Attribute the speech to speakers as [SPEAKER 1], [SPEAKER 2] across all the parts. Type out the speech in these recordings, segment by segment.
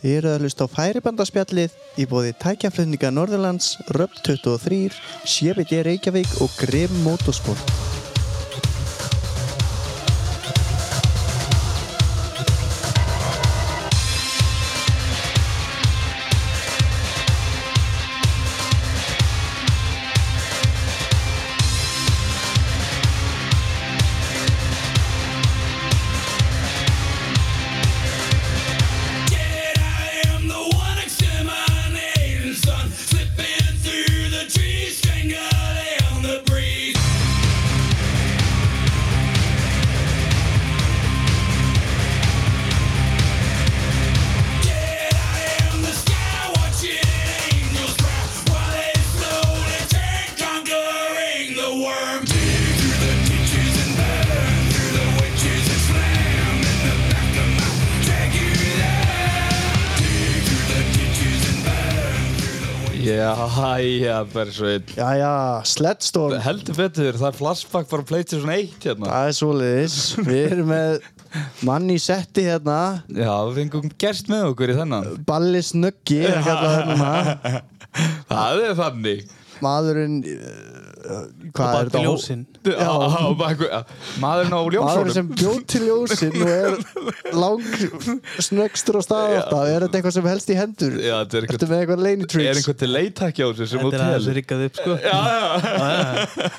[SPEAKER 1] Þið eru að hlusta á færibandaspjallið í bóði tækjaflutninga Norðurlands, Röpp 23, CBD Reykjavík og Grim Motorsport.
[SPEAKER 2] Jæja, Bersveit
[SPEAKER 1] Jæja, Sledstorm,
[SPEAKER 2] Heldur betur, það er flashback bara Playstation 1 hérna
[SPEAKER 1] það er svoleiðis. Við erum með mann í setti hérna,
[SPEAKER 2] Já, við fengum gerst með okkur í þennan
[SPEAKER 1] Balli Snöggi, er kallað hérna.
[SPEAKER 2] Það er þannig
[SPEAKER 1] Maðurinn, eh, hvað er
[SPEAKER 3] Bætti
[SPEAKER 1] þetta?
[SPEAKER 3] ljósinn
[SPEAKER 2] Já, á baku- já. Maðurinn á
[SPEAKER 1] Maðurinn
[SPEAKER 2] ljósónum
[SPEAKER 1] sem bjóð til ljósin og er lang snöggstur á staða alltaf. Er þetta eitthvað sem helst í hendur?
[SPEAKER 2] Já, þetta er einhver-
[SPEAKER 1] Ertu með eitthvað
[SPEAKER 2] Er
[SPEAKER 1] leynitricks?
[SPEAKER 2] einhvern til leitakki á þessu sem
[SPEAKER 3] Þetta er aðeins
[SPEAKER 2] hótel
[SPEAKER 3] rikkað upp sko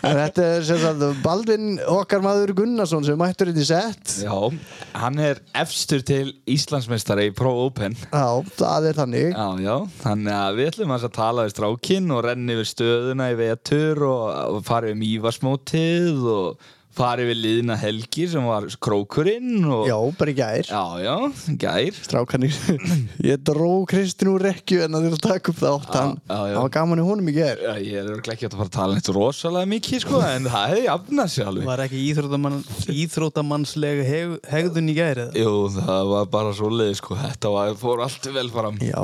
[SPEAKER 1] En þetta er sem sagt Baldvin okkar maður Gunnarsson sem mættur inn í sett
[SPEAKER 2] Já, hann er efstur til Íslandsmeistari í Pro Open
[SPEAKER 1] Já, það er þannig
[SPEAKER 2] Já, já, þannig að við ætlum aðeins að tala við strákinn og renni við stöðuna í vetur og, og fara við mývarsmótið og fara við liðina helgi sem var krókurinn og
[SPEAKER 1] Já, bara í gær
[SPEAKER 2] Já, já, gær
[SPEAKER 1] Strákanir Ég dró Kristin úr rekju en að þér að taka upp það áttan
[SPEAKER 2] Já, já, já.
[SPEAKER 1] Það var gaman í honum í gær
[SPEAKER 2] Já, Ég er örugglega ekki átt að fara að tala neitt rosalega mikið sko, en það hefði jafnað sér alveg
[SPEAKER 3] Var ekki íþróttamann, íþróttamannslega heg, hegðun í gæri eða?
[SPEAKER 2] Jú, það var bara svo leið sko, þetta var, fór allt vel fram
[SPEAKER 1] Já,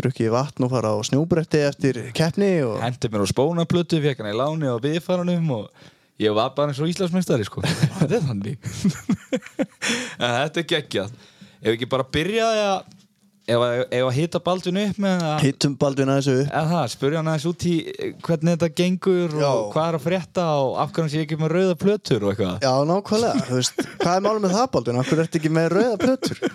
[SPEAKER 1] drukkið vatn og fara á snjóbretti eftir keppni og
[SPEAKER 2] Hendi mér á spónaplutu, fekk hann í láni á byggfaranum og ég var bara eins og Íslandsmeistari sko, þetta er þannig En þetta er geggjað Ef ekki bara byrjaði að ef, að- ef að hita Baldvin upp með að
[SPEAKER 1] hittum Baldvin að þessu upp
[SPEAKER 2] Eða það, spurja hann aðeins út í hvernig þetta gengur og
[SPEAKER 1] Já.
[SPEAKER 2] hvað er að frétta og af hvernig sé ég ekki með rauða plötur og eitthvað
[SPEAKER 1] Já, nákvæmlega, þú veist, hvað er málum með það Baldvin? Akkur ertu ekki með rauða plötur?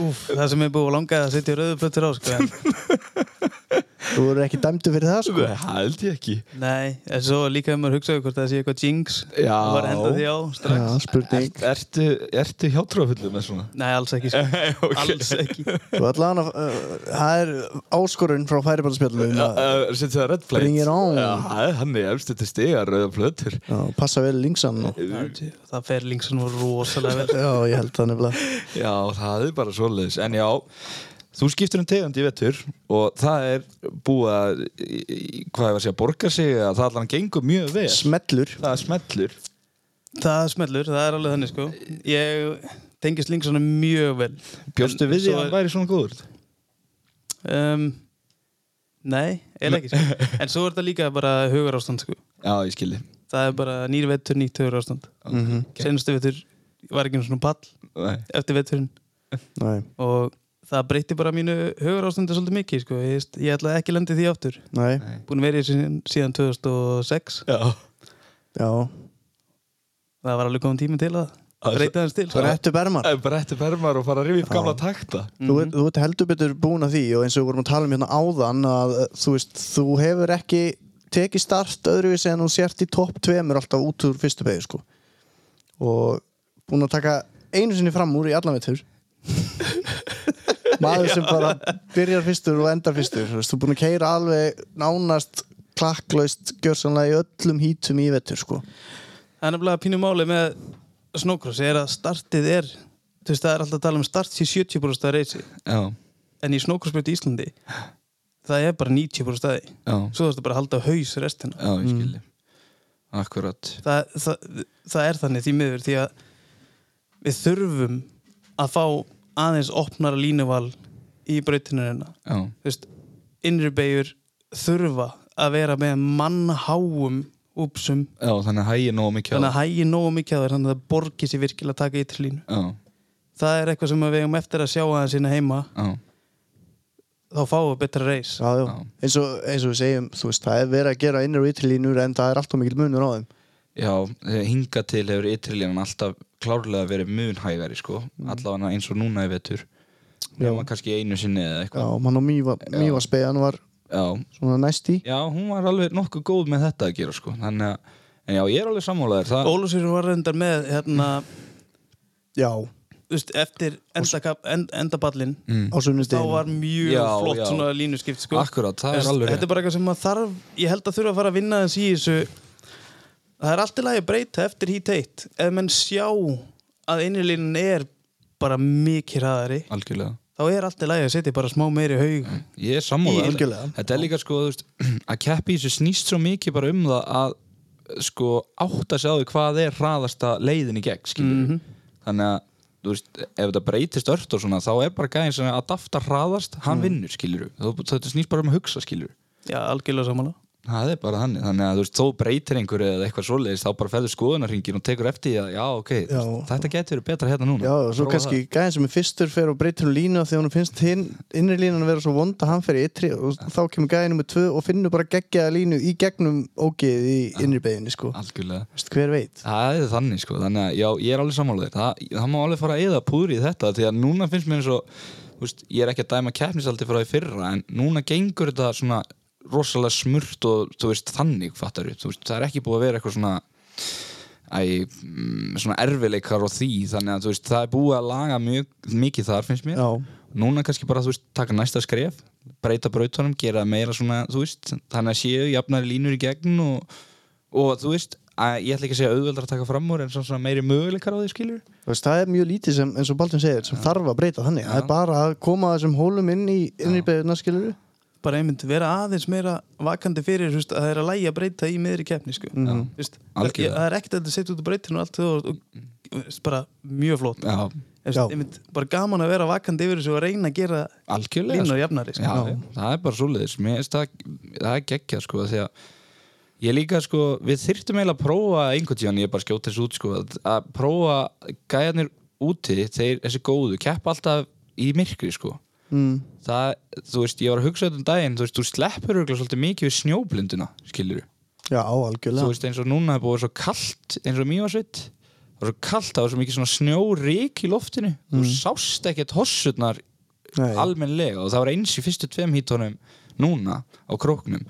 [SPEAKER 3] Úf, það sem er búið að langa að setja rauðu plötur á sko en,
[SPEAKER 1] Þú eru ekki dæmdu fyrir það sko
[SPEAKER 2] Nei, held ég ekki
[SPEAKER 3] Nei, en svo líka ef maður hugsaði hvort það sé eitthvað jinx
[SPEAKER 2] Já.
[SPEAKER 3] Það var hendað því á
[SPEAKER 2] Sko,
[SPEAKER 1] Já,
[SPEAKER 3] strax
[SPEAKER 1] spurning
[SPEAKER 2] Ert, ertu, ertu hjátrúafullur með svona?
[SPEAKER 3] Nei, alls ekki sko
[SPEAKER 2] ok.
[SPEAKER 3] Alls ekki
[SPEAKER 1] Þú allan að, uh, það er áskorun frá um færibalspjallum
[SPEAKER 2] Uh, Settu það red plate
[SPEAKER 1] Bring it on.
[SPEAKER 2] Já, það er hann er efstu til stiga rauða plötur
[SPEAKER 1] Passa vel lingsan og
[SPEAKER 3] Það fer linksan var rosalega vel
[SPEAKER 1] Já, ég held það nefnilega
[SPEAKER 2] Já, það er bara svoleiðis En já, þú skiptir um tegund í vettur og það er búið að í- í- hvað ég var að segja, borga sig að það allan gengur mjög vel
[SPEAKER 1] Smellur
[SPEAKER 2] Það er smellur
[SPEAKER 3] Það smellur, það er alveg þannig sko Ég tengist linksanum mjög vel
[SPEAKER 2] Bjóstu
[SPEAKER 3] En
[SPEAKER 2] við því
[SPEAKER 3] svo
[SPEAKER 2] að
[SPEAKER 3] er-
[SPEAKER 2] hann væri svona góður?
[SPEAKER 3] um, Nei, eða ekki sko. En svo er þetta líka bara hugar ástand sko.
[SPEAKER 2] Já, ég skilji
[SPEAKER 3] Það er bara nýr vettur, nýtt hugar ástand
[SPEAKER 1] Mhm.
[SPEAKER 3] Senastu vettur var ekki svona pall
[SPEAKER 2] Nei.
[SPEAKER 3] Eftir vetturinn
[SPEAKER 1] Nei,
[SPEAKER 3] Og það breytti bara mínu hugar ástandi svolítið mikið sko. Ég, ég ætlaði ekki lendi því aftur
[SPEAKER 1] nei,
[SPEAKER 3] Búin verið síðan, síðan 2006
[SPEAKER 2] Já,
[SPEAKER 1] já
[SPEAKER 3] Það var alveg góðum tími til að
[SPEAKER 2] Það er
[SPEAKER 3] breyta þess til sko.
[SPEAKER 1] Brettu Berman
[SPEAKER 2] Það er bara eftir permar og fara að rifja upp gamla takta
[SPEAKER 1] þú, ert- þú ert heldur betur búin að því og eins og við vorum að tala um hérna áðan að uh, þú veist, þú hefur ekki tekið start öðruvísi en þú sért í topp tveimur alltaf út úr fyrstu beigju sko og búin að taka einu sinni fram úr í allan vetur maður sem bara byrjar fyrstur og endar fyrstur þú veist, þú er búin að keira alveg nánast klakklaust gjörsanlega í öllum hítum í vetur sko
[SPEAKER 3] Það er nefnilega pínu máli með snókross er að startið er þú veist það er alltaf að tala um start í 70% að reysi
[SPEAKER 2] Já,
[SPEAKER 3] en í snókrossbjörn í Íslandi það er bara 90% staði
[SPEAKER 2] já,
[SPEAKER 3] svo þarfstu bara að halda á haus restina
[SPEAKER 2] já, ég skilji Akkurat
[SPEAKER 3] það, það, það er þannig því miður því að við þurfum að fá aðeins opnara línuval í brautinunina
[SPEAKER 2] Já,
[SPEAKER 3] þú veist, innri beigur þurfa að vera með mannháum úpsum
[SPEAKER 2] já þannig að hægja nóg mikið á
[SPEAKER 3] þannig að hægi nógu mikið að það þannig að það borgi sér virkilega að taka ytri línu
[SPEAKER 2] Já,
[SPEAKER 3] það er eitthvað sem við eigum eftir að sjá aðeins sinna heima
[SPEAKER 2] Já,
[SPEAKER 3] þá fáum við betra reis
[SPEAKER 1] Já, já.
[SPEAKER 2] Já.
[SPEAKER 1] Eins, og, eins og við segjum, þú veist, það er verið að gera inner Italy-línur en það er alltaf mikil munur á þeim
[SPEAKER 2] já hinga til hefur ytrilínan alltaf klárlega verið mun hægari sko allavega eins og núna í vetur
[SPEAKER 1] Já.
[SPEAKER 2] Nefna kannski einu sinni eða
[SPEAKER 1] Já,
[SPEAKER 2] eitthvað
[SPEAKER 1] mann og Mýva, Mývaspeiðan var
[SPEAKER 2] já.
[SPEAKER 1] svona næst í
[SPEAKER 2] já, hún var alveg nokkuð góð með þetta að gera sko þannig að, en já, ég er alveg sammálaður það,
[SPEAKER 3] Ólusur var reyndar með hérna,
[SPEAKER 1] Já,
[SPEAKER 3] þú veist, eftir endakap, end, endaballin
[SPEAKER 2] mm,
[SPEAKER 1] á
[SPEAKER 3] þá
[SPEAKER 1] sunnudeginu
[SPEAKER 3] var mjög
[SPEAKER 2] Já,
[SPEAKER 3] flott
[SPEAKER 2] já.
[SPEAKER 3] svona línuskipt sko.
[SPEAKER 2] akkurat, það er
[SPEAKER 3] Þetta
[SPEAKER 2] alveg
[SPEAKER 3] er bara eitthvað sem maður þarf ég held að þurfa að fara að vinna þess í þessu það er allt í lagi að breyta eftir hít eitt ef menn sjá að innilínin er bara mikið hraðari
[SPEAKER 2] algjörlega
[SPEAKER 3] þá er allt í lagi að setja bara smá meiri haug
[SPEAKER 2] Ég er sammála
[SPEAKER 1] Í- Algjörlega.
[SPEAKER 2] Þetta er líka sko þú veist, að keppi þessu snýst svo mikið bara um það að sko átta sig á því hvað er hraðasta leiðin í gegn mm þannig að þú veist, ef þetta breytist ört og svona þá er bara gæðin sem að dafta hraðast hann vinnur skilur þetta snýst bara um að hugsa skilur
[SPEAKER 3] já, algjörlega samanlega
[SPEAKER 2] það er bara þannig þannig að þú veist, þó breytir einhverju eða eitthvað svoleiðis þá bara ferður skoðunarringin og tekur eftir því að já ok, já.
[SPEAKER 1] Já.
[SPEAKER 2] Veist, þetta getur verið betra hérna núna
[SPEAKER 1] Já, og svo
[SPEAKER 2] Prófa
[SPEAKER 1] kannski gæðin sem er fyrstur fer og breytir hún línu af því að hún finnst hinn innri línan að vera svo vonda, hann fer í ytri og þá kemur gæðin nummer tvö og finnur bara geggjaða línu í gegnum ógeðið í innri beginni sko,
[SPEAKER 2] það. algjörlega
[SPEAKER 1] Vist, hver veit
[SPEAKER 2] Það er þannig sko, þannig að já, ég er alveg sammálaður það, það má alveg fara að eða púðri í þetta því að núna finnst mér eins og þú veist, ég er ekki að dæma keppnisaldi frá því fyrra en núna gengur þetta svona rosalega smurt og þú veist þannig fattar við, þú veist, það er ekki búið að vera eitthvað svona æ, mm, svona erfileikar og því þannig að þú veist, það er búið að laga mjög, mikið þar finnst mér
[SPEAKER 1] Já,
[SPEAKER 2] núna kannski bara, þú veist, taka næsta skref breyta brautunum, gera það meira svona þú veist, þannig að séu jafnari línur í gegn og, og þú veist að, ég ætla ekki að segja auðveldar að taka fram úr en svona, svona meiri möguleikar á því skilur
[SPEAKER 1] þú veist, það er mjög lítið sem, eins og Baldin segir, sem þarf að breyta þannig það er bara að koma þessum hólum inn í innri beginna skilur
[SPEAKER 3] bara einmitt vera aðeins meira vakandi fyrir þú veist, að það er að lægja að breyta í miðri keppni sko. mm. veist, það,
[SPEAKER 2] Algjörlega.
[SPEAKER 3] það er ekkert að þetta setja út á breytinu og allt það og, og, þú veist, bara mjög flott
[SPEAKER 2] Já.
[SPEAKER 3] Veist,
[SPEAKER 1] Já.
[SPEAKER 3] einmitt, bara gaman að vera vakandi yfir þessu og reyna að gera
[SPEAKER 2] algjörlega
[SPEAKER 3] línu og jafnari sko.
[SPEAKER 2] já, það er bara svoleiðis Mér finnst það, það er geggjað sko því að ég líka sko við þyrftum eiginlega að prófa einhvern tíðan ég er bara að skjóta þessu út sko að- að prófa gæjarnir úti þeir þessi góðu keppa alltaf í myrkri sko
[SPEAKER 1] mm.
[SPEAKER 2] það, þú veist, ég var að hugsa þetta um daginn, þú veist, þú sleppur örgulega svolítið mikið við snjóblinduna, skilur
[SPEAKER 1] Já,
[SPEAKER 2] þú
[SPEAKER 1] algjörlega
[SPEAKER 2] veist, eins og núna er búið svo kalt eins og mývarsveit, það var svo kalt það var svo mikið svona snjórik í loftinu þú sást ekkert hossutnar
[SPEAKER 1] Nei.
[SPEAKER 2] almennlega og það var eins í fyrstu tveim hítunum núna á króknum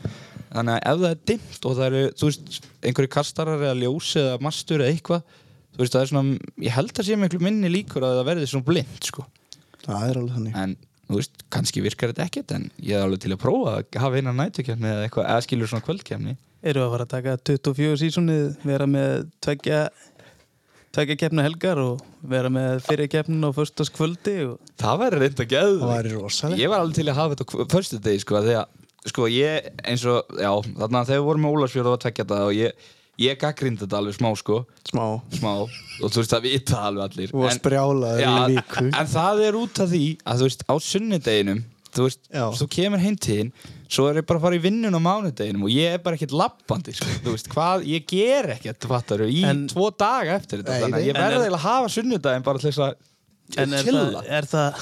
[SPEAKER 2] þannig að ef það er dimmt og það eru þú veist, einhverju kastarar eða ljósi eða mastur eða eitthvað þú veist, það er svona, ég held að sé miklu minni líkur að það verði svona blind, sko
[SPEAKER 1] Það er alveg þannig
[SPEAKER 2] en þú veist, kannski virkar þetta ekkert en ég er alveg til að prófa að hafa eina nætukefni eða eitthvað, eða skilur svona kvöldkefni
[SPEAKER 3] eru að fara að taka 24 sísonið vera með tveggja tveggja keppna helgar og vera með fyrir keppnin á förstaskvöldi og
[SPEAKER 2] það væri reynda geðu
[SPEAKER 1] Það væri rosalegt.
[SPEAKER 2] ég var alveg til að hafa þetta fyrstu degi sko, af því að sko ég eins og, já, þarna þegar við vorum með Ólarsfjörð og var tvekja þetta og ég, ég gaggrindi þetta alveg smá sko,
[SPEAKER 1] Smá,
[SPEAKER 2] smá og þú veist það vita það alveg allir
[SPEAKER 1] þú varst
[SPEAKER 2] En-
[SPEAKER 1] brjálaður
[SPEAKER 2] Já,
[SPEAKER 1] í viku
[SPEAKER 2] en það er út af því að þú veist á sunnudeginum þú veist,
[SPEAKER 1] Já.
[SPEAKER 2] þú kemur heim til þín svo er ég bara að fara í vinnun á mánudeginum og ég er bara ekkert lappandi sko. þú veist, hvað, ég ger ekkert fattar, í
[SPEAKER 3] En-
[SPEAKER 2] tvo daga eftir þetta
[SPEAKER 1] Nei,
[SPEAKER 2] þannig að
[SPEAKER 1] nei.
[SPEAKER 2] ég
[SPEAKER 3] En
[SPEAKER 2] verði
[SPEAKER 3] er-
[SPEAKER 2] eiginlega að hafa sunnudagin bara til þess að
[SPEAKER 3] en er það,
[SPEAKER 2] chilla.
[SPEAKER 3] er það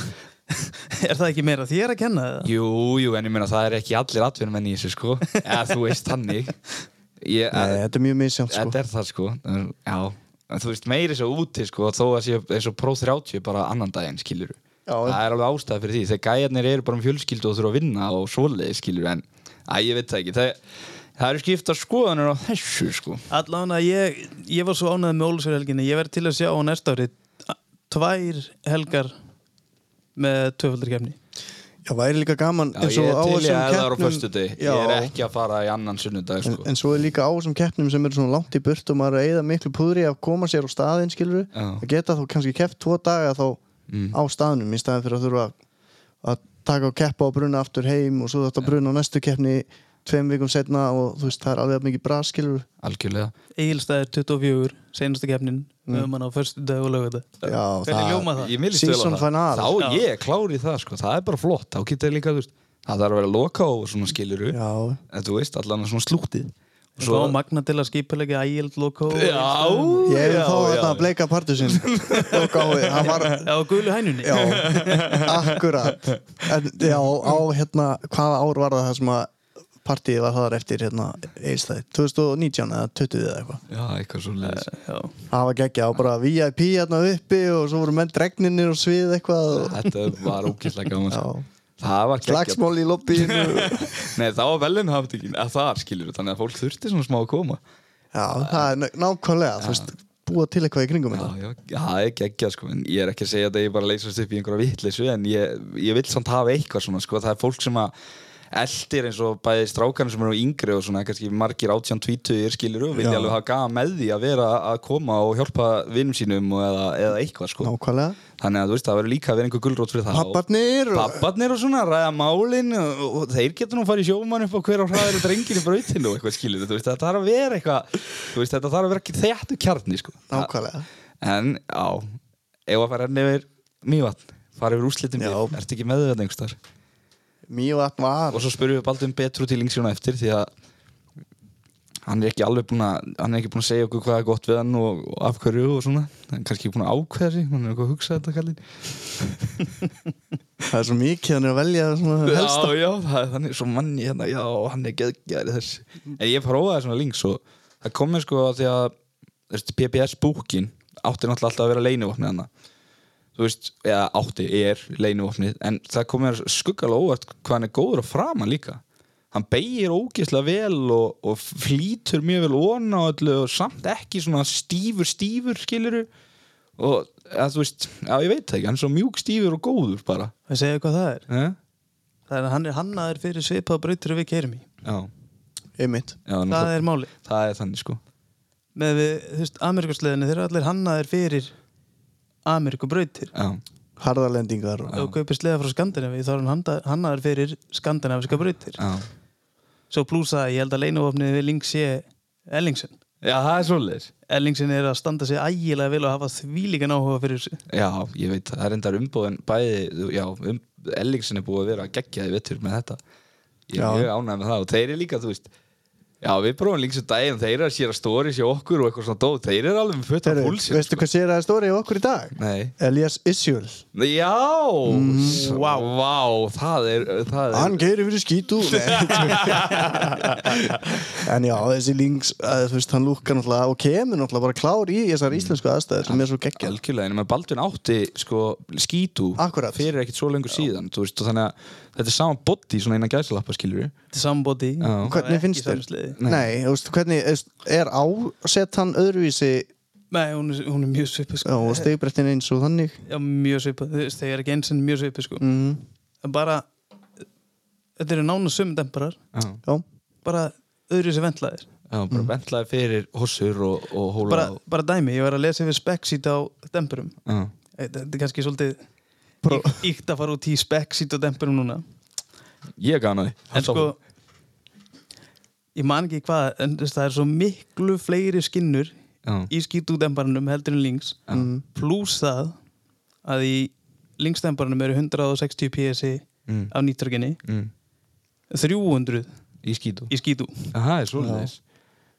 [SPEAKER 3] er það ekki meira þér að kenna það?
[SPEAKER 2] Jú, jú, en ég meina það er ekki allir atvinnumenn í þessu sko, eða þú veist þannig ég,
[SPEAKER 1] Nei, þetta er mjög misjátt sko
[SPEAKER 2] Þetta er það sko Já, en þú veist meiri svo úti sko þó að sé eins og próf 30 bara annan daginn skilur
[SPEAKER 1] Já,
[SPEAKER 2] Það er alveg ástæða fyrir því þegar gæjarnir eru bara um fjölskyldu og þurfa að vinna og svoleiði skilur en að ég veit það ekki það, það eru skipta skoðanur á þessu sko
[SPEAKER 3] Allan að ég, ég var svo ánægð með Ólusverhelginni, ég verð til að sjá á næsta ári a- tvær helgar með tvöfaldur kemni
[SPEAKER 1] Já, væri líka gaman
[SPEAKER 2] Já,
[SPEAKER 1] eins og
[SPEAKER 2] ég er
[SPEAKER 1] á
[SPEAKER 2] til ég
[SPEAKER 1] þessum
[SPEAKER 2] að það er á
[SPEAKER 1] keppnum-
[SPEAKER 2] föstudegi
[SPEAKER 1] Já.
[SPEAKER 2] Ég er ekki að fara í annan sunnudag
[SPEAKER 1] En,
[SPEAKER 2] sko
[SPEAKER 1] en svo er líka á þessum keppnum sem eru svona langt í burt og maður er að eyða miklu púðri að koma sér á staðinn skilur
[SPEAKER 2] Já. Mm.
[SPEAKER 1] að geta þá kannski keppt tvo daga þá á staðnum í staðin fyrir að þurfa að- að taka og keppa og bruna aftur heim og svo þetta ja. bruna á næstu keppni tveim vikum setna og þú veist það er alveg jafn mikið bra skilur
[SPEAKER 2] Algjörlega
[SPEAKER 3] Egilstaðir 24, senasta kemnin mm. um hann á förstu dag og lögða
[SPEAKER 1] Já,
[SPEAKER 3] Hvernig ljóma það?
[SPEAKER 2] Ég minnist
[SPEAKER 1] Season
[SPEAKER 2] vel á það
[SPEAKER 1] finale.
[SPEAKER 2] Þá
[SPEAKER 3] Já.
[SPEAKER 2] ég er klár í það sko, það er bara flott Þá getur ég líka, þú veist, það þarf að vera loka og svona skiluru
[SPEAKER 1] Já,
[SPEAKER 2] en þú veist allan svona slútið
[SPEAKER 3] Svo á Magna til að skipulegja ægild logo
[SPEAKER 2] Já,
[SPEAKER 1] Ég hef
[SPEAKER 2] já,
[SPEAKER 1] þá
[SPEAKER 2] já.
[SPEAKER 1] þarna að bleika partur sinn og gáði, hann var
[SPEAKER 3] Já, gulu hænunni
[SPEAKER 1] já, akkurat en já, á hérna hvaða ár var það sem að partíið var þar eftir hérna eilstæði 2019 eða 20 eða eitthvað
[SPEAKER 2] já, eitthvað svo leiðis
[SPEAKER 3] Eh, Já.
[SPEAKER 1] það var geggja og bara VIP hérna uppi og svo voru menn dregninir og svið eitthvað og,
[SPEAKER 2] Þetta var ógæslega gaman sko.
[SPEAKER 1] já,
[SPEAKER 2] Það var geggjað.
[SPEAKER 1] slagsmál í lobbyinu
[SPEAKER 2] Nei, það var velinn haftingin að þar skilur þannig að fólk þurfti svona smá að koma
[SPEAKER 1] já, það er ná- nákvæmlega þú veist, búa til eitthvað í kringum
[SPEAKER 2] Já,
[SPEAKER 1] þetta
[SPEAKER 2] já, já, það er geggjað sko en ég er ekki að segja þetta að ég bara leysast upp í einhverja vitleysu en ég, ég vil samt hafa eitthvað svona sko, það er fólk sem að eldir eins og bæði strákarnir sem eru yngri og svona kannski margir átján tvítugir skilur og vilja
[SPEAKER 1] Já.
[SPEAKER 2] alveg hafa gafa með því að vera að koma og hjálpa vinnum sínum og eða, eða eitthvað sko
[SPEAKER 1] nákvæmlega
[SPEAKER 2] þannig að þú veist það verður líka að vera einhver gullrót fyrir það og-
[SPEAKER 1] papparnir og-
[SPEAKER 2] Papparnir og svona ræða málin og, og þeir getur nú að fara í sjóman upp á hver á hraðir og drengir í brautinu og eitthvað skilur veist, þetta þarf að vera eitthvað þú veist, þetta þarf að vera ekki þjættu kjarni sko.
[SPEAKER 1] nákvæmlega
[SPEAKER 2] en á ef að fara enn yfir mývatn fara yfir úslitin
[SPEAKER 1] Já.
[SPEAKER 2] mývatn, ertu ekki með þetta einhverstaðar
[SPEAKER 1] Mývatn var
[SPEAKER 2] og svo spurðum við Baldum betru til yngsjóna eftir því að hann er ekki alveg búin að hann er ekki búin að segja okkur hvað er gott við hann og, og af hverju og svona hann er kannski búin að ákveða sig hann er eitthvað að hugsa þetta kallinn
[SPEAKER 1] það er svo mikið hann er að velja svona helst
[SPEAKER 2] Já, já, það er þannig svo manni hérna, já, hann er geðgjæri þessi. En ég prófaði svona links og það kom mér sko að því að þú veist, PPS búkin átti náttúrulega alltaf að vera leinuvopnið hann. Þú veist, eða átti, er leinuvopnið, en það kom mér skuggalega óvart hvað hann er góður að framan líka. Hann beigir ógeðslega vel og, og flýtur mjög vel óna og öllu og samt ekki svona stífur, stífur, skiluru. Og að, þú veist, já, ég veit það ekki, hann er svo mjúk stífur og góður bara.
[SPEAKER 3] Það segja hvað það er
[SPEAKER 2] Eh?
[SPEAKER 3] Það er að hann er hannaður fyrir svipað brautur við keirum í
[SPEAKER 2] Já.
[SPEAKER 1] ymmit
[SPEAKER 2] Já, nú,
[SPEAKER 3] Það
[SPEAKER 2] það, er...
[SPEAKER 3] er máli
[SPEAKER 2] það er þannig sko
[SPEAKER 3] Með við, þú veist, Amerikasleðinu þeir eru allir hannaður fyrir Amerikubrautir
[SPEAKER 2] Já,
[SPEAKER 1] harðalendingar og
[SPEAKER 3] Ef þú kaupir sleða frá Skandinavi þá er hann handa- hannaður fyrir skandinaviska brautir
[SPEAKER 2] já.
[SPEAKER 3] Svo plús að ég held að leinuvopnið við Link sé Ellingsen
[SPEAKER 2] já það er svoleiðis
[SPEAKER 3] Ellingsen er að standa sig ægilega vel og hafa þvílíkan áhuga fyrir þessu
[SPEAKER 2] Já, ég veit, það er endar umbúðin bæði, þú- já, um, Ellingsen er búið að vera að gegja því vettur með þetta Ég
[SPEAKER 1] Já.
[SPEAKER 2] er mjög ánægð með það og þeir eru líka, þú veist Já, við prófum líka svo daginn, þeir eru að séra stóri sér okkur og eitthvað svona dót, þeir eru alveg með fullt af
[SPEAKER 1] Heru,
[SPEAKER 2] púlsinn
[SPEAKER 1] veistu hvað sér að það stóri í okkur í dag?
[SPEAKER 2] sko. Nei,
[SPEAKER 1] Elias Isjöl
[SPEAKER 2] já, mm, vá, það er, það er
[SPEAKER 1] Hann keirir fyrir skítu En já, þessi links að, þú veist, hann lúkkar náttúrulega og kemur náttúrulega bara klár í þessar íslensku aðstæður sem er svo geggja
[SPEAKER 2] Algjörlega, en Baldvin átti sko skítu
[SPEAKER 1] Akkurat.
[SPEAKER 2] fyrir ekkert svo lengur síðan, þú veist, og þannig að þetta er sama body svona innan gæslappa, skilur
[SPEAKER 3] Þetta er sambóti
[SPEAKER 2] Já.
[SPEAKER 1] Hvernig finnst þér?
[SPEAKER 3] Nei,
[SPEAKER 1] Nei, þú veist, hvernig þú veist, er ásett hann öðruvísi
[SPEAKER 3] hún er, hún er mjög svipuð sko.
[SPEAKER 1] og stegbrettin eins og þannig
[SPEAKER 3] Já, mjög svipuð, þú veist, þegar ekki eins en mjög svipuð sko.
[SPEAKER 1] mm,
[SPEAKER 3] En bara, þetta eru nána sumdemperar
[SPEAKER 2] Já
[SPEAKER 1] Já,
[SPEAKER 3] bara öðru sem ventlaðir
[SPEAKER 2] Já, bara mm. bentlaði fyrir hossur og, og hóla
[SPEAKER 3] bara,
[SPEAKER 2] og,
[SPEAKER 3] bara dæmi, ég var að lesa yfir speksít á dempurum
[SPEAKER 2] já.
[SPEAKER 3] Þetta þetta er kannski svolítið
[SPEAKER 1] Bara-
[SPEAKER 3] ík- íkt að fara út í speksít á dempurum núna
[SPEAKER 2] Ég gana því
[SPEAKER 3] En sko Ég man ekki hvað, en þú veist, það er svo miklu fleiri skinnur
[SPEAKER 2] Já,
[SPEAKER 3] í skítúdembarnum heldur en links
[SPEAKER 2] já,
[SPEAKER 3] pluss það að í linksdembarnum eru 160 PSI
[SPEAKER 2] Mm.
[SPEAKER 3] á nýttorginni
[SPEAKER 2] mm.
[SPEAKER 3] 300
[SPEAKER 2] Í skítu
[SPEAKER 3] í skítu
[SPEAKER 2] Það er svoleiðis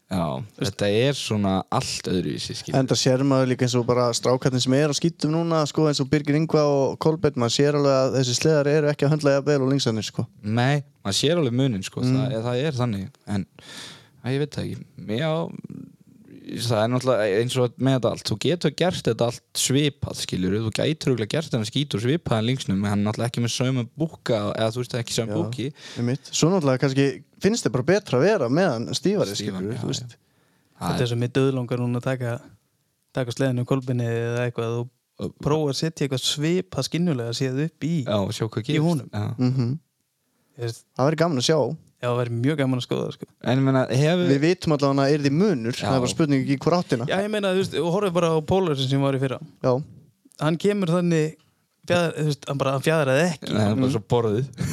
[SPEAKER 2] Já, þetta er svona allt öðruvísi skil
[SPEAKER 1] enda sér maður líka eins og bara strákarnir sem er á skítum núna sko, eins og Birgir Ingva og Kolbett maður sér alveg að þessi sleðar eru ekki að höndla jafn vel og linksannir sko
[SPEAKER 2] Nei, maður sér alveg munin sko
[SPEAKER 3] Mm.
[SPEAKER 2] það, það er þannig En, að, ég veit það ekki Já, það er náttúrulega eins og með þetta allt Þú getur gert þetta allt svipað skilur Þú gætur örugglega gert þetta skítur svipað en linksnum En hann er náttúrulega ekki með sömu búka Eða þú veist ekki sömu búki
[SPEAKER 1] Einmitt. Svo náttúrulega kannski finnst þið bara betra að vera meðan stífari
[SPEAKER 2] Stífan,
[SPEAKER 1] skilur
[SPEAKER 2] já,
[SPEAKER 1] þú veist.
[SPEAKER 2] Það
[SPEAKER 3] þetta er sem ég döðlangar núna að taka taka sleðinu í kolbinni eða eitthvað og prófa að setja eitthvað svipa skinnulega séð upp í
[SPEAKER 2] Já, sjá hvað gerist
[SPEAKER 3] honum.
[SPEAKER 2] Já.
[SPEAKER 1] Mhm.
[SPEAKER 3] Þú veist,
[SPEAKER 1] Það verður gaman að sjá
[SPEAKER 3] já, það verður mjög gaman að skoða það, sko.
[SPEAKER 2] En ég meina, hefur
[SPEAKER 1] Við vitum allavega að er því munur
[SPEAKER 2] Já.
[SPEAKER 1] Það er bara spurning ekki hver áttina
[SPEAKER 3] já, ég meina, þú veist, og horfið bara á Pólarsin sem var í fyrra
[SPEAKER 1] Já.
[SPEAKER 3] hann kemur þannig fjadra, þú veist, hann bara hann fjadraði ekki
[SPEAKER 2] Nei, það er bara svo borðið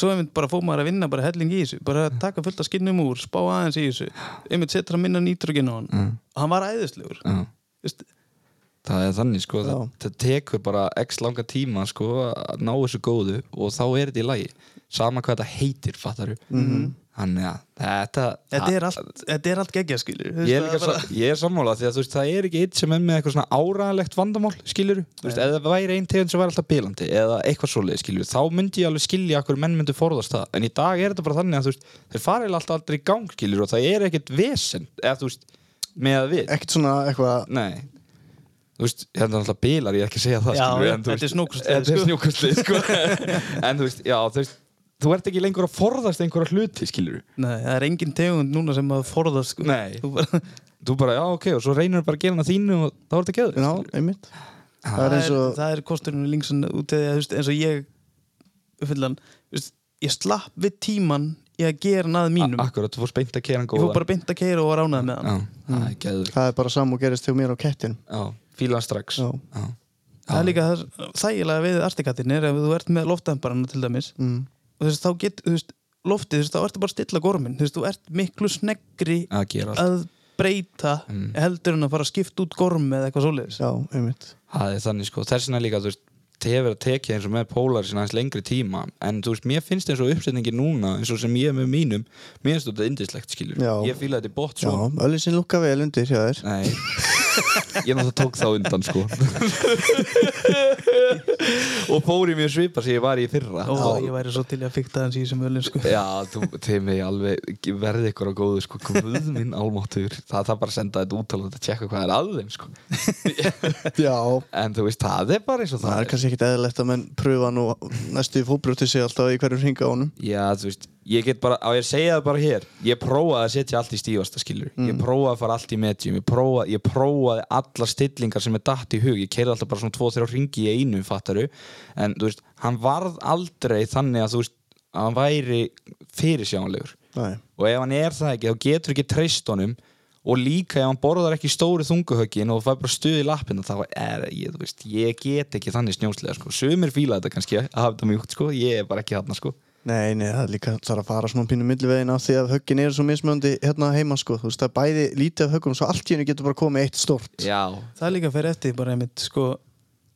[SPEAKER 3] svo einmitt bara fóð maður að vinna bara helling í þessu
[SPEAKER 2] Mm.
[SPEAKER 3] bara að taka fullt af skinnum úr, spá aðeins í þessu einmitt setra minna nýtrugin á hann
[SPEAKER 2] Mm.
[SPEAKER 3] hann var æðislegur
[SPEAKER 2] Já.
[SPEAKER 3] Vist,
[SPEAKER 2] Það er þannig sko, það,
[SPEAKER 1] Já.
[SPEAKER 2] það tekur bara x langa tíma sko að ná þessu góðu og þá er þetta í lagi Sama hvað þetta heitir, fattaru mm -hmm. Þannig að þetta
[SPEAKER 3] Þetta er allt, þetta er allt geggja skilur
[SPEAKER 2] Ah. Ég er, líka sa- ég er sammála því að þú veist, það er ekki eitt sem er með eitthvað svona áraðlegt vandamál, skilur þú veist, ef það væri einn tegund sem væri alltaf bilandi eða eitthvað svoleið, skilur þá myndi ég alveg skilja okkur menn myndu forðast það en í dag er þetta bara þannig að þú veist, þeir fara eiginlega alltaf aldrei í gang, skilur og það er ekkert vesen, eða þú veist, með að við
[SPEAKER 1] ekkert svona eitthvað
[SPEAKER 2] Nei Þú veist, hérna er alltaf bílar, ég er ekki að segja það
[SPEAKER 3] Já,
[SPEAKER 2] skilur,
[SPEAKER 3] já,
[SPEAKER 2] en, þú
[SPEAKER 3] þetta
[SPEAKER 2] veist,
[SPEAKER 3] er snjókorslið,
[SPEAKER 2] Þetta er
[SPEAKER 3] sko.
[SPEAKER 2] snjókorslið, sko En þú veist, já, þú veist Þú ert ekki lengur að forðast einhverja hluti, skilur
[SPEAKER 3] Nei, það er engin tegund núna sem að forðast sko.
[SPEAKER 2] Nei.
[SPEAKER 3] Þú bara,
[SPEAKER 2] Þú bara, já, ok, og svo reynir bara að gera hana þínu og þá er þetta geður
[SPEAKER 1] já, einmitt það
[SPEAKER 3] það,
[SPEAKER 1] er
[SPEAKER 3] er,
[SPEAKER 1] eins og
[SPEAKER 3] það er kosturinn við linksun út eða þú veist, eins og ég fullan, þú veist, ég slapp við tíman í að gera nað mínum
[SPEAKER 2] Akkurat, þú fórst beint að kera hann
[SPEAKER 3] ég
[SPEAKER 2] góða
[SPEAKER 3] fór bara beint að keira og var ánað með hann
[SPEAKER 2] Já, það er geður
[SPEAKER 1] það er bara saman og gerist hjá mér á kettin
[SPEAKER 2] Já, fíla hann strax
[SPEAKER 1] Já.
[SPEAKER 2] Já.
[SPEAKER 3] það er líka það þægilega við artikatinn er ef þú ert með loftdæmbarana til dæmis
[SPEAKER 1] mm.
[SPEAKER 3] og þú veist, þá get, þú veist, loftið þú veist, þá ertu bara að stilla gormin þú veist, þú ert miklu sneggri
[SPEAKER 2] Að gera allt
[SPEAKER 3] að breyta
[SPEAKER 2] Mm.
[SPEAKER 3] heldur en að fara að skipta út gorm eða eitthvað svoleiðis
[SPEAKER 1] já, einmitt
[SPEAKER 2] Það er þannig sko, þess vegna líka þú veist, tefur að tekja eins og með pólar sinna aðeins lengri tíma, en þú veist, mér finnst eins og uppsetningi núna, eins og sem ég er með mínum mér finnst þetta indislegt, skilur
[SPEAKER 1] Já.
[SPEAKER 2] ég fíla þetta í sko. bótt
[SPEAKER 1] já,
[SPEAKER 2] svo
[SPEAKER 1] öllisin lukka vel undir hjá þér
[SPEAKER 2] Nei, ég náttúrulega tók þá undan sko og fór í mjög svipa sem ég var í fyrra
[SPEAKER 3] og ég væri svo til í að fikta hans í þessum öllu sko.
[SPEAKER 2] Já, þú, þið mig alveg verði ykkur á góðu sko, guð minn álmáttur það það bara að senda þetta út til að tjekka hvað er að þeim sko.
[SPEAKER 1] já,
[SPEAKER 2] en þú veist, það er bara eins og það,
[SPEAKER 1] það er kannski ekkit eðalegt að menn pröfa nú næstu í fótbrjóti sig alltaf í hverjum ringa honum
[SPEAKER 2] Já, þú veist, ég get bara, á ég að segja það bara hér Ég prófaði að setja allt í stífasta skilur Ég prófaði að fara allt í medium Ég prófaði, ég prófaði allar stillingar sem er datt í hug Ég keiri alltaf bara svona tvo, þrjá ringi í einu, fattaru En, þú veist, hann varð aldrei þannig að, þú veist, að hann væri fyrirsjánlegur
[SPEAKER 1] Nei.
[SPEAKER 2] Og ef hann er það ekki, þá getur ekki treyst honum Og líka ef hann borðar ekki stóru þunguhöggin og fær bara stuð í lappina þá er ég, þú veist, ég get ekki þannig snjóslega sko. Sumir fíla þetta kannski að hafa þetta mjúkt sko, ég er bara ekki þarna sko.
[SPEAKER 1] Nei, nei, það er líka það er að fara svona pínu millivegin af því að höggin eru svo mismöndi hérna heima sko, þú veist það er bæði lítið af höggum svo allt í hennu getur bara komið eitt stort
[SPEAKER 2] Já,
[SPEAKER 3] það líka fer eftir því bara einmitt sko,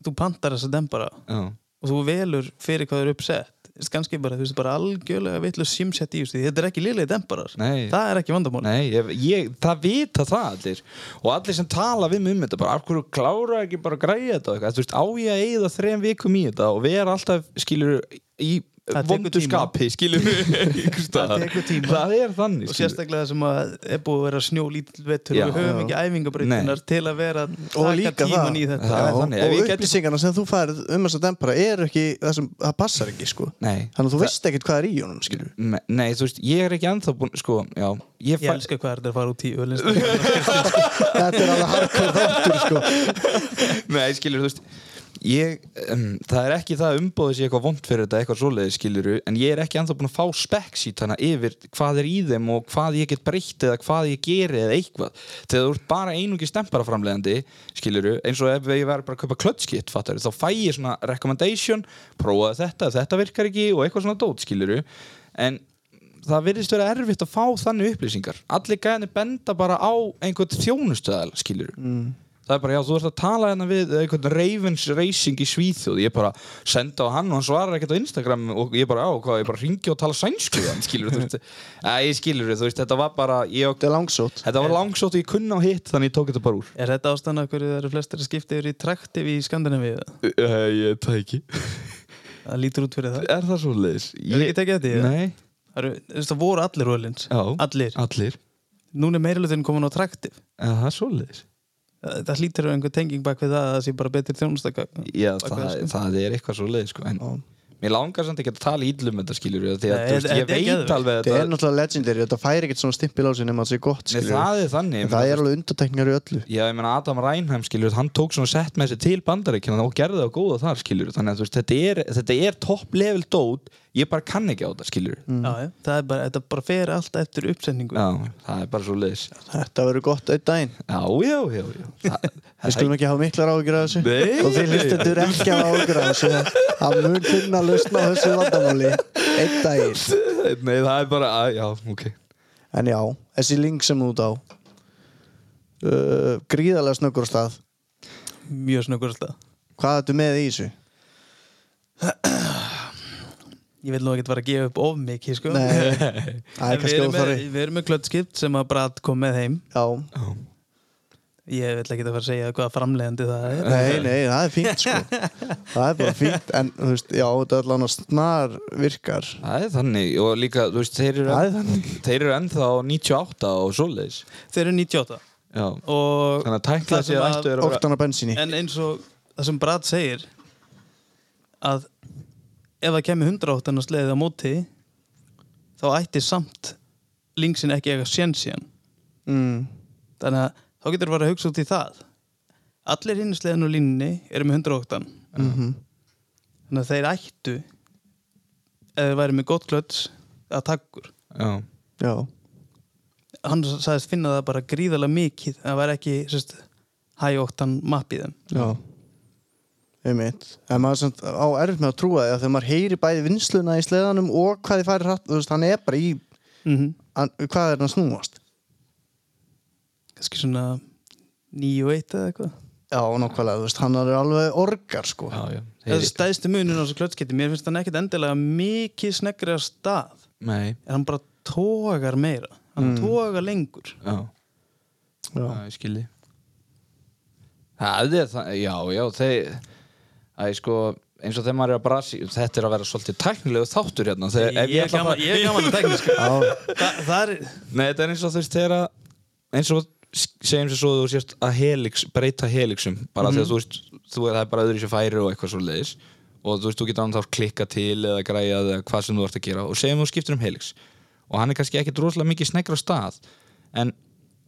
[SPEAKER 3] þú pantar þessa dembara
[SPEAKER 2] já,
[SPEAKER 3] og þú velur fyrir hvað þú er uppsett Þú veist, kannski bara, þú veist, bara algjörlega vitlu simsett í þessu, því þetta er ekki liðlega dembarar
[SPEAKER 2] Nei.
[SPEAKER 3] það er ekki vandamál
[SPEAKER 2] nei, ég, ég, það vita það allir og allir sem tala við mig um þetta bara, af hverju klára ekki bara að græja þetta og eitthvað, þú veist, á ég að eigða þrejum vikum í þetta og vera alltaf, skilur í
[SPEAKER 3] Það tekur
[SPEAKER 2] vondu
[SPEAKER 3] tíma.
[SPEAKER 2] skapi, skilur það
[SPEAKER 3] tekur tíma.
[SPEAKER 2] það er þannig,
[SPEAKER 3] og
[SPEAKER 2] skilur
[SPEAKER 3] sérstaklega sem að er búið að vera snjólítill vettur
[SPEAKER 2] Já.
[SPEAKER 3] og við höfum
[SPEAKER 1] Já.
[SPEAKER 3] ekki æfingabreytunar til að vera að
[SPEAKER 1] og
[SPEAKER 3] taka
[SPEAKER 1] líka
[SPEAKER 3] tíman
[SPEAKER 1] það,
[SPEAKER 3] í þetta
[SPEAKER 2] Það er
[SPEAKER 1] Já,
[SPEAKER 2] þannig, ef
[SPEAKER 1] og
[SPEAKER 2] ég gæti-
[SPEAKER 1] upplýsingarna sem þú færð um þess að dempara eru ekki það sem, það passar ekki sko
[SPEAKER 2] Nei.
[SPEAKER 1] þannig að þú
[SPEAKER 2] Það-
[SPEAKER 1] veist ekkert hvað er í honum skilur
[SPEAKER 2] Me- Nei, þú veist, ég er ekki ennþá búinn, sko, já Ég,
[SPEAKER 3] ég
[SPEAKER 2] fæ,
[SPEAKER 3] elska hvað er þetta að fara út í öllu
[SPEAKER 1] þetta er alveg hardcore þáttur sko
[SPEAKER 2] Nei, skilur, þú veist ég, um, Það er ekki það að umbóðið sé eitthvað vond fyrir þetta eitthvað svoleiði, skilur en ég er ekki ennþá búinn að fá spekksítana yfir hvað er í þeim og hvað ég get breytt eða hvað ég geri eða eitthvað þegar þú ert bara einungi stempara framlegandi skilur, eins og ef ég verður bara að kaupa klötskitt, fattar, þá fæ ég svona recommendation, prófaði þetta, þetta virkar ekki og eitthvað svona dót, skilur en það virðist vera erfitt að fá þannig upplýsingar allir gæðinni benda bara á einhvern þjónustöðal skilur mm. það er bara já þú ert að tala hérna við einhvern Ravens Racing í Svíþjóð ég bara senda á hann og hann svarar ekkert á Instagram og ég bara á hvað ég bara ringi og tala sænsku við hann skilur þú veist að ég skilur þú veist þetta var bara ég,
[SPEAKER 1] þetta er langsótt
[SPEAKER 2] þetta var langsótt og ég kunna á hitt þannig ég tók þetta bara úr
[SPEAKER 3] er þetta ástæðan af hverju það eru flestir að skipta yfir í traktiv í Skandinavíu
[SPEAKER 2] uh, ég tæki
[SPEAKER 3] það lítur út fyrir það
[SPEAKER 2] er það svo leiðis
[SPEAKER 3] Hefurðu ekki tekið eftir því, eða?
[SPEAKER 2] nei
[SPEAKER 3] Það eru, þú veist, það voru allir rólins
[SPEAKER 2] já
[SPEAKER 3] Allir.
[SPEAKER 2] allir
[SPEAKER 3] Núna er meirilutin komin á traktiv
[SPEAKER 2] er það svo leiðis
[SPEAKER 3] Það það hlýtur einhver tenging bak við það að það sé bara betur þjónustakka
[SPEAKER 2] Já,
[SPEAKER 3] Bak við
[SPEAKER 2] það,
[SPEAKER 3] sko.
[SPEAKER 2] það er eitthvað svo leið sko. en mér langar samt ekki að tala ídlum þetta skilur við, því að
[SPEAKER 3] Nei,
[SPEAKER 2] þú veist,
[SPEAKER 3] þetta-
[SPEAKER 2] ég
[SPEAKER 3] þetta er
[SPEAKER 2] veit
[SPEAKER 3] geðveikt.
[SPEAKER 2] alveg að
[SPEAKER 1] þetta er náttúrulega legendary, þetta fær ekkert svona stimpil á sig nema að það sé gott
[SPEAKER 2] Nei,
[SPEAKER 1] skilur
[SPEAKER 2] það er þannig
[SPEAKER 1] en
[SPEAKER 2] ég
[SPEAKER 1] það
[SPEAKER 2] meina,
[SPEAKER 1] er alveg undatekningar í öllu
[SPEAKER 2] Já, ég meina Adam Reinheim skilur, hann tók svona sett með sér til bandaríkina og gerði það góða þar skilur þannig að þú veist, þetta er, þetta er topp level dót ég bara kann ekki á þetta skilur
[SPEAKER 1] Mm.
[SPEAKER 3] Já, já, það er bara, þetta bara fer allt eftir uppsetningu
[SPEAKER 2] Mm. Já, það er bara svo leiðis Já,
[SPEAKER 1] þetta verður gott einn daginn
[SPEAKER 2] já, já, já. Það,
[SPEAKER 1] við skulum ekki hafa miklar ágjur af þessu
[SPEAKER 2] Nei.
[SPEAKER 1] og þið hlustendur ekki hafa ágjur af þessu það mun finna að lausna á þessu vandamáli einn daginn
[SPEAKER 2] Nei, það er bara, að, já, ok
[SPEAKER 1] en já, þessi link sem þú út á uh, gríðarlega snöggur á stað
[SPEAKER 3] Mjög snöggursta
[SPEAKER 1] hvað ertu með í þessu?
[SPEAKER 3] ég vil nú ekkert vera að gefa upp of mikið sko.
[SPEAKER 1] Nei,
[SPEAKER 3] En
[SPEAKER 1] það er
[SPEAKER 3] við,
[SPEAKER 1] kannski
[SPEAKER 3] erum með,
[SPEAKER 1] óþarfi
[SPEAKER 3] við erum með klötskipt sem að Brad kom með heim
[SPEAKER 1] Já,
[SPEAKER 3] ég vil ekki að fara að segja hvaða framlegandi það er
[SPEAKER 1] nei, nei, það er fínt sko Það er bara fínt, en þú veist, já, þetta er allan að snar virkar
[SPEAKER 2] Það er þannig og líka, þú veist, þeir
[SPEAKER 1] Það
[SPEAKER 2] eru,
[SPEAKER 1] er þannig
[SPEAKER 2] þeir eru ennþá 98 og svoleiðis
[SPEAKER 3] þeir eru 98
[SPEAKER 2] Já,
[SPEAKER 3] og
[SPEAKER 2] þannig að tækla
[SPEAKER 3] Það sem
[SPEAKER 2] sér
[SPEAKER 3] að-
[SPEAKER 2] ættu er að vera
[SPEAKER 1] Óttan af bensíni
[SPEAKER 3] en eins og það sem Brad segir að ef það kemur 108 að sleiðið á móti þá ætti samt linksin ekki eitthvað sjensíðan
[SPEAKER 1] mm.
[SPEAKER 3] þannig að þá getur bara að hugsa út í það allir hinn sleiðin og línni eru með 108
[SPEAKER 1] Mm -hmm.
[SPEAKER 3] þannig að þeir ættu ef þeir væri með gott klöts að takkur
[SPEAKER 2] Já,
[SPEAKER 1] Já,
[SPEAKER 3] hann sagðist finna það bara gríðarlega mikið en það væri ekki sérst, hægjóttan mappið þeim
[SPEAKER 1] já Einmitt. En maður sem á erfitt með að trúa því að þegar maður heyri bæði vinsluna í sleðanum og hvað þið færi hratt, þú veist, hann er bara í
[SPEAKER 3] mm
[SPEAKER 1] hann, hvað er hann að snúast?
[SPEAKER 3] kannski svona 9 og 1 eða eitthvað
[SPEAKER 1] Já, nákvæmlega, þú veist, hann er alveg orgar sko.
[SPEAKER 2] já, já
[SPEAKER 3] Það er
[SPEAKER 2] Þeir,
[SPEAKER 3] stæðstu munur á þessu klötskiti Mér finnst hann ekkit endilega mikið sneggri af stað
[SPEAKER 2] Nei,
[SPEAKER 3] En hann bara tógar meira Hann
[SPEAKER 2] Hmm.
[SPEAKER 1] Mm.
[SPEAKER 3] tógar lengur
[SPEAKER 2] já,
[SPEAKER 1] Já.
[SPEAKER 2] já, ég skilji Það er það, já, já, þeir Það er sko, eins og þegar maður er að brasi Þetta er að vera svolítið tæknilegu þáttur hérna þegar, ef ætla að fara-
[SPEAKER 3] ég er gaman að tekna sko.
[SPEAKER 1] Já,
[SPEAKER 3] Þa, Það er
[SPEAKER 2] Nei, þetta er eins og þú veist þegar að eins og segjum sér svo þú sést að helix, breyta helixum bara mm -hmm. þegar þú veist, þú það er bara öðru sér færi og eitthvað svo leiðis og þú veist, þú getur annað þá klikka til eða græja eða hvað sem þú ert að gera og segjum þú skiptir um helix og hann er kannski ekki droslega mikið sneggur á stað en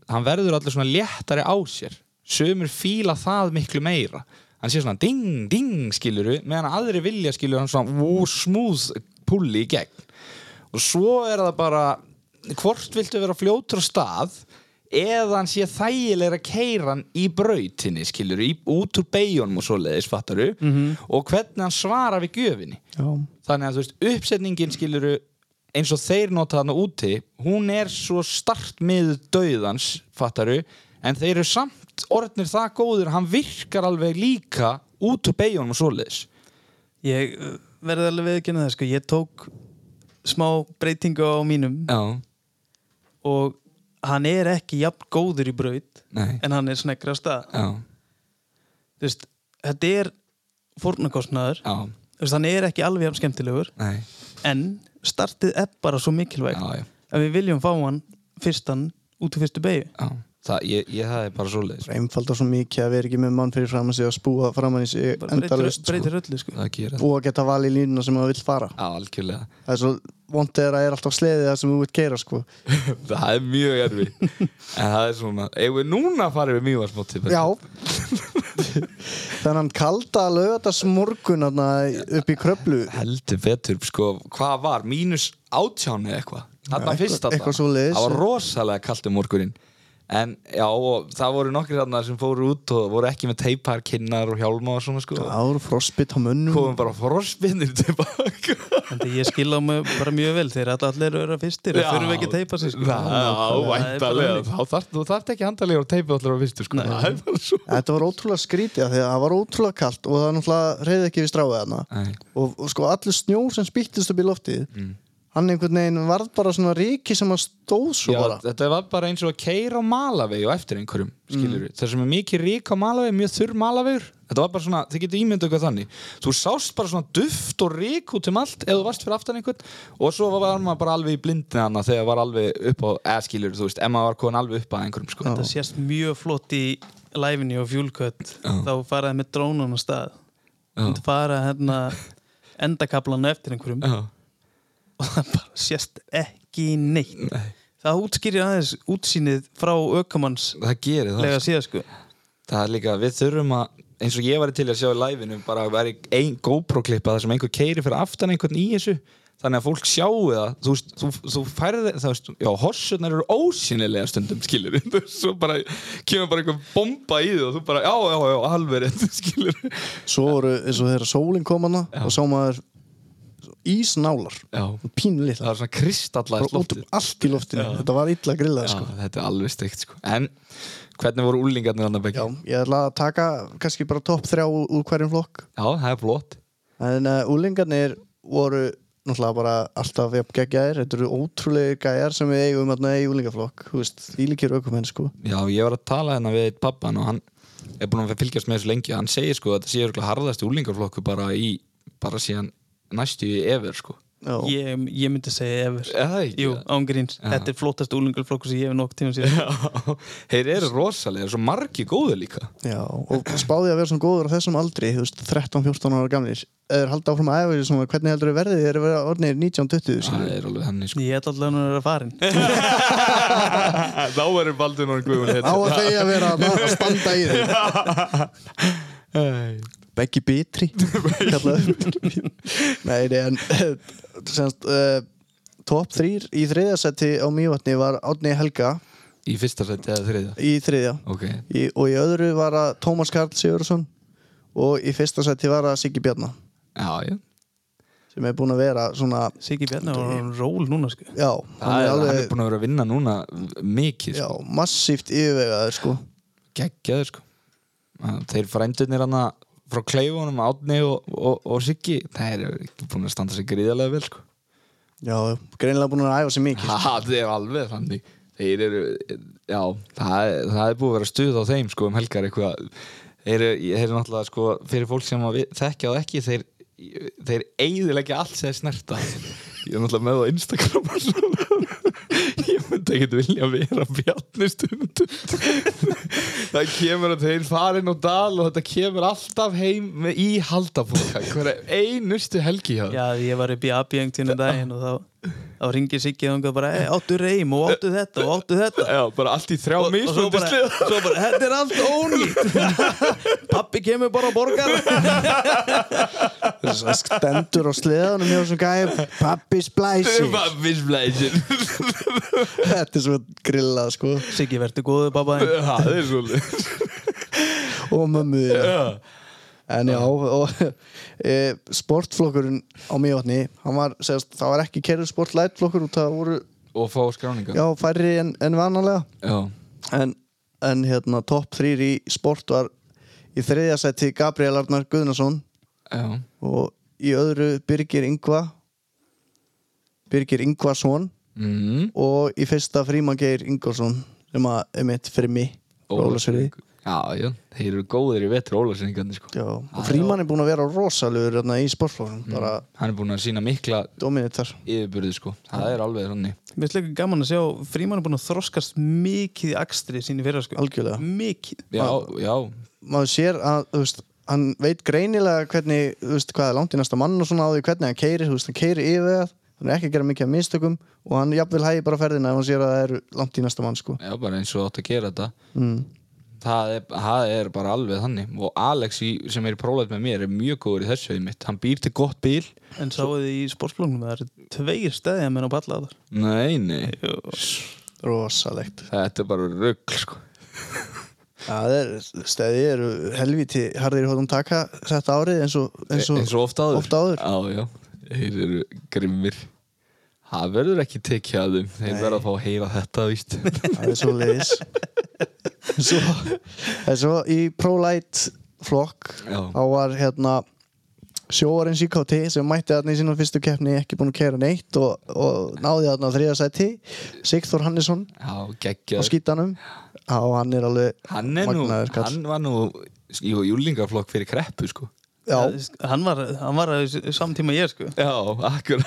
[SPEAKER 2] hann verður allir svona léttari á sér sömur fíla það miklu meira hann sé svona ding, ding skiluru meðan aðri vilja skilur hann svona woo, smooth pulli í gegn og svo er það bara hvort viltu vera fljótur á stað eða hann sé þægilega keiran í brautinni, skilur, í, út úr beijónum og svoleiðis, fattaru og hvernig hann svarar við gjöfinni
[SPEAKER 1] já,
[SPEAKER 2] þannig að þú veist, uppsetningin skiluru eins og þeir nota þarna úti hún er svo startmið döðans, fattaru en þeir eru samt orðnir það góður hann virkar alveg líka út úr beijónum og svoleiðis
[SPEAKER 3] Ég uh, verði alveg viðkynna það sko. Ég tók smá breytingu á mínum
[SPEAKER 2] Já,
[SPEAKER 3] Og hann er ekki jafn góður í braut
[SPEAKER 2] nei,
[SPEAKER 3] En hann er sneggri af stað
[SPEAKER 2] já,
[SPEAKER 3] Þú veist, Þetta er fórnarkostnaður
[SPEAKER 2] já,
[SPEAKER 3] Þú veist, Hann er ekki alveg jafn skemmtilegur
[SPEAKER 2] nei
[SPEAKER 3] En startið er bara svo mikilvægt
[SPEAKER 2] Já, já,
[SPEAKER 3] að við viljum fá hann fyrstan út úr fyrstu beigju
[SPEAKER 2] já Það, ég, ég, það er bara svoleiðis
[SPEAKER 1] einfaldar svo mikið að vera ekki með mann fyrir framann sig að spúa framann í sig
[SPEAKER 3] bara breytir,
[SPEAKER 1] endalust sko.
[SPEAKER 3] breytir öllu sko.
[SPEAKER 2] Það gerir það
[SPEAKER 1] og að geta valið línuna sem maður vill fara
[SPEAKER 2] Já, algjörlega
[SPEAKER 1] það er svo vond er að það er alltaf sleðið það sem þú vill keira sko.
[SPEAKER 2] Það er mjög erfi En það er svona, eigum við núna farið við mjög að smótið
[SPEAKER 1] já þannig hann kalda lögata smorgun upp í kröflu
[SPEAKER 2] heldur betur sko, hvað var, mínus átján eða eitthvað þarna
[SPEAKER 1] eitthvað-
[SPEAKER 2] fyrst þarna,
[SPEAKER 1] eitthvað svoleiðis.
[SPEAKER 2] það var rosalega kalt um morgunin en já, og það voru nokkri þarna sem fóru út og voru ekki með teipar, kinnar og hjálma og svona sko
[SPEAKER 1] ár, frostbit á mönnum
[SPEAKER 2] komum bara frosbinnir tilbaka
[SPEAKER 3] en því ég skil á mig bara mjög vel þeir allir, allir eru að fyrstir og þurfum ekki að teipa sig sko.
[SPEAKER 2] já,
[SPEAKER 3] Það er bara
[SPEAKER 2] væntalega,
[SPEAKER 3] þannig.
[SPEAKER 2] þá þarf þú þarft ekki handalegur að teipa allar á fyrstu sko það er bara svo
[SPEAKER 1] þetta var ótrúlega skrítið af því að það var ótrúlega kalt og það náttúrulega reyði ekki við stráðið hana
[SPEAKER 2] Nei. Mm.
[SPEAKER 1] og, og sko allur snjór sem spýttist upp í loftið hann einhvern veginn varð bara svona ríki sem hann stóð svo
[SPEAKER 2] Já,
[SPEAKER 1] bara
[SPEAKER 2] þetta var bara eins og að keira á malavegi og eftir einhverjum, skilur
[SPEAKER 1] Mm.
[SPEAKER 2] við. Það sem er mikið rík á malavegi, mjög þurr malavegur. Þetta var bara svona, þið getur ímyndað eitthvað þannig. Þú sást bara svona duft og rík út um allt ef þú varst fyrir aftan einhvern og svo var maður bara alveg í blindin hana þegar var alveg upp á, eða skilur þú veist, ef maður var komin alveg upp að einhverjum, sko.
[SPEAKER 3] það sést mjög flott í live-inni og fjúlkött þá faraði með drónun á stað
[SPEAKER 2] Já.
[SPEAKER 3] það fara hérna endakablan á eftir einhverjum
[SPEAKER 2] Já,
[SPEAKER 3] og það bara sést ekki neitt
[SPEAKER 2] Nei.
[SPEAKER 3] það útskýrir aðeins útsýnið frá ökumannslega
[SPEAKER 2] það gerir það. sko.
[SPEAKER 3] síða sko
[SPEAKER 2] Það er líka, við þurfum að eins og ég var til að sjá í live-inu bara að vera ein GoPro-klippa þar sem einhver keiri fyrir aftan einhvern í þessu þannig að fólk sjáu það þú, veist, þú, þú færði, það veist, já, horsunar eru ósynilega stundum, skilur við svo bara, kemur bara einhver bomba í þau og þú bara, já, já, já, alveg rétt skilur við
[SPEAKER 1] svo voru eins og þegar sólinn kom hana og sá maður ísnálar
[SPEAKER 2] Já,
[SPEAKER 1] pínu
[SPEAKER 2] það
[SPEAKER 1] litla
[SPEAKER 2] er svona kristallaðist
[SPEAKER 1] út um
[SPEAKER 2] loftið
[SPEAKER 1] allt í loftinu, þetta var illa grillað
[SPEAKER 2] Já,
[SPEAKER 1] sko.
[SPEAKER 2] þetta er alveg steikt, sko En, hvernig voru úlingarnir annar
[SPEAKER 1] já,
[SPEAKER 2] begge?
[SPEAKER 1] ég ætla að taka kannski bara topp þrjá úr úr hverjum flokk
[SPEAKER 2] já, það er flott
[SPEAKER 1] en uh, úlingarnir voru náttúrulega bara alltaf jafn geggjaðir, þetta eru ótrúlega gæjar sem við eigum þarna í úlingaflokk, þú veist, ílíkir aukumenn sko.
[SPEAKER 2] Já, ég var að tala hérna við eitt pappan og hann er búin að fylgjast með þessu lengi hann segir sko að þetta sé örgulega harðast úlingarflokku bara í, bara síðan næstu í efir sko
[SPEAKER 1] Já,
[SPEAKER 3] ég, ég myndi segja efur
[SPEAKER 2] Er það ekki?
[SPEAKER 3] Jú, ángríns,
[SPEAKER 2] Já.
[SPEAKER 3] þetta er flótast úlungulflokkur sem ég hef nokk tíma síðan
[SPEAKER 2] Já, þeir eru rosalega, svo margi góðu líka
[SPEAKER 1] já, og spáði að vera svona góður á þessum aldri, þú veist, 13-14 ára gamlir, eða halda áfram að æfa þessu svona, hvernig heldur þau verðið, þeir eru verið orðnir 19-20, skilur
[SPEAKER 2] Það er alveg henni sko
[SPEAKER 3] Ég held allavega að hann er að farin
[SPEAKER 2] Þá verður Baldur Nór Guðun
[SPEAKER 1] á að þau að vera að að standa í þeim Beggi Bitri kallaður Nei, nei, en eh, semst, uh, top 3 í þriðasætti á Mývatni var Átni Helga
[SPEAKER 2] Í fyrsta seti eða þriðja
[SPEAKER 1] í þriðja
[SPEAKER 2] Ok,
[SPEAKER 1] í, og í öðru var að Tómas Karl Sigurðsson og í fyrsta sætti var að Siggi Bjarnar
[SPEAKER 2] já, já
[SPEAKER 1] sem er búin að vera svona
[SPEAKER 3] Siggi Bjarnar var hann ról núna sko
[SPEAKER 1] já,
[SPEAKER 2] Það er, hann er
[SPEAKER 1] alveg
[SPEAKER 2] búin að vera að vinna núna mikið,
[SPEAKER 1] já,
[SPEAKER 2] sko.
[SPEAKER 1] massíft yfirvegaður sko
[SPEAKER 2] geggjaður sko. Að Þeir frændurnir hann frá kleifunum, Átni og, og, og Siggi, þeir eru ekki búin að standa sig gríðarlega vel sko.
[SPEAKER 1] já, greinilega búin að æfa sér mikið
[SPEAKER 2] Ha, það er alveg þannig. Þeir eru, já, það, er- það er búið að vera stuð á þeim sko um helgar eitthvað. Þeir eru, þeir eru náttúrulega sko, fyrir fólk sem að við- þekkja það ekki, þeir, þeir eiðilegja allt sem þeir snerta. Ég er náttúrulega með það á Instagram og svona. Ég myndi ekkert vilja vera bjarni stundum. það kemur að þeir farin og dal og þetta kemur alltaf heim með í haldabóka. Hverja einustu helgi hjá þeim.
[SPEAKER 3] Já, ég var upp í Abjöng tínu daginn og þá, þá ringir Siggi þangað bara hey, áttu reym og áttu þetta og áttu þetta
[SPEAKER 2] Já, bara allt í þrjá
[SPEAKER 3] og svo
[SPEAKER 2] mismunandi
[SPEAKER 3] bara,
[SPEAKER 2] slið.
[SPEAKER 3] svo bara, þetta er allt ónýtt Pappi kemur bara að borga
[SPEAKER 1] Þess að stendur á sleðanum hjá þessum gæði pappi splæsi
[SPEAKER 2] Pappisblæsir
[SPEAKER 1] þetta er svo grillað sko
[SPEAKER 3] Siggi, verður góðu pappa þinn
[SPEAKER 2] Það er svolítið
[SPEAKER 1] og mömmu þína en já og, e, sportflokkurinn á Mývatni hann var, segast, það var ekki kerður sportlætflokkur og það voru
[SPEAKER 2] Og fá skráninga
[SPEAKER 1] já, færri en, en vanalega
[SPEAKER 2] Já.
[SPEAKER 1] en, en hérna topp þrýr í sport var í þriðja seti Gabriel Arnar Guðnason
[SPEAKER 2] Já.
[SPEAKER 1] og í öðru Birgir Ingva Birgir Ingvason
[SPEAKER 2] Mm.
[SPEAKER 1] og í fyrsta Fríman Geir Ingvason sem að er mitt fyrir mig Ólasfirði.
[SPEAKER 2] Já, já, þeir eru góðir í vetri ólasinningarnir sko
[SPEAKER 1] Já, og Fríman er búin að vera rosalegur hérna, í sportflokkum, bara
[SPEAKER 2] Hann er búinn að sína mikla
[SPEAKER 1] dominit þar
[SPEAKER 2] yfirbyrði sko Það er alveg þannig
[SPEAKER 3] Mér finnst líka gaman að sjá, Fríman er búin að þroskast mikið í akstri sín í fyrra sko
[SPEAKER 1] Algjörlega.
[SPEAKER 3] Mikið
[SPEAKER 2] Já,
[SPEAKER 1] Ah.
[SPEAKER 2] já,
[SPEAKER 1] maður sér að, þú veist, hann veit greinilega hvernig, þú veist, hvað er langt í næsta mann og svona á því hvernig hann keyrir, þú veist, hann keyrir yfir það hann er ekki að gera mikið af mistökum og hann jafnvel hægir bara ferðina ef hann sér að það eru langt í næsta mann, sko
[SPEAKER 2] já, bara eins og átt að gera þetta
[SPEAKER 1] mm.
[SPEAKER 2] Það er, það er bara alveg þannig og Alex í, sem er í próflæð með mér er mjög góður í þessu við mitt, hann býr til gott bíl
[SPEAKER 3] En sáðu þið í sportflóknum, það eru tveir stæði að menna á balla þar
[SPEAKER 2] Nei, nei,
[SPEAKER 1] rosalegt
[SPEAKER 2] þetta er bara rugl sko
[SPEAKER 1] það er, stæði eru helviti harðir í hóttum taka þetta árið eins og, eins og,
[SPEAKER 2] eins og ofta áður
[SPEAKER 1] oft áður.
[SPEAKER 2] já, já, þeir eru grimmir það verður ekki tekið að þeim þeir verður að fá að heyra þetta víst
[SPEAKER 1] það er svo leiðis svo, en svo í ProLight flokk
[SPEAKER 2] Já.
[SPEAKER 1] þá var hérna sjóarins í KT sem mætti þarna í sína fyrstu keppni ekki búin að kæra neitt og, og náði þarna þriða sæti Sigþór Hannesson
[SPEAKER 2] já,
[SPEAKER 1] á
[SPEAKER 2] geggjaður
[SPEAKER 1] skítanum á hann er alveg
[SPEAKER 2] hann er nú,
[SPEAKER 1] magnaður kall
[SPEAKER 2] hann var nú í júlingaflokk fyrir kreppu sko
[SPEAKER 1] já,
[SPEAKER 3] Hann var, hann var að þessu- samtíma ég sko
[SPEAKER 2] já, akkurat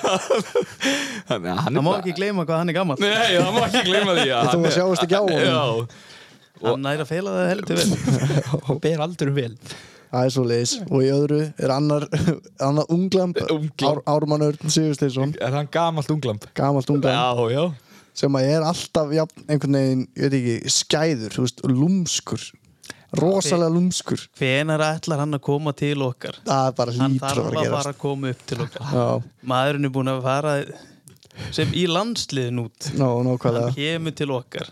[SPEAKER 2] hann, hann
[SPEAKER 3] Það má ekki gleyma hvað hann er gammal
[SPEAKER 2] nei, það má ekki gleyma því að
[SPEAKER 1] Þetta
[SPEAKER 2] hann
[SPEAKER 1] var
[SPEAKER 2] er-
[SPEAKER 1] sjáist ekki á honum.
[SPEAKER 2] já,
[SPEAKER 3] Hann næri að feila það heldur vel
[SPEAKER 2] og ber aldrei vel
[SPEAKER 1] það er svo leiðis og í öðru er annar, annar unglamb
[SPEAKER 2] Unglamb.
[SPEAKER 1] Ár, Ármann Örn Sigursteinsson
[SPEAKER 2] er hann gamalt unglamp
[SPEAKER 1] gamalt unglamb
[SPEAKER 2] já, já,
[SPEAKER 1] sem að er alltaf jafn, einhvern veginn, ég veit ekki, skæður þú veist, lúmskur rosalega lúmskur
[SPEAKER 3] Hvenar ætlar hann að koma til okkar?
[SPEAKER 1] það er bara
[SPEAKER 3] Hann
[SPEAKER 1] lítur að
[SPEAKER 3] þarf að
[SPEAKER 1] vera að
[SPEAKER 3] fara að koma upp til okkar
[SPEAKER 1] gerast
[SPEAKER 3] Maðurinn er búin að fara sem í landsliðin út
[SPEAKER 1] já, ná,
[SPEAKER 3] Hann
[SPEAKER 1] nákvæmlega
[SPEAKER 3] kemur til okkar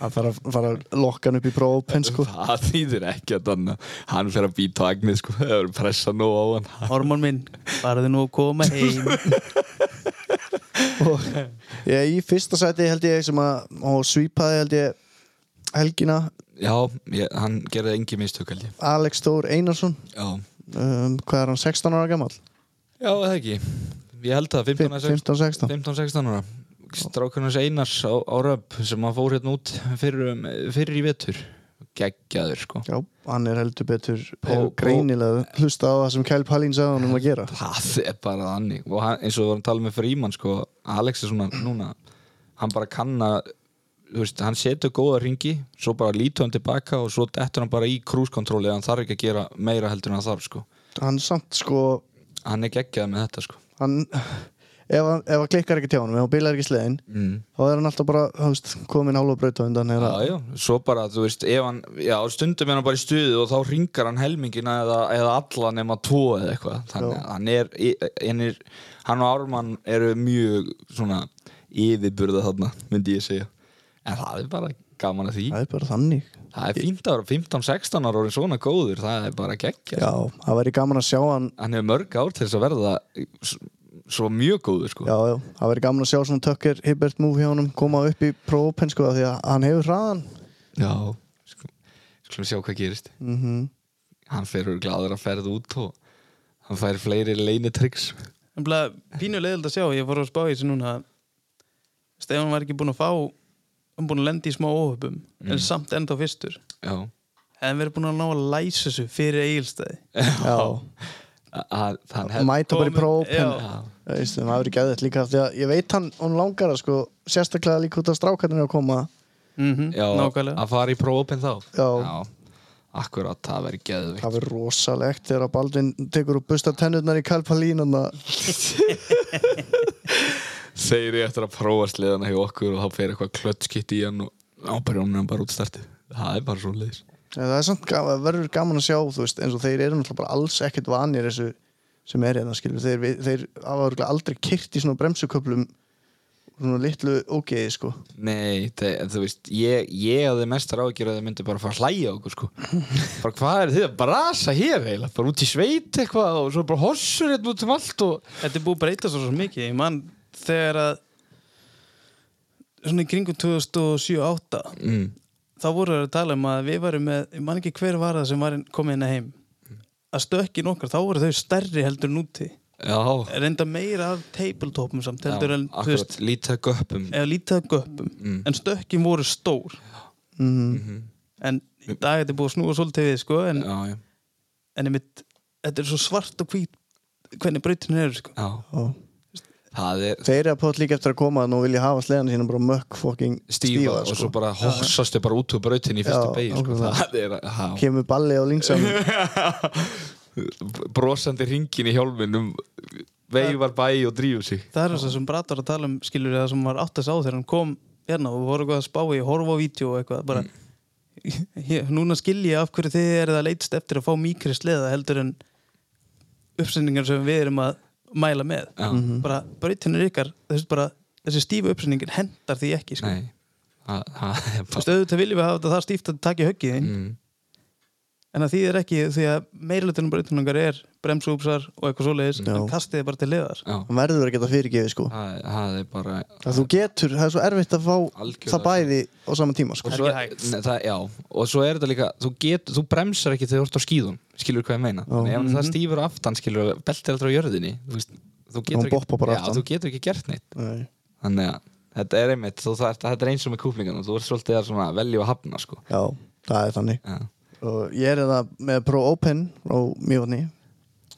[SPEAKER 1] að fara, fara að lokka hann upp í prófpen sko.
[SPEAKER 2] það þýðir ekki að hann hann fer að býta á agnið sko, það verður pressa nú á hann
[SPEAKER 3] Hormón minn, farðu nú að koma heim
[SPEAKER 1] og ég, í fyrsta sæti held ég sem að, og svipaði held ég helgina,
[SPEAKER 2] já, ég, hann gerði engin mistök held ég
[SPEAKER 1] Alex Þór Einarsson
[SPEAKER 2] Já,
[SPEAKER 1] um, hvað er hann, 16 ára gammal
[SPEAKER 2] já það ekki ég held það 15, 16,
[SPEAKER 1] 15-16
[SPEAKER 2] 15, 16 ára strákunars Einars á, á röp sem að fór hérna út fyrir, fyrir í vetur geggjaður sko
[SPEAKER 1] Já, hann er heldur betur
[SPEAKER 2] Pó-
[SPEAKER 1] hefur greinilega hlusta á það sem Kyle Palin sagði hann um að gera
[SPEAKER 2] það er bara þannig og hann, eins og við vorum að tala með Fríman sko, Alex er svona núna hann bara kann að þú veist, hann setur góða ringi svo bara lítur hann tilbaka og svo dettur hann bara í krúskontróli eða hann þarf ekki að gera meira heldur en hann þarf sko.
[SPEAKER 1] Hann samt sko
[SPEAKER 2] hann er geggjað með þetta sko.
[SPEAKER 1] hann, ef, hann, ef hann klikkar ekki tjánum ef hann bilar ekki sleðin
[SPEAKER 2] mm.
[SPEAKER 1] þá er hann alltaf bara þú veist, komin hálfa braut á undan
[SPEAKER 2] já,
[SPEAKER 1] hérna.
[SPEAKER 2] já, svo bara þú veist, ef hann, já, stundum er hann bara í stuðu og þá ringar hann helmingina eða, eða alla nema tvo eða eitthvað þannig
[SPEAKER 1] Já.
[SPEAKER 2] að hann er, hann er hann og Ármann eru mjög svona yfirburða þarna myndi ég segja, en það er bara gaman að því,
[SPEAKER 1] Það er bara þannig
[SPEAKER 2] það er fínt að vera 15-16 ára orðin svona góður, það er bara geggja,
[SPEAKER 1] Já, það væri gaman að sjá hann
[SPEAKER 2] hann hefur mörg ár til þess að verða s- svo mjög góður sko,
[SPEAKER 1] Já, já, það væri gaman að sjá svona Tucker Hibbert move hjá honum koma upp í própen sko af því að hann hefur hraðan
[SPEAKER 2] já sko, skulum sjá hvað gerist
[SPEAKER 1] mm
[SPEAKER 2] hann fer úr gladur að ferð út og hann fær fleiri leinitryggs
[SPEAKER 3] En bara pínu leiðild að sjá, ég fór að spá í þessu núna Stefán var ekki búin að fá hann búin að lenda í smá óhöpum en samt enda á fyrstur
[SPEAKER 2] já
[SPEAKER 3] en við erum búin að ná að læsa þessu fyrir eigilstæði
[SPEAKER 1] Já,
[SPEAKER 2] A- að hann hef
[SPEAKER 1] mæta bara í
[SPEAKER 3] Komin-
[SPEAKER 1] própen
[SPEAKER 3] já.
[SPEAKER 1] Það veist, það væri geðið líka af því að ég veit hann, hann langar að sko sérstaklega líka út af strákarnir að koma
[SPEAKER 3] mm -hmm.
[SPEAKER 2] já,
[SPEAKER 3] Nákvæmlega
[SPEAKER 2] að fara í prófopin þá
[SPEAKER 1] Já.
[SPEAKER 2] akkurat, það verður geðvikt
[SPEAKER 1] Það verður rosalegt þegar að Baldvin tekur og busta tennurnar í kalpalín en það
[SPEAKER 2] þeir eru eftir að prófa sliðana hjá okkur og þá fer eitthvað klötskitt í hann og ábyrjónum bara út startið það er bara svo leiðis
[SPEAKER 1] En það er samt gaman, verður gaman að sjá þú veist, eins og þeir eru náttúrulega bara alls ekkert vanir þessu sem er hérna skilur þeir, við- þeir hafa örugglega aldrei kyrt í svona bremsuköplum svona litlu ógeði sko
[SPEAKER 2] Nei, það, en þú veist, ég, ég að þeir mestar ágjur að þeir myndi bara fara að hlæja að okkur sko bara hvað er þið að brasa hér heila bara út í sveit eitthvað og svo bara hossur hérna út um allt og
[SPEAKER 3] Þetta er búið að breyta svo, svo mikið ég man þegar að svona í kringum 2007-2008
[SPEAKER 2] mm.
[SPEAKER 3] þá voru þeir að tala um að við varum með ég man ekki hver var það sem var komið inn að heim að stökkin okkar, þá voru þau stærri heldur en úti
[SPEAKER 2] Já,
[SPEAKER 3] reynda meira af tabletopum samt heldur en, þú
[SPEAKER 2] akkurat,
[SPEAKER 3] veist,
[SPEAKER 2] lítið göppum
[SPEAKER 3] eða lítið af göppum
[SPEAKER 2] Mm.
[SPEAKER 3] en stökkin voru stór
[SPEAKER 1] mm.
[SPEAKER 2] Mhm.
[SPEAKER 3] en í dag er þetta búið að snúa svolítið við sko, en,
[SPEAKER 2] Já, já,
[SPEAKER 3] en einmitt, þetta er svo svart og hvít hvernig brautin eru sko.
[SPEAKER 2] já
[SPEAKER 1] og
[SPEAKER 2] Það er
[SPEAKER 1] Þeir eru að pót líka eftir að koma þarna og vilja hafa sleðan sína bara mökk fokking
[SPEAKER 2] stífa
[SPEAKER 1] stífa,
[SPEAKER 2] og svo
[SPEAKER 1] sko.
[SPEAKER 2] bara hossastu bara út úr brautin í fyrstu
[SPEAKER 1] Já,
[SPEAKER 2] beigju sko.
[SPEAKER 1] nákvæmlega.
[SPEAKER 2] það er að
[SPEAKER 1] kemur balli á lingsam
[SPEAKER 2] brosandi ringin í hjálminum veifar bæi og drífur sig
[SPEAKER 3] það er það sem Bratt var að tala um skilur það sem var átt að sá þegar hann kom hérna og voru eitthvað að spá í horfa á vídeo og eitthvað bara
[SPEAKER 2] Mm.
[SPEAKER 3] ég, núna skil ég af hverju þið eru að leitst eftir að fá mýkri sleða heldur en uppsendingar sem við erum að mæla með
[SPEAKER 2] Já.
[SPEAKER 3] bara brautinir ykkar þessi, bara, þessi stífu uppsendingin hendar því ekki sko.
[SPEAKER 2] Nei, það það er
[SPEAKER 3] Þú veist,
[SPEAKER 2] bara
[SPEAKER 3] auðvitað viljum við hafa þetta það stíft að taka í höggið þín
[SPEAKER 2] Mm,
[SPEAKER 3] en það þýðir ekki því að meirlutunum breytunungar er bremsúpsar og eitthvað svoleiðis
[SPEAKER 1] Já.
[SPEAKER 3] en kastið er bara til liðar
[SPEAKER 2] já,
[SPEAKER 1] hann verður að geta fyrirgefið sko
[SPEAKER 2] það er- það er bara
[SPEAKER 1] að þú getur, það er svo erfitt að fá
[SPEAKER 2] Algjörlega.
[SPEAKER 1] það bæði á sama tíma sko
[SPEAKER 2] og
[SPEAKER 3] Það er
[SPEAKER 2] svo,
[SPEAKER 3] ekki hægt.
[SPEAKER 2] ne, það, já, og svo er þetta líka þú, get, þú bremsar ekki þegar þú ert á skíðum skilur hvað ég meina Þannig, ef það stífur aftan skilur beltið aldrei á jörðinni þú, veist, þú, getur
[SPEAKER 1] Hún boppar bara
[SPEAKER 2] ekki, já,
[SPEAKER 1] aftan.
[SPEAKER 2] þú getur ekki gert neitt
[SPEAKER 1] Nei.
[SPEAKER 2] þannig að þetta er einmitt þú, það, þetta er eins og með kúplingan þú ert svolítið að svona velja og hafna sko.
[SPEAKER 1] Já, það er þannig
[SPEAKER 2] já.
[SPEAKER 1] og ég er það með Pro Open á Mjóðni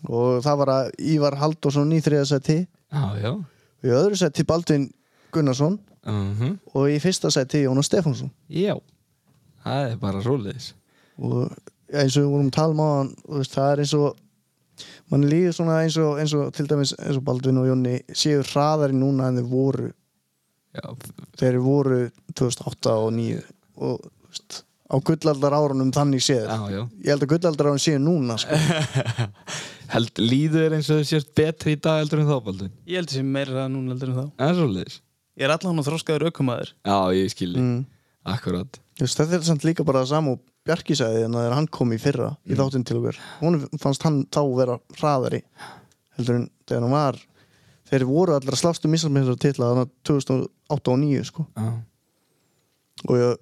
[SPEAKER 1] og það var að Ívar Halldórsson í þriða seti
[SPEAKER 2] Já, já
[SPEAKER 1] og í öðru seti Baldvin Gunnarsson
[SPEAKER 2] uh
[SPEAKER 1] og í fyrsta seti Jónas Stefánsson
[SPEAKER 2] Já, það er bara svoleiðis
[SPEAKER 1] og eins og við vorum að tala um á hann veist, það er eins og mann líður svona eins og, eins og til dæmis eins og Baldvin og Jónni séu hraðari núna en þeir voru
[SPEAKER 2] Já,
[SPEAKER 1] þeir voru 2008 og 2009 og þú veist, á gullaldar árunum þannig séð
[SPEAKER 2] já, já
[SPEAKER 1] ég held að gullaldar árun séu núna sko.
[SPEAKER 2] Held líður þér eins og þú sést betri í dag heldur en þá, Baldvin
[SPEAKER 3] ég held þessi meira það núna heldur en þá
[SPEAKER 2] Það er svoleiðis
[SPEAKER 3] ég er allan að þróskaður aukumæður
[SPEAKER 2] Já, ég skil þig,
[SPEAKER 1] mm.
[SPEAKER 2] akkurat
[SPEAKER 1] Þú veist, þetta er samt líka bara það sama og Bjarki sagði en þegar hann kom í fyrra í þáttinn til okkur, hún fannst hann þá vera hraðari heldur en þegar hann var þeir voru allir að um slástu misalmyndur titla þannig að 2008 og 2009 sko.
[SPEAKER 2] Já,
[SPEAKER 1] og ég,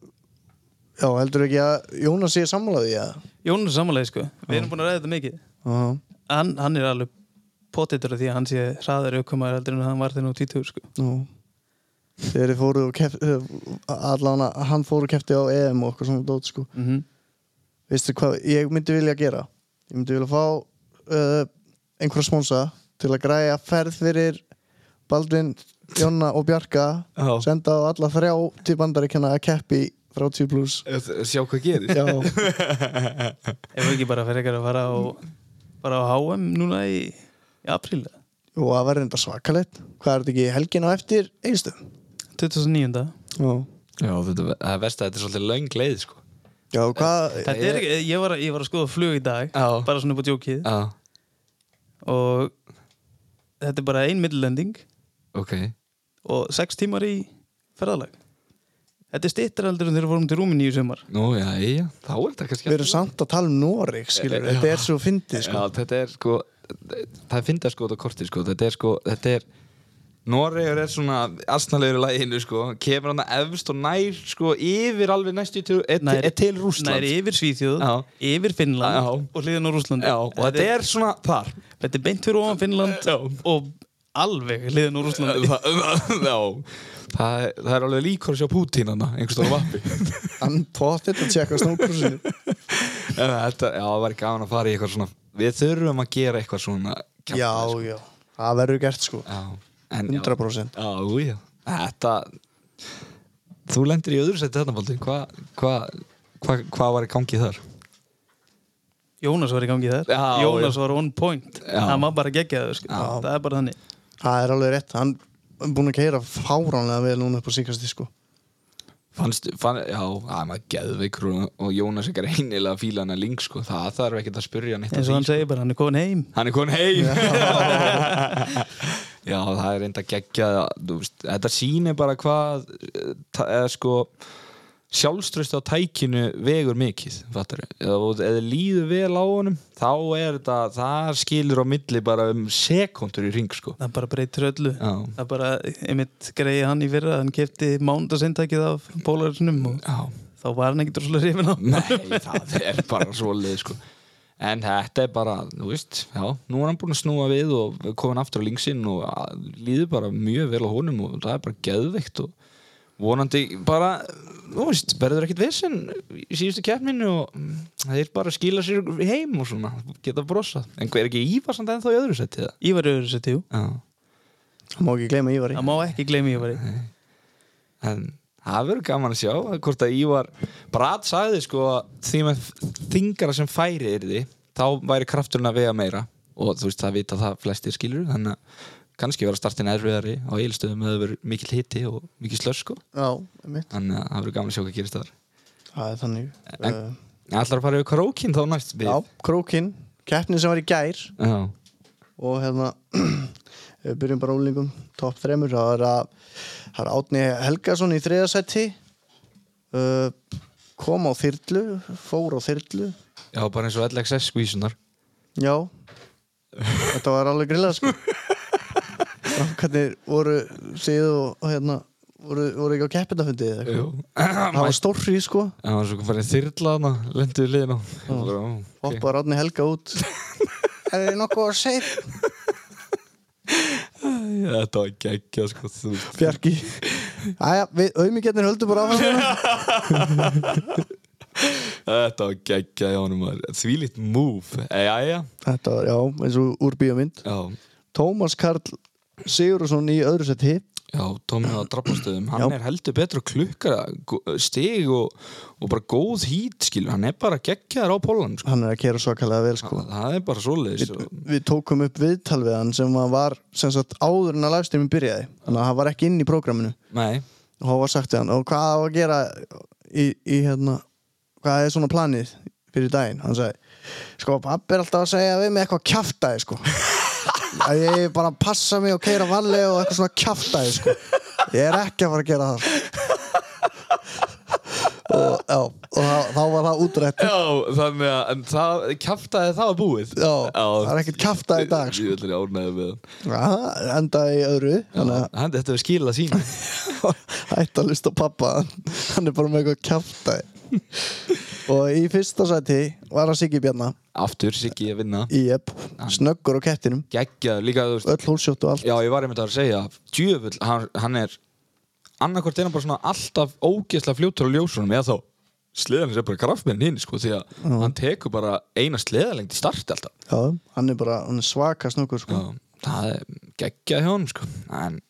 [SPEAKER 1] já, heldur ekki að Jónas sé sammálaði ég
[SPEAKER 3] Jón er samanlega sko, við erum búin að ræða þetta mikið
[SPEAKER 1] að
[SPEAKER 3] hann, hann er alveg potitur því að hann sé hraðar aukumar heldur en hann var þegar nú 20 sko.
[SPEAKER 1] Nú. Þegar þið fóru og kefti allan að hann fóru og kefti á EM og okkur svona dót sko
[SPEAKER 3] mm
[SPEAKER 2] Mhm.
[SPEAKER 1] Veistu hvað ég myndi vilja gera? Ég myndi vilja fá uh, einhverja spónsa til að græja ferð fyrir Baldvin, Jonna og Bjarka
[SPEAKER 2] Já.
[SPEAKER 1] senda á alla þrjá til bandaríkjana að keppi frá 10 plus
[SPEAKER 2] Sjá hvað gerir
[SPEAKER 1] Já,
[SPEAKER 3] ef ekki bara fyrir ekkert að fara á bara á HM núna í, í apríl
[SPEAKER 1] og það var reynda svakalett Hvað er þetta ekki helgin á eftir einstum?
[SPEAKER 3] 2009.
[SPEAKER 1] Já,
[SPEAKER 2] Já, þetta það er verst að þetta er svolítið löng leið sko.
[SPEAKER 1] Já hvað
[SPEAKER 3] Þetta er ekki, ég var, að- ég var að skoða flug í dag
[SPEAKER 2] Eh, Já.
[SPEAKER 3] bara svona upp á djókið
[SPEAKER 2] Já,
[SPEAKER 3] og þetta er bara ein millending
[SPEAKER 2] ok
[SPEAKER 3] og sex tímar í ferðalag Þetta er stittar heldur en þegar við fórum til Rúmin í sumar
[SPEAKER 2] Nú, já, já, þá er þetta kannski
[SPEAKER 1] Við erum samt að tala um Noreg, skilur
[SPEAKER 2] Já.
[SPEAKER 1] Þetta er svo fyndið, sko
[SPEAKER 2] Já, þetta er sko Það finnst að sko þetta korti sko Þetta er sko, þetta er Noregur er svona asnalegur í læginu sko Kemur hann efst og nær sko Yfir alveg næstu til, et,
[SPEAKER 3] Nær-
[SPEAKER 2] et, til Rússland
[SPEAKER 3] Nær yfir Svíþjóð,
[SPEAKER 2] Já.
[SPEAKER 3] yfir Finnland
[SPEAKER 2] Já.
[SPEAKER 3] og hliðin á Rúsland
[SPEAKER 2] Já, og þetta er svona þar
[SPEAKER 3] Þetta er beint fyrir ofan Finnland og alveg hliðin á Rúsland
[SPEAKER 2] Þa, já, það, er- það er alveg líkur að sjá Pútín hann einhvers stóra vappi
[SPEAKER 1] Hann potið að tjekka snókursinu
[SPEAKER 2] þetta, Já, það væri gaman að fara í eitthvað svona Við þurfum að gera eitthvað svona kjafta,
[SPEAKER 1] Já,
[SPEAKER 2] sko.
[SPEAKER 1] já, það verður gert, sko
[SPEAKER 2] já en,
[SPEAKER 1] 100%.
[SPEAKER 2] Já, já, já. Þetta Þú lendir í öðru seti þarna Baldur Hvað hva, hva, hva var í gangi þar?
[SPEAKER 3] Jónas var í gangi þar
[SPEAKER 2] Já,
[SPEAKER 3] Jónas
[SPEAKER 2] já.
[SPEAKER 3] var on point
[SPEAKER 2] Já.
[SPEAKER 3] Hann var bara geggjaður sko.
[SPEAKER 2] Já.
[SPEAKER 3] Það er bara þannig
[SPEAKER 1] Það er alveg rétt, hann er búin að keira fáránlega vel núna upp á síkasti, sko
[SPEAKER 2] Fannst, fann, já, að maður geðveikur og, og Jónas ekkert einilega fíla hana ling sko. það þarf ekkert að spyrja hann eitt
[SPEAKER 3] eins og hann segir bara hann er komin heim
[SPEAKER 2] hann er komin heim já, það er enda geggjað þú veist, þetta sýnir bara hvað eh, ta- eða sko sjálfströst á tækinu vegur mikið fattar eða, og eða líður vel á honum þá er þetta, það skilur á milli bara um sekundur í ring sko
[SPEAKER 3] það bara breytir öllu
[SPEAKER 2] Já.
[SPEAKER 3] það bara, einmitt greiði hann í fyrra hann kefti mándaseintækið af bólarinsunum og
[SPEAKER 2] já,
[SPEAKER 3] þá var hann ekkert rosalega hrifin á
[SPEAKER 2] nei, það er bara svo leið sko En þetta er bara, þú veist, já, nú er hann búinn að snúa við og komin aftur á linksinn og að- líður bara mjög vel á honum og það er bara geðveikt og vonandi bara, þú veist, verður ekkert vesen í síðustu keppninu og mm, það er bara að skila sér heim og svona, geta brosað. En hver er ekki Ívar samt ennþá í öðru setið það?
[SPEAKER 3] Ívar er öðru setjú,
[SPEAKER 2] Já,
[SPEAKER 1] Það má ekki gleyma Ívari
[SPEAKER 3] það má ekki gleymi Ívari
[SPEAKER 2] en það verður gaman að sjá hvort að Ívar, Brad sagði sko að því með þingara sem færi er því, þá væri krafturinn að vega meira og þú veist það vita það flestir skilur, þannig að kannski vera startin erfiðari á eilstöðum eða verið mikill hiti og mikill slöss sko
[SPEAKER 1] Já, mitt,
[SPEAKER 2] þannig að það verður gaman að sjá hvað gerist þar
[SPEAKER 1] það er þannig
[SPEAKER 2] En-
[SPEAKER 1] uh,
[SPEAKER 2] ætlar að fara yfir krókin þá næst við
[SPEAKER 1] Já, krókinn, keppnin sem var í gær
[SPEAKER 2] já,
[SPEAKER 1] og hérna við byrjum bara úlingum, topp þremur það er að það er Átni Helgason í þriðasætti uh, kom á þyrlu fór á þyrlu
[SPEAKER 2] já bara eins og LXS skvísunar
[SPEAKER 1] já þetta var alveg grillað sko framkvæmdir voru síðu og hérna voru, voru ekki á keppindafundi eða eitthvað það var stórri sko
[SPEAKER 2] það var svo farið þyrla þarna, lenduðu liðin á okay.
[SPEAKER 1] hoppar Átni Helga út er þið nokkuð að segja
[SPEAKER 2] þetta var geggja sko þú veist
[SPEAKER 1] Bjarki Æja, við auðmíkjarnir höldum bara áfram hérna.
[SPEAKER 2] Þetta var geggja í honum maður Þvílíkt move Jæja
[SPEAKER 1] Þetta var, já, eins og úr bíómynd
[SPEAKER 2] Já,
[SPEAKER 1] Tómas Karl Sigurðsson í öðru seti
[SPEAKER 2] já Tómið á drafnastöðum Hann
[SPEAKER 1] Já.
[SPEAKER 2] er heldur betur klukkar stig og, og bara góð hít skilur Hann er bara geggjaður á pólan sko.
[SPEAKER 1] hann er að kera svakalega vel sko
[SPEAKER 2] Það er bara svoleiðis og-
[SPEAKER 1] við tókum upp viðtal við hann sem að var sem sagt áður en að lagstæmi byrjaði þannig að hann var ekki inn í prógraminu
[SPEAKER 2] Nei
[SPEAKER 1] og hann var sagt við hann og hvað á að gera í, í hérna hvað er svona planið fyrir daginn hann sagði, sko pappi er alltaf að segja við mig eitthvað kjaftaði sko að ég eigi bara að passa mig og keira valli og eitthvað svona kjaftaði sko ég er ekki að fara að gera það og, já, og þá, þá var það útrætt
[SPEAKER 2] Já, þannig að en það, kjaftaði það var búið
[SPEAKER 1] Já, það er ekkert kjaftað í dag, sko.
[SPEAKER 2] Ég vil ánægði með hann
[SPEAKER 1] Já, endaði í öðru þannig
[SPEAKER 2] Já, Hann, Þetta hefur skilað sína
[SPEAKER 1] að hætti að lusta pappa hann er bara með eitthvað kjaftaði og í fyrsta sæti var að Siggi Bjarnar
[SPEAKER 2] Aftur Siggi að vinna
[SPEAKER 1] Jep, snöggur á kettinum
[SPEAKER 2] Gekkjaður líka þú veist
[SPEAKER 1] Öll hólsjótt og allt
[SPEAKER 2] Já, ég var einmitt að segja Djöfull, hann, hann er annarkvort er hann bara svona alltaf ógeðslega fljótur á ljósunum eða þá sleðan er bara kraftmenn hinn sko því að hann tekur bara eina sleðalengt í starti alltaf
[SPEAKER 1] Já, hann er bara hann er svaka snöggur sko.
[SPEAKER 2] og það er geggjað hjá hann sko en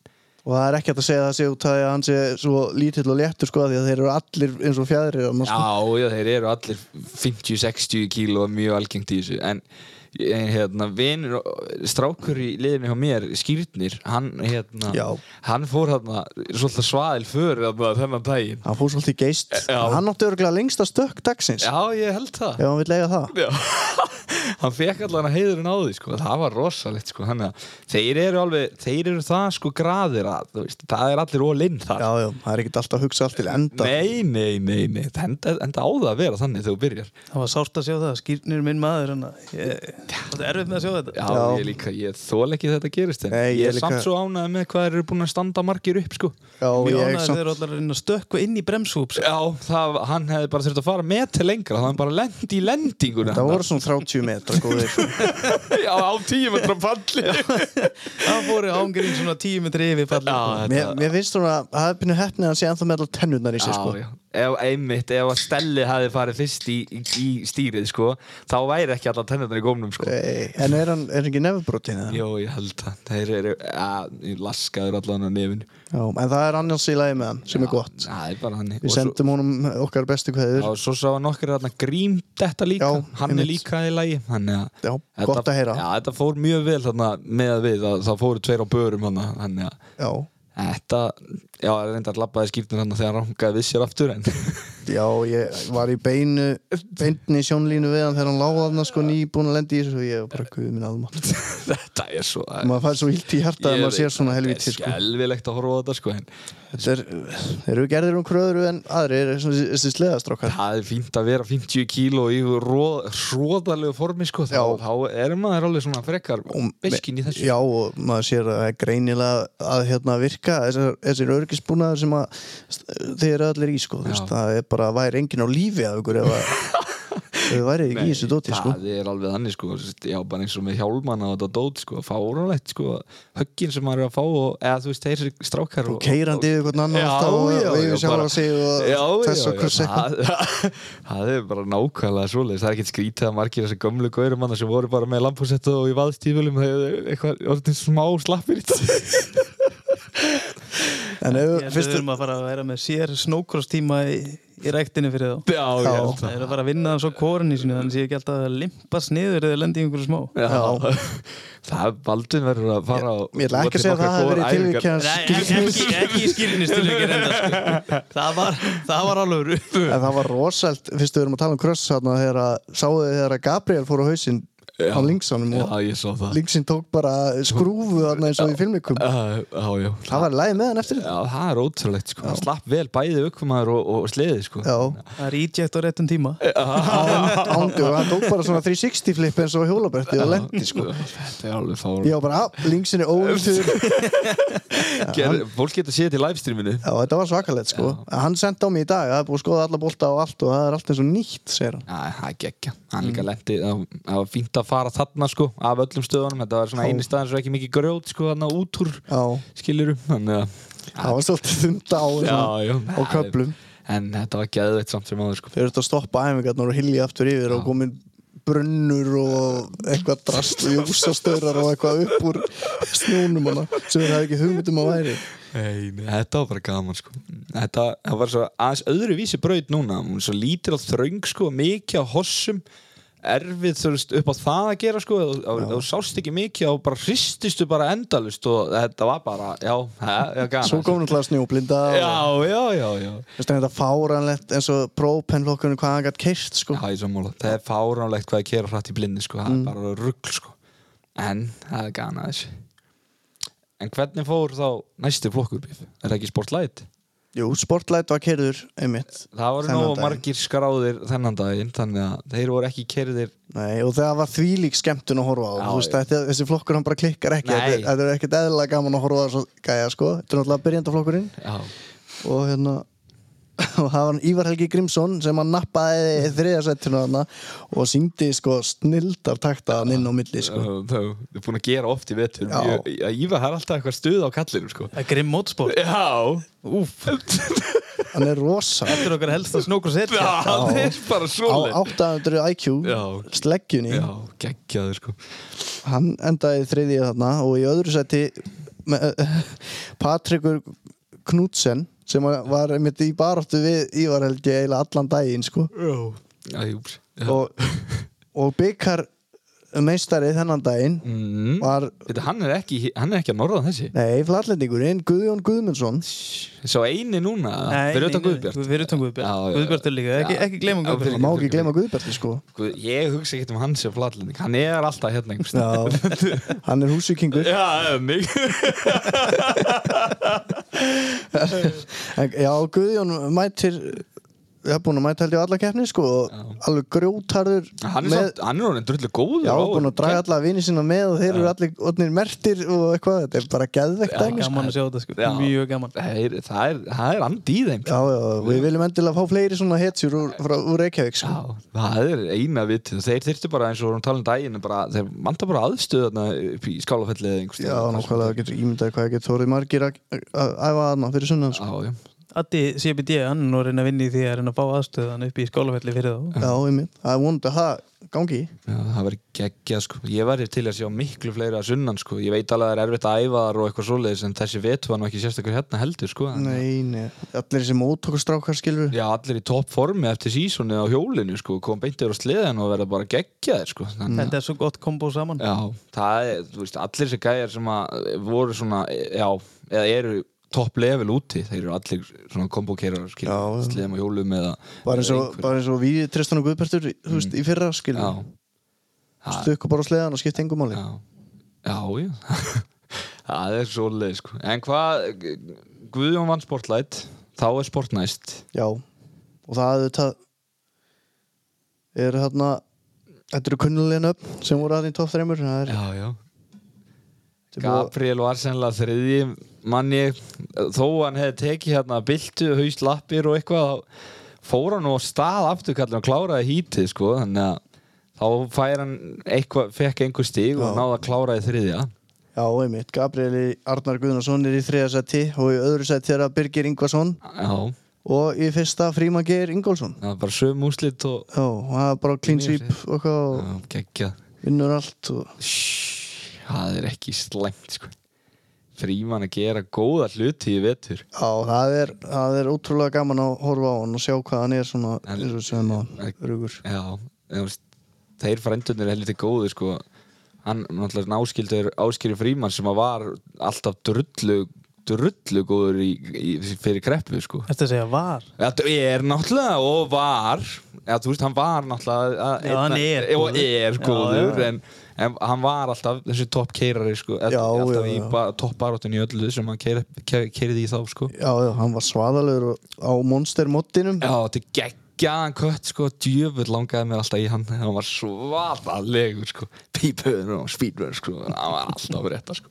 [SPEAKER 1] Og það er ekki hægt að segja það sé út af því að hann sé svo lítill og léttur sko af Því að þeir eru allir eins og fjæðri
[SPEAKER 2] já,
[SPEAKER 1] sko.
[SPEAKER 2] já, þeir eru allir 50-60 kíló mjög algengt í þessu en, en hérna, vinur strákur í liðinu hjá mér, Skýrnir hann, hérna,
[SPEAKER 1] Já.
[SPEAKER 2] hann fór hérna svolítið svaðil för þarna þennan daginn
[SPEAKER 1] Hann fór svolítið í geist
[SPEAKER 2] Já.
[SPEAKER 1] Hann átti örgulega lengsta stökk dagsins
[SPEAKER 2] já, ég held það
[SPEAKER 1] Ef hann vil eiga það
[SPEAKER 2] Já. hann fekk allan að heiðurinn á því sko. það var rosalegt sko. Þannig að þeir eru alveg, þeir eru það sko graðir að, þú veist, það er allir ólinn þar
[SPEAKER 1] Já, já, það er ekkert alltaf að hugsa allt til enda
[SPEAKER 2] nei, nei, nei, nei Það enda, enda á það að vera þannig þegar þú byrjar
[SPEAKER 3] Það var sárt að sjá það, skýrnir er minn maður hann að ég, það er erfitt með að sjá þetta
[SPEAKER 2] Já,
[SPEAKER 1] Já.
[SPEAKER 2] ég líka, ég þól ekki að þetta gerist en
[SPEAKER 1] Nei,
[SPEAKER 2] ég,
[SPEAKER 1] ég
[SPEAKER 2] er
[SPEAKER 1] líka-
[SPEAKER 2] samt svo ánægð með hvað þeir eru búin að standa margir upp sko.
[SPEAKER 1] Já,
[SPEAKER 3] Mjög
[SPEAKER 1] ég
[SPEAKER 3] ánægður
[SPEAKER 1] samt
[SPEAKER 3] þeir eru allar að reyna að stökkva inn í bremshúps
[SPEAKER 2] Já, það, hann hefði bara þurft að fara metri lengra það hann bara lendi í lendinguna
[SPEAKER 1] Það voru svona 30 metra góðir
[SPEAKER 2] Já, á tíu metra falli
[SPEAKER 3] Það fóru ángurinn svona tíu metri yfir fallið
[SPEAKER 2] Já,
[SPEAKER 1] Mér, mér finnst svona að það er pínu hefnið að hann sé ennþá með allar tennurnar í sig sko.
[SPEAKER 2] já. Ef, einmitt, ef að Stelli hefði farið fyrst í, í, í stýrið sko, þá væri ekki allar tennirnar í gómnum sko.
[SPEAKER 1] Nei, Eh, En er hann er ekki nefnbrotin eða?
[SPEAKER 2] Jó, ég held það Þeir eru, að, ég laskaður allan á nefinu
[SPEAKER 1] Já, en það er annars í lagi með hann sem er gott
[SPEAKER 2] Það er bara hann
[SPEAKER 1] Við sendum honum okkar bestu
[SPEAKER 2] Já,
[SPEAKER 1] kveður
[SPEAKER 2] og svo sá hann okkur þarna grím þetta líka,
[SPEAKER 1] Já,
[SPEAKER 2] hann er
[SPEAKER 1] einmitt.
[SPEAKER 2] líka í lagi þannig að
[SPEAKER 1] Já, gott að heyra.
[SPEAKER 2] Já, þetta fór mjög vel þarna með að við, það, það fóru tveir á börum hann þannig að
[SPEAKER 1] Já,
[SPEAKER 2] þetta, já, reyndar labbaði skýrnir hann þegar hann rangaði við sér aftur en
[SPEAKER 1] já, ég var í beinu beinni sjónlínu við hann þegar hann láði hann sko nýbúin að lendi í þessu og ég var bara guðið minn aðmátt
[SPEAKER 2] þetta er svo
[SPEAKER 1] maður fær svo illt í hjarta að maður sér svona helviti
[SPEAKER 2] sko.
[SPEAKER 1] sko.
[SPEAKER 2] Skelvilegt að horfa á þetta sko en
[SPEAKER 1] Þetta er, þeir eru gerðir um kröðru en aðrir er svona þessi sleðastrókar
[SPEAKER 2] það er fínt að vera 50 kíló í hróðalegu formi sko þá,
[SPEAKER 1] Já.
[SPEAKER 2] þá er maður alveg svona frekar beiskin í þessu
[SPEAKER 1] Já, og maður sér að það er greinilega að hérna virka þessar, þessir örgisbúnaður sem að þeir eru allir í sko, þú veist,
[SPEAKER 2] Já.
[SPEAKER 1] það er bara væri engin á lífi af ykkur ef að ef þið væri ekki í þessu dóti sko
[SPEAKER 2] það er alveg þannig sko já, bara eins og með hjálmana og þetta dót sko fáránlegt sko, höggin sem maður er að fá og, eða þú veist, þeir strákar og,
[SPEAKER 1] keirandi yfir hvern annan
[SPEAKER 2] Já,
[SPEAKER 1] alltaf og
[SPEAKER 2] já, já,
[SPEAKER 1] yfir sjálf
[SPEAKER 2] bara-
[SPEAKER 1] að sig og þess
[SPEAKER 2] Já, já,
[SPEAKER 1] og
[SPEAKER 2] já,
[SPEAKER 1] hvers eitthvað
[SPEAKER 2] það, það er bara nákvæmlega svoleiðis það er ekkert skrítið að margir þessi gömlu gaurum annars sem voru bara með lampúsett og í vaðstífölum það er eitthvað orðin smá slappir í þetta.
[SPEAKER 1] en ef
[SPEAKER 3] Ég held að við
[SPEAKER 1] fyrst
[SPEAKER 3] erum að fara að vera með sér snókross tíma í, í rektinu fyrir þá
[SPEAKER 2] já, ég held
[SPEAKER 3] Það er að fara að vinna hann svo kórin í sinu þannig sé ekki alltaf að limpast niður eða lendi í einhverju smá
[SPEAKER 2] Já. Það er baldin verður að fara á
[SPEAKER 1] ég ætla
[SPEAKER 2] búa
[SPEAKER 1] ekki að
[SPEAKER 2] til
[SPEAKER 1] segja að það
[SPEAKER 2] nokkrar
[SPEAKER 1] hafi
[SPEAKER 2] góðar
[SPEAKER 1] verið
[SPEAKER 2] æfingar.
[SPEAKER 1] tilvíkjans
[SPEAKER 3] Nei, ekki, ekki, ekki í skilinu stilvíkir enda það var, það var alveg rufu
[SPEAKER 1] en það var rosalt, fyrst við erum að tala um kröss þarna þegar að sáu þið þegar að Gabriel fór á hausinn
[SPEAKER 2] Já.
[SPEAKER 1] á linksanum og
[SPEAKER 2] Já, ég sá það
[SPEAKER 1] linksinn tók bara skrúfu þarna eins og í filmikum
[SPEAKER 2] Uh, Já, já
[SPEAKER 1] það var læg með hann eftir þetta
[SPEAKER 2] Já, það er ótrúlegt sko. Það slapp vel bæði aukumæður og, og sleði sko.
[SPEAKER 1] já,
[SPEAKER 3] Það er ídjækt á réttum tíma
[SPEAKER 1] ándu og hann tók bara svona 360 flip eins og hjólabretti og lendi sko
[SPEAKER 2] Þetta er alveg fár
[SPEAKER 1] já bara, á, linksin er óviltur
[SPEAKER 2] Ger, Fólk getur séð þetta í livestreaminu
[SPEAKER 1] Já, þetta var svakalegt sko. Hann sendi á mig í dag, það er búið að skoða alla bolta og allt og það er allt eins og nýtt, segir hann.
[SPEAKER 2] Já, það er geggja Hann
[SPEAKER 1] Mm.
[SPEAKER 2] líka lendi Það það var fínt að fara þarna sko Af öllum stöðunum Þetta var svona eini staðan Svo ekki mikið grjót sko Þannig út úr
[SPEAKER 1] Já,
[SPEAKER 2] Skilurum Þannig að
[SPEAKER 1] það var svolítið þunda á,
[SPEAKER 2] Já, já
[SPEAKER 1] á köplum.
[SPEAKER 2] En þetta var geðveitt samt sem áður sko
[SPEAKER 1] Þeir eru þetta að stoppa æfingarnar og hilja aftur yfir og komin brunnur og eitthvað drast og júsastörar og eitthvað upp úr snjónum hana sem þeir hafa ekki hugmyndum að væri.
[SPEAKER 2] Nei, nei, þetta var bara gaman sko Þetta það var svo aðeins öðruvísi braut núna Hún er svo lítil og þröng sko Mikið á hossum Erfið þú veist upp á það að gera sko Þú- Þú þú sást ekki mikið og bara hrististu bara endalust Og þetta var bara, já, það er gaman
[SPEAKER 1] Svo kom náttúrulega snjóblinda
[SPEAKER 2] Já,
[SPEAKER 1] og
[SPEAKER 2] já, já, já
[SPEAKER 1] Þú veist, þetta fáranlegt eins og própenflokkurinn hvað hann gætt keirt sko.
[SPEAKER 2] Það er sammála Það er fáránlegt hvað ég kera hratt í blindi sko
[SPEAKER 1] Mm.
[SPEAKER 2] Það er bara rugl sko En það er gaman aðeins En hvernig fór þá næsti flokkur Bif? Er það ekki sportlæt?
[SPEAKER 1] Jú, sportlæt var keirður einmitt.
[SPEAKER 2] Það voru
[SPEAKER 1] Þennan
[SPEAKER 2] nógu
[SPEAKER 1] daginn.
[SPEAKER 2] margir skráðir þennan daginn þannig að þeir voru ekki kerðir
[SPEAKER 1] Nei, og það var þvílík skemmtun að horfa á
[SPEAKER 2] Já,
[SPEAKER 1] þú veist, þetta, þessi flokkur hann bara klikkar ekki
[SPEAKER 2] Nei.
[SPEAKER 1] þetta er- þetta er ekkert eðlilega gaman að horfa á svo gæja sko, þetta er náttúrulega byrjandaflokkurinn
[SPEAKER 2] Já,
[SPEAKER 1] og hérna og það var hann Ívar Helgi Grimsson sem hann nappaði þriðasættinu hann og syngdi sko snildar takta hann inn á milli sko.
[SPEAKER 2] Það er búin að gera oft í vetur
[SPEAKER 1] Já.
[SPEAKER 2] Ég- ég- Ívar, það er alltaf eitthvað stuð á kallinum sko.
[SPEAKER 3] Það er grimm mótspór
[SPEAKER 2] Já
[SPEAKER 3] Úf,
[SPEAKER 1] hann er rosa
[SPEAKER 3] þetta er okkar helsta snókur sér
[SPEAKER 2] Já, það er bara
[SPEAKER 1] á
[SPEAKER 2] svoleið
[SPEAKER 1] 800 IQ
[SPEAKER 2] Já.
[SPEAKER 1] sleggjunni,
[SPEAKER 2] Já, geggjaður sko
[SPEAKER 1] hann endaði þriðið þarna og í öðru sætti með- Patrikur Knudsen sem var- var einmitt í baráttu við Ívar Helgi eiginlega allan daginn sko
[SPEAKER 2] Já, júps Já.
[SPEAKER 1] og, og byggar meistari þennan daginn
[SPEAKER 2] Mm.
[SPEAKER 1] var,
[SPEAKER 2] Þetta, hann er ekki, hann er ekki að norðan þessi
[SPEAKER 1] nei, flatlendingurinn Guðjón Guðmundsson
[SPEAKER 2] Svo eini núna, fyrir utan Guðbjart
[SPEAKER 3] Fyrir utan
[SPEAKER 2] Já,
[SPEAKER 3] Guðbjart
[SPEAKER 2] já, já.
[SPEAKER 3] Guðbjart er líka, ekki,
[SPEAKER 2] Já.
[SPEAKER 3] ekki glemum
[SPEAKER 2] Já,
[SPEAKER 1] það
[SPEAKER 3] Guðbjart
[SPEAKER 1] má ekki gleyma Guðberti sko
[SPEAKER 2] Guð, Ég hugsa ekkert um hann sem flatlending Hann er alltaf hérna einhvers staðar.
[SPEAKER 1] Já, hann er húsvíkingur
[SPEAKER 2] Já, mig
[SPEAKER 1] En- Já, Guðjón mætir Það er búin að mæta held ég á alla keppni sko og alveg grjótarður
[SPEAKER 2] Hann er,
[SPEAKER 1] með,
[SPEAKER 2] samt, hann er honum drullu góður
[SPEAKER 1] Já,
[SPEAKER 2] á-
[SPEAKER 1] búin að draga alla vini sína með og þeir eru allir odnir mertir og eitthvað Þetta er bara geðvegt dæmi sko.
[SPEAKER 3] Gaman að sjá þetta sko,
[SPEAKER 2] Já.
[SPEAKER 3] mjög gaman
[SPEAKER 2] Það er, það er, það er andi í þeim
[SPEAKER 1] Já, já, við viljum endilega fá fleiri svona hetjur úr, frá, úr Reykjavík sko.
[SPEAKER 2] Já, það er eina vitið. Þeir þyrftu bara eins og vorum talað um daginn, bara, þeir manta bara aðstöðna í skálafelli eða einhvers
[SPEAKER 1] Já,
[SPEAKER 2] staðar.
[SPEAKER 1] nákvæmlega getur ímyndaði hvað getur þórið margir að að- að æfa aðna fyrir sunnan sko.
[SPEAKER 2] Já, já.
[SPEAKER 3] Addi CBD, hann er nú að reyna að vinna í því að reyna að fá aðstöðan upp í skólafelli fyrir þá
[SPEAKER 1] Já, ég mynd, það er vonandi að það gangi í.
[SPEAKER 2] Já, það verður geggja sko. Ég væri til að sjá miklu fleiri að sunnan sko. Ég veit alveg að það er erfitt að æfa þar og eitthvað svoleiðis en þessi vetu var nú ekki sérstakur hérna heldur sko. En-
[SPEAKER 1] Nei, nei, allir þessi mótokastrákar skilur
[SPEAKER 2] Já, allir í topp formi eftir sísónu á hjólinu sko, kom beintir á sleðan og verða bara geggjaðir sko. Þannig,
[SPEAKER 3] Þetta er svo gott kombo saman
[SPEAKER 2] já, það er, þú veist, allir þessi gæjar sem að voru svona, já, eða eru topp level úti, þeir eru allir svona kombokerar,
[SPEAKER 1] Já.
[SPEAKER 2] sleðan á hjólum eða
[SPEAKER 1] Bara eins og,
[SPEAKER 2] einhver-
[SPEAKER 1] bara eins og við Tristan og Guðbertur Þú veist, í fyrra skilur
[SPEAKER 2] Já, það,
[SPEAKER 1] stökku bara á sleðan og skipti engum máli
[SPEAKER 2] Já, já, já. það er svoleið sko. En hvað, Guðjón vann sportlæt, þá er sportnæst.
[SPEAKER 1] já, og það auðvitað er þarna þetta eru kunnulegin upp sem voru aðeins í topp þreymur það er,
[SPEAKER 2] Já, já.
[SPEAKER 1] þetta er búið-
[SPEAKER 2] Gabriel var sennilega þriði manni, þó hann hefði tekið hérna byltu, hauslappir og eitthvað, þá fór hann nú á stað afturkallin og kláraði hítið sko, þannig að þá fær hann eitthvað, fekk einhver stig og
[SPEAKER 1] Já.
[SPEAKER 2] náði að kláraði þriðja.
[SPEAKER 1] já, einmitt, Gabrieli Arnar Guðnason er í þriða seti og í öðru seti er að Birgir Ingvason
[SPEAKER 2] Já,
[SPEAKER 1] og í fyrsta Fríma Geir Ingolson
[SPEAKER 2] það var bara söm úslit og
[SPEAKER 1] já, og það er bara clean sweep og, eitthvað og
[SPEAKER 2] Já, geggjað.
[SPEAKER 1] vinnur allt og,
[SPEAKER 2] Shhh, Það er ekki slæmt sko. Fríman að gera góða hluti í vetur
[SPEAKER 1] já, það er, það er ótrúlega gaman að horfa á hann og sjá hvað hann er svona
[SPEAKER 2] En-
[SPEAKER 1] eins og sem hann, rugur
[SPEAKER 2] Já, þú veist, þeir frændunir er helviti góði sko. Hann náttúrulega náskildur áskýri Fríman sem að var alltaf drullu drullu góður í, í, fyrir kreppu sko.
[SPEAKER 3] Þetta segja var
[SPEAKER 2] Þetta er náttúrulega og var Já, þú veist, hann var náttúrulega að-
[SPEAKER 3] Já, hann er
[SPEAKER 2] einn- og
[SPEAKER 3] góður.
[SPEAKER 2] er
[SPEAKER 3] Já,
[SPEAKER 2] góður
[SPEAKER 3] já.
[SPEAKER 2] en, en hann var alltaf þessi topp keirari sko,
[SPEAKER 1] Já,
[SPEAKER 2] alltaf
[SPEAKER 1] já,
[SPEAKER 2] í
[SPEAKER 1] já.
[SPEAKER 2] ba- toppbaráttun í öllu sem hann keirði í þá sko.
[SPEAKER 1] Já, já, hann var svaðalegur á Monster moddinum
[SPEAKER 2] Já, þetta er geggjaðan kött sko, djöfull langaði mér alltaf í hann hann var svakalegur sko pípöður og speedrun sko hann var alltaf rétt sko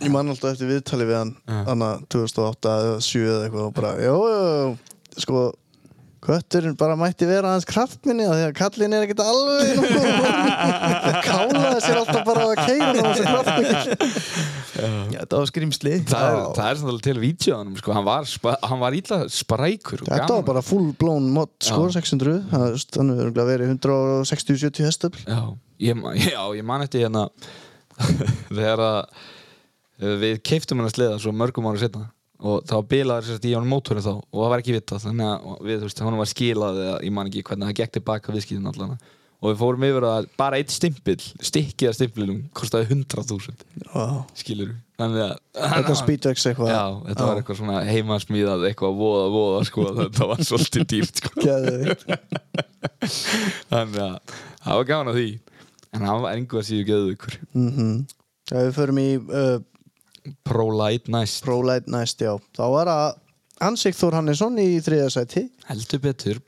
[SPEAKER 1] Ég man alltaf eftir viðtali við hann Þannig að 2008 eða 7 eða eitthvað og bara, Jó, jó, jó, sko Kötturinn bara mætti vera hans kraftminni af því að kallinn er ekkert alveg nógu- Það kálaði sér alltaf bara að keira hann á þessu kraftminni
[SPEAKER 3] Já, þetta var skrimsli
[SPEAKER 2] það er,
[SPEAKER 1] Já.
[SPEAKER 2] það er samtalið til vítjóðanum sko hann var, spa, hann var illa sprækur og
[SPEAKER 1] Þetta var
[SPEAKER 2] gaman.
[SPEAKER 1] bara full blown mod sko,
[SPEAKER 2] Já.
[SPEAKER 1] 600 Það- Þannig verður að verið 160-70 hestöfl
[SPEAKER 2] já, ég, man- já, ég man eftir hérna þegar að eh, við keiftum hann að sleða svo mörgum ára setna og þá bilaði sérst í honum mótorinn þá og það var ekki vitað þannig að við, þú veist, honum var skilað eða ég man ekki hvernig það gekk tilbaka viðskiptin allan og við fórum yfir að bara eitt stimpill stikkið að stimpillum kostaði 100.000
[SPEAKER 1] Vá.
[SPEAKER 2] skilur við þannig að
[SPEAKER 1] Þetta er speedvex eitthvað
[SPEAKER 2] já, þetta var eitthvað svona heimasmíðað eitthvað voða voða sko þetta var svolítið dýrt sko
[SPEAKER 1] Geðveikt.
[SPEAKER 2] þannig að það var gaman að því en hann var engu að síðu geðu ykkur
[SPEAKER 1] Mhm. Já, Við förum í uh,
[SPEAKER 2] Prolight næst
[SPEAKER 1] ProLight næst, já. Þá var að Ansik Þór Hannesson í þriða sæti,
[SPEAKER 2] heldur betur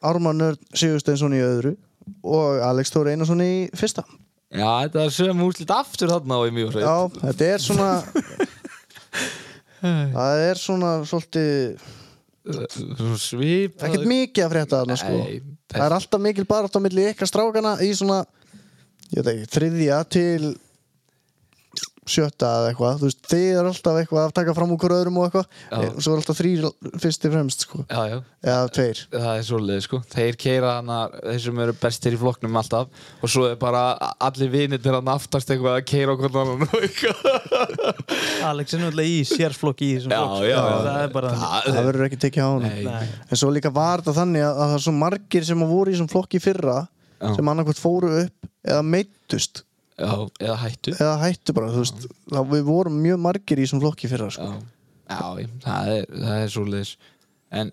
[SPEAKER 1] Ármann Nörn Sigursteinsson í öðru og Alex Þór Einarsson í fyrsta.
[SPEAKER 2] já, þetta er sögum úrslit aftur þarna á í mjög
[SPEAKER 1] Já, þetta er svona það er svona svolítið
[SPEAKER 2] uh, svip
[SPEAKER 1] ekkert mikið að frétta þarna sko
[SPEAKER 2] Nei,
[SPEAKER 1] það er alltaf mikil barátt á milli ykkar strákana í svona ég veit ekki, þriðja til sjötta eða eitthvað þú veist, þið er alltaf eitthvað að taka fram úr hver öðrum og
[SPEAKER 2] Já.
[SPEAKER 1] eitthvað og svo er alltaf þrýr fyrst í fremst sko
[SPEAKER 2] já, já,
[SPEAKER 1] eða tveir
[SPEAKER 2] það er svolítið sko þeir keira hana, þeir sem eru bestir í flokknum alltaf og svo er bara a- allir vinir til hann aftast eitthvað að keira okkur annan og eitthvað
[SPEAKER 3] Alex er náttúrulega í sérflokki í þessum
[SPEAKER 2] Já,
[SPEAKER 3] flokk, sko.
[SPEAKER 2] já, já.
[SPEAKER 3] það er bara
[SPEAKER 2] Það-
[SPEAKER 1] það verður ekki tekið á honum
[SPEAKER 2] Nei.
[SPEAKER 3] Nei.
[SPEAKER 1] en svo líka var þetta þannig að, að það er svo margir sem að voru í þessum flokki í fyrra
[SPEAKER 2] Já.
[SPEAKER 1] sem annarkvæmt fóru upp eða meittust
[SPEAKER 2] já, eða hættu
[SPEAKER 1] eða hættu bara, þú veist það, við vorum mjög margir í þessum flokki í fyrra sko.
[SPEAKER 2] já, já, það er, það er svolítið en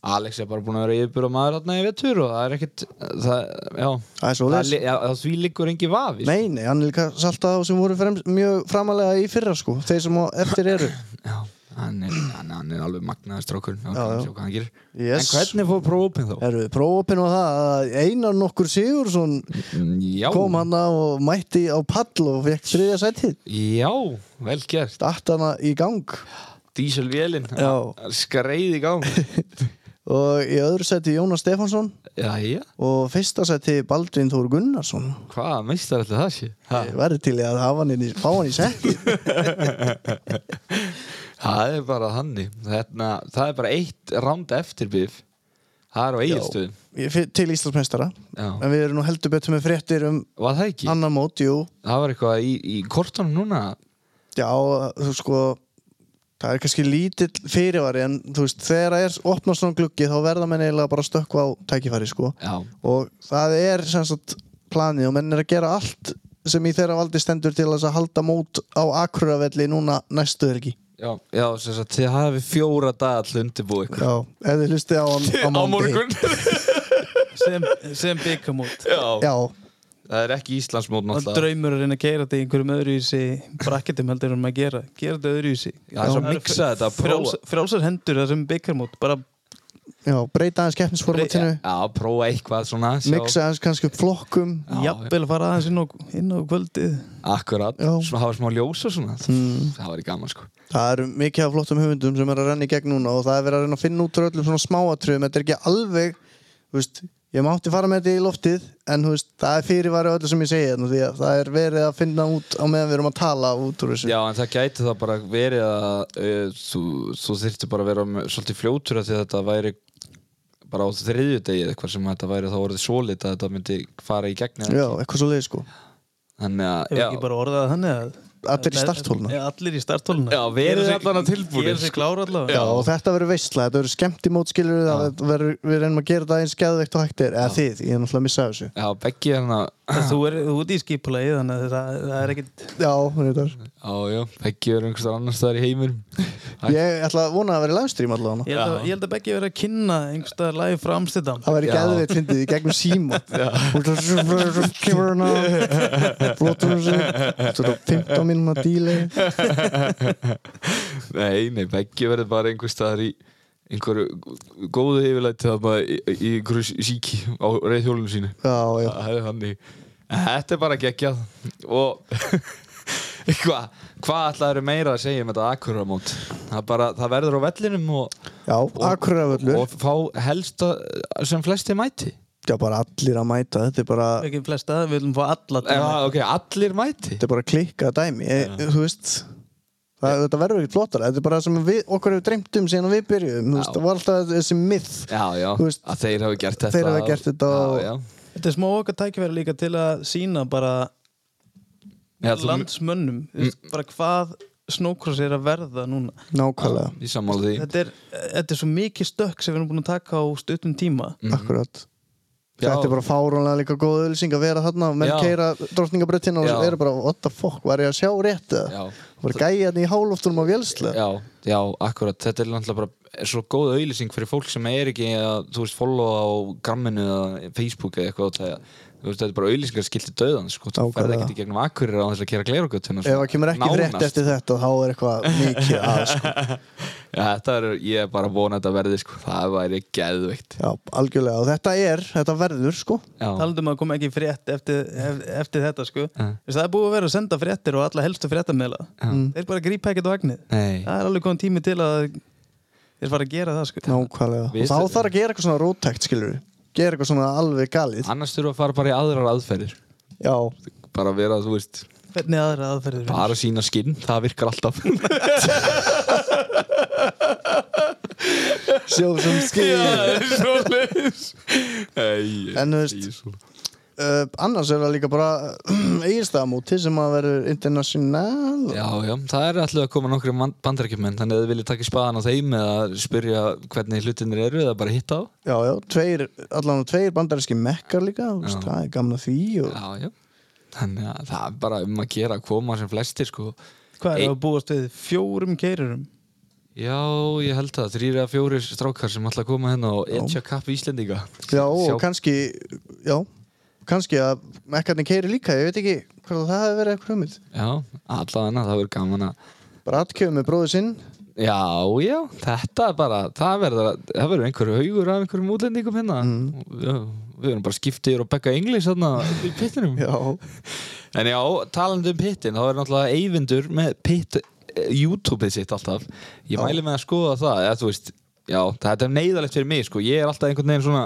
[SPEAKER 2] Alex er bara búin að vera yfirbúra maður þarna í vetur og það er ekkert það, já,
[SPEAKER 1] það er svo
[SPEAKER 2] það, li- já, það því liggur engi vafi sko.
[SPEAKER 1] Nei, nei, hann er líka saltað á sem voru frem, mjög framalega í fyrra sko, þeir sem á eftir eru
[SPEAKER 2] já, hann, er, hann, hann er alveg magnaður strókur já,
[SPEAKER 1] Já, já.
[SPEAKER 2] já. Hann gerir. en
[SPEAKER 1] yes.
[SPEAKER 2] hvernig fór prófopin þá?
[SPEAKER 1] Erum við prófopin á það að Einar nokkur Sigursson
[SPEAKER 2] Mm, já,
[SPEAKER 1] kom hana og mætti á pall og fekk þriðja sætið
[SPEAKER 2] já, vel gert
[SPEAKER 1] Datt hana í gang
[SPEAKER 2] Dieselvélin
[SPEAKER 1] Já.
[SPEAKER 2] skreið í gang
[SPEAKER 1] og í öðru sæti Jónas Stefánsson
[SPEAKER 2] Jæja,
[SPEAKER 1] og fyrsta sæti Baldvin Þór Gunnarsson
[SPEAKER 2] hvaða meistar ætli það sé? Ha,
[SPEAKER 1] Ég verði til í að hafa hann inn í, fá hann í sekki
[SPEAKER 2] það er bara hannig Þarna, Það er bara eitt ránd eftir bif Það er á eigilstöðum
[SPEAKER 1] til Íslandsmeistara
[SPEAKER 2] Já.
[SPEAKER 1] en við erum nú heldur betur með fréttir um
[SPEAKER 2] Var það ekki?
[SPEAKER 1] annar mót, jú
[SPEAKER 2] Það var eitthvað í, í kortunum núna
[SPEAKER 1] Já, þú sko það er kannski lítill fyrirvari en þú veist, þegar það er opnað svona gluggi þá verða menn eiginlega bara að stökkva á tækifæri sko.
[SPEAKER 2] Já,
[SPEAKER 1] og það er sem sagt planið og menn er að gera allt sem í þeirra valdi stendur til þess að halda mót á Akureyravelli núna næstu helgi
[SPEAKER 2] já, já sem sagt þið hafi fjóra dag allir undirbúið ykkur
[SPEAKER 1] Já, ef þið hlustið á hann á, mánudag.
[SPEAKER 3] sem, sem byggamót
[SPEAKER 2] já.
[SPEAKER 1] Já,
[SPEAKER 2] Það er ekki Íslandsmót
[SPEAKER 3] og
[SPEAKER 2] náttúrulega
[SPEAKER 3] draumur að reyna að keira þetta í einhverjum öðruvísi brakketum heldur um að gera gera þetta öðruvísi
[SPEAKER 2] Það er svo að mixa þetta, að prófa.
[SPEAKER 3] frjálsar, frjálsar hendur það sem byggamót bara
[SPEAKER 1] já, breyta aðeins keppnisformatinu
[SPEAKER 2] Já, prófa eitthvað svona sjá.
[SPEAKER 1] mixa aðeins kannski upp flokkum
[SPEAKER 2] Já,
[SPEAKER 3] jafnvel fara aðeins inn á, inn á kvöldið
[SPEAKER 2] Akkurat,
[SPEAKER 1] Já. Mm.
[SPEAKER 2] svona hafa smá ljós og svona Það var í gaman sko
[SPEAKER 1] Það eru mikið af flottum höfundum sem er að renna í gegn núna og það er verið að reyna að finna út úr öllum svona smáatröðum þetta er ekki alveg, þú veist ég mátti fara með þetta í loftið en þú veist, það er fyrirværi öllu sem ég segi hérna því að það er verið að finna út á meðan við erum að tala út úr þessu
[SPEAKER 2] Já, en það gæti það bara verið að uh, þú, þú þyrfti bara að vera með, svolítið fljótur af því að þetta væri bara á þriðju degi eða eitthvað sem þetta væri þá orðið svolít að þetta myndi fara í gegn eða-
[SPEAKER 1] Já, eitthvað svo leið sko
[SPEAKER 2] Þannig
[SPEAKER 3] ef
[SPEAKER 2] að,
[SPEAKER 3] ekki
[SPEAKER 2] já,
[SPEAKER 3] bara orðað það þannig að
[SPEAKER 1] Allir í startholuna.
[SPEAKER 3] Já, allir í starthóluna
[SPEAKER 2] Já, verið allan að tilbúnir,
[SPEAKER 3] Ég er þessi
[SPEAKER 2] sko.
[SPEAKER 3] klára allavega
[SPEAKER 1] Já, og þetta verður veistla, þetta verður skemmt í mótskilur það verður, við reynum að gera það eins geðveikt og hægt er eða þið, ég er náttúrulega að missa af þessu
[SPEAKER 2] já, beggi hérna. hann að
[SPEAKER 3] Þú er þú ert í skipulagi þannig að það, það er ekkit
[SPEAKER 1] Já, reyndar.
[SPEAKER 2] Já, já, beggi er einhverstaðar annars staðar í heimur
[SPEAKER 1] ég ætla að vona að vera í livestream allavega
[SPEAKER 3] Ég held að,
[SPEAKER 2] Já.
[SPEAKER 3] ég held að Beggi verið að kynna einhverstaðar lagi frá Amsterdam
[SPEAKER 1] Það væri
[SPEAKER 2] Já.
[SPEAKER 1] geðveitt fyndið í gegnum síma Kemur hann á Flotur hún sig Svo er það 15 mínúna díli
[SPEAKER 2] Nei, nei, beggi verið bara einhverstaðar í einhverju góðu yfirlæti þarna í, í einhverju síki á reyðhjólunum sínu
[SPEAKER 1] Já, já
[SPEAKER 2] Það er þannig En Þetta er bara geggjað og hvað hva ætlaður meira að segja um þetta akkuramót það, bara, það verður á vellinum og,
[SPEAKER 1] Já, akkuræðvöllur
[SPEAKER 2] og fá helst að, sem flesti mæti
[SPEAKER 1] Já, bara allir að mæta Þetta er bara,
[SPEAKER 3] ekki flesta, við viljum fá alla til
[SPEAKER 2] Eða, ok, allir mæti
[SPEAKER 1] þetta er bara klikkað dæmi ég, Þú veist það, Þetta verður ekkert flottar Þetta er bara sem við, okkur hefur dreymt um síðan við byrjuðum Þú veist,
[SPEAKER 2] Já.
[SPEAKER 1] það var alltaf þessi myth
[SPEAKER 2] Já, já,
[SPEAKER 1] Þú veist,
[SPEAKER 2] að þeir hafi gert þetta
[SPEAKER 1] þeir hafi gert þetta og-
[SPEAKER 2] Já, já
[SPEAKER 3] Þetta er smá okkar tækifæri líka til að sína bara
[SPEAKER 2] Já, þú- Mm.
[SPEAKER 3] landsmönnum þú veist, bara hvað snókross er að verða núna
[SPEAKER 1] Nákvæmlega,
[SPEAKER 2] Ég sammála því
[SPEAKER 3] þetta er, þetta er svo mikið stökk sem við erum búin að taka á stuttum tíma
[SPEAKER 1] akkurat
[SPEAKER 2] Mhm. Já.
[SPEAKER 1] Þetta er bara fáránlega líka góð ölsing að vera þarna og menn
[SPEAKER 2] Já.
[SPEAKER 1] keira drottningabröttin og
[SPEAKER 2] Já.
[SPEAKER 1] eru bara, what the fuck, var ég að sjá rétt eða?
[SPEAKER 2] Já,
[SPEAKER 1] Bara gæja hann í hálóftunum á vélslega
[SPEAKER 2] já, já, akkurat Þetta er náttúrulega bara svo góð auðlýsing fyrir fólk sem er ekki að, þú veist, followa á gramminu eða Facebook eða eitthvað og það- þú veist, þetta er bara auðlýsingarskilti döðan sko, þú ferð
[SPEAKER 1] Nákvæmlega.
[SPEAKER 2] ekkert í gegnum akkurir á þess að sko. gera glerugötuna
[SPEAKER 1] Ef það kemur ekki frétt eftir þetta þá er eitthvað mikið að sko.
[SPEAKER 2] Já, þetta er, ég er bara að vona að þetta verði sko, það væri geðveikt
[SPEAKER 1] Já, algjörlega og þetta er, þetta verður sko
[SPEAKER 2] Já,
[SPEAKER 3] talandum að koma ekki frétt eftir, ef- eftir þetta sko
[SPEAKER 2] Já.
[SPEAKER 3] Þess, það er búið að vera að senda fréttir og alla helstu fréttameila
[SPEAKER 2] Já.
[SPEAKER 3] þeir bara grípa ekkert á agnið
[SPEAKER 2] nei
[SPEAKER 3] það er alveg komið tími til að Þeir fara að gera það sko
[SPEAKER 1] Nákvæmlega
[SPEAKER 2] Við-
[SPEAKER 1] Og þá þarf að gera eitthvað svona róttækt skilur Gera eitthvað svona alveg galið
[SPEAKER 2] annars þurfa að fara bara í aðrar aðferðir
[SPEAKER 1] Já
[SPEAKER 2] bara að vera, þú veist,
[SPEAKER 3] Hvernig aðra aðferðir eru?
[SPEAKER 2] bara sína skinn það virkar alltaf
[SPEAKER 1] Sjóð sem skil
[SPEAKER 2] svo leis
[SPEAKER 1] En, þú veist, uh, Annars er það líka bara Egilstaðamóti sem að verður international
[SPEAKER 2] Já, já, það er alltaf að koma nokkri bandarækjumenn þannig að þið viljið taka í spaðan á þeim eða spyrja hvernig hlutinir eru eða bara hitta á
[SPEAKER 1] Já, já, tveir, allan tveir bandaríski mekkar líka, þú veist,
[SPEAKER 2] Já.
[SPEAKER 1] það er gamla því og
[SPEAKER 2] Já, já Þannig að það er bara um að gera að koma sem flestir sko
[SPEAKER 3] Hvað
[SPEAKER 2] Ein-
[SPEAKER 3] er að búast við? Fjórum keirurum?
[SPEAKER 2] Já, ég held það, þrýr eða fjórir strákar sem ætla að koma hérna og etja kapp í Íslendinga
[SPEAKER 1] Já, og
[SPEAKER 2] Sjá-
[SPEAKER 1] kannski, já, kannski að mekkarnir keiri líka, ég veit ekki hvað það hefur verið eitthvað hugmynd.
[SPEAKER 2] Já, allavega það verður gaman að
[SPEAKER 1] Bara atkjöfum með bróðu sinn,
[SPEAKER 2] Já, já, þetta er bara það verður, það verður einhver haugur af einhverjum útlendingum hérna
[SPEAKER 1] Mm.
[SPEAKER 2] já, Við erum bara skiptir og bekka englis hérna í pittinum
[SPEAKER 1] já,
[SPEAKER 2] En já, talandi um pittin, þá er náttúrulega Eyvindur með pitt eh, YouTube-ið sitt alltaf. Ég
[SPEAKER 1] Já.
[SPEAKER 2] mæli með að skoða það, eða þú veist, já, þetta er neyðalegt fyrir mig, sko. Ég er alltaf einhvern veginn svona,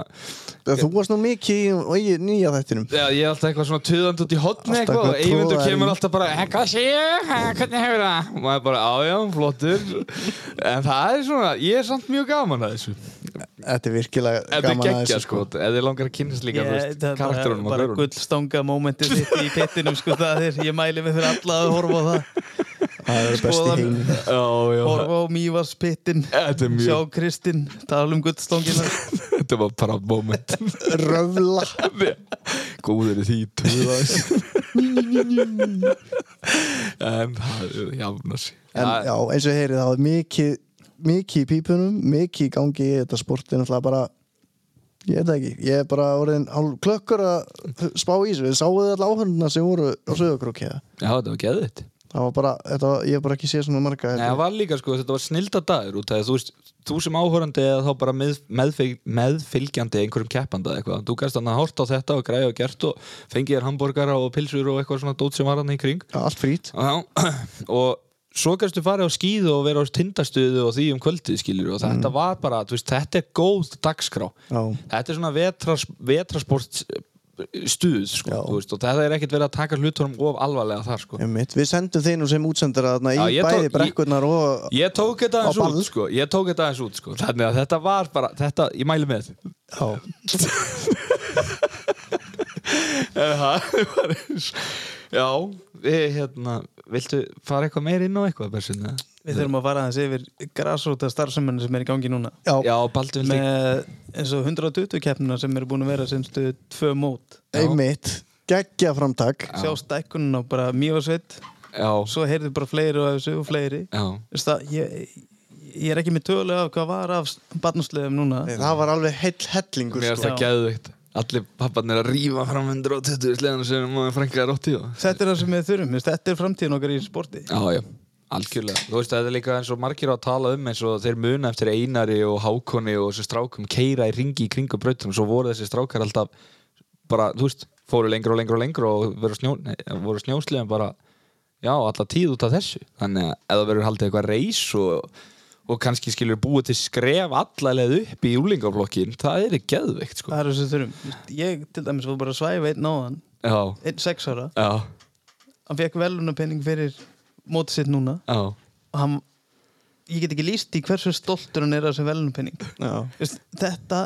[SPEAKER 1] okay. þú varst nú mikið í í nýja þættinum.
[SPEAKER 2] já, ég er alltaf eitthvað svona töðand út í hotni
[SPEAKER 1] Alltaf
[SPEAKER 2] eitthvað og
[SPEAKER 1] eitthvað
[SPEAKER 2] Eyvindur
[SPEAKER 1] togar í.
[SPEAKER 2] kemur alltaf bara, "Eh, hvað sé ég, Eh, hvernig hefur það? Og maður bara, já, já, flottur. en það er svona, ég er samt mjög gaman að þessu.
[SPEAKER 1] Þetta er virkilega
[SPEAKER 2] Ef þið
[SPEAKER 1] gaman
[SPEAKER 2] geggja, sko, ef þið langar að kynast líka, þú veist,
[SPEAKER 3] það er bara,
[SPEAKER 2] karakterunum og
[SPEAKER 3] bara
[SPEAKER 2] hverjum.
[SPEAKER 3] gullstanga mómentið þitt í pittinum sko það er, ég mæli mig fyrir alla að horfa á það
[SPEAKER 1] Það er besti
[SPEAKER 3] Skoðan-
[SPEAKER 1] heim.
[SPEAKER 2] Já, já,
[SPEAKER 3] horfa á Mívas pittin
[SPEAKER 2] þetta er
[SPEAKER 3] sjá
[SPEAKER 2] mjög,
[SPEAKER 3] Kristinn, tala um gullstangina
[SPEAKER 2] þetta var bara moment.
[SPEAKER 1] Röfla.
[SPEAKER 2] Góður í því töðans En það jafnar sig
[SPEAKER 1] En já, eins og heyrið, það var mikið, mikið í pípunum, mikið í gangi í þetta sportin, alltaf bara, ég veit það ekki, ég er bara orðin hálf klökkur að spá í þessu, við sáuðu alltaf áhörnuna sem voru á sögurkrókiða.
[SPEAKER 2] Já, þetta var geðvitt
[SPEAKER 1] Það var bara, þetta var, ég hef bara ekki séð svona marga
[SPEAKER 2] Nei, það var líka sko, þetta var snilda dagur út af því að þú veist, þú sem áhorandi eða þá bara með, meðfylg, meðfylgjandi einhverjum keppanda eða eitthvað, þú gæst hann að horta á þetta og græja og gert og fengið þér hambúrgara og pilsur og eitthvað svona dót sem var hann í kring
[SPEAKER 1] Já, Allt frýtt
[SPEAKER 2] Já, og svo kannstu farið á skíðu og vera á tindastuðu og því um kvöldið skilur og þetta var bara, þú veist, þetta er góð dagskrá
[SPEAKER 1] Mm. Já.
[SPEAKER 2] þetta er svona vetras, vetrasport stuð, sko,
[SPEAKER 1] Já.
[SPEAKER 2] þú veist, og þetta er ekkert verið að taka hlutunum of alvarlega þar, sko
[SPEAKER 1] Einmitt. Við sendum þeir nú sem útsendara þarna
[SPEAKER 2] Já,
[SPEAKER 1] í
[SPEAKER 2] ég tók-
[SPEAKER 1] bæði
[SPEAKER 2] ég-
[SPEAKER 1] brekkurnar og
[SPEAKER 2] Ég tók þetta
[SPEAKER 1] Á
[SPEAKER 2] aðeins út,
[SPEAKER 1] ball.
[SPEAKER 2] sko Ég tók þetta aðeins út, sko Þannig að þetta var bara, þetta, ég mæli með þetta
[SPEAKER 1] Já,
[SPEAKER 2] En það var eins Já, við, hérna, viltu fara eitthvað meir inn á eitthvað, Bersin? eða?
[SPEAKER 3] við þurfum að fara aðeins yfir grasróta starfsemenni sem er í gangi núna
[SPEAKER 1] já.
[SPEAKER 2] Já, Baldur vildi
[SPEAKER 3] með eins og 120 keppnuna sem eru búin að vera semstu tvö mót
[SPEAKER 1] einmitt Geggja framtak
[SPEAKER 3] sjá stækkunum á bara Mívasveit
[SPEAKER 2] Já,
[SPEAKER 3] svo heyrðu bara fleiri og þessu og fleiri
[SPEAKER 2] já
[SPEAKER 3] Veist það, ég, ég er ekki með tölu af hvað var af barnaslegum núna
[SPEAKER 1] Nei, Það var alveg heill hellingur
[SPEAKER 2] Mér finnst
[SPEAKER 1] sko.
[SPEAKER 2] það geðveikt Allir papparnir að rífa fram 120 sleðan sem maður frænkaði rótti og
[SPEAKER 3] Þetta er það sem við þurfum, veist, þetta er framtíðin okkar í sporti
[SPEAKER 2] Já, já, algjörlega Þú veist, þetta er líka eins og margir á að tala um eins og þeir muna eftir Einari og Hákoni og þessi strákum keira í ringi í kringum brautum svo voru þessi strákar alltaf bara, þú veist, fóru lengra og lengra og lengra og voru, snjó, nei, voru snjóslegum bara já, alla tíð út af þessu þannig að ef það verður haldið eitthvað reis og, og kannski skilur búið til skref allalegð upp í júlingaflokkin það er ekki geðveikt, sko
[SPEAKER 3] Það er það sem við þurfum Veist, Ég til dæmis var bara að svæfa einn áðan
[SPEAKER 2] Já,
[SPEAKER 3] einn sex ára,
[SPEAKER 2] já,
[SPEAKER 3] hann fekk velunarpenning fyrir mótið sitt núna
[SPEAKER 2] já
[SPEAKER 3] og hann, ég get ekki líst í hversu stoltur hann er af þessu velunarpenning
[SPEAKER 1] Já.
[SPEAKER 3] veist, Þetta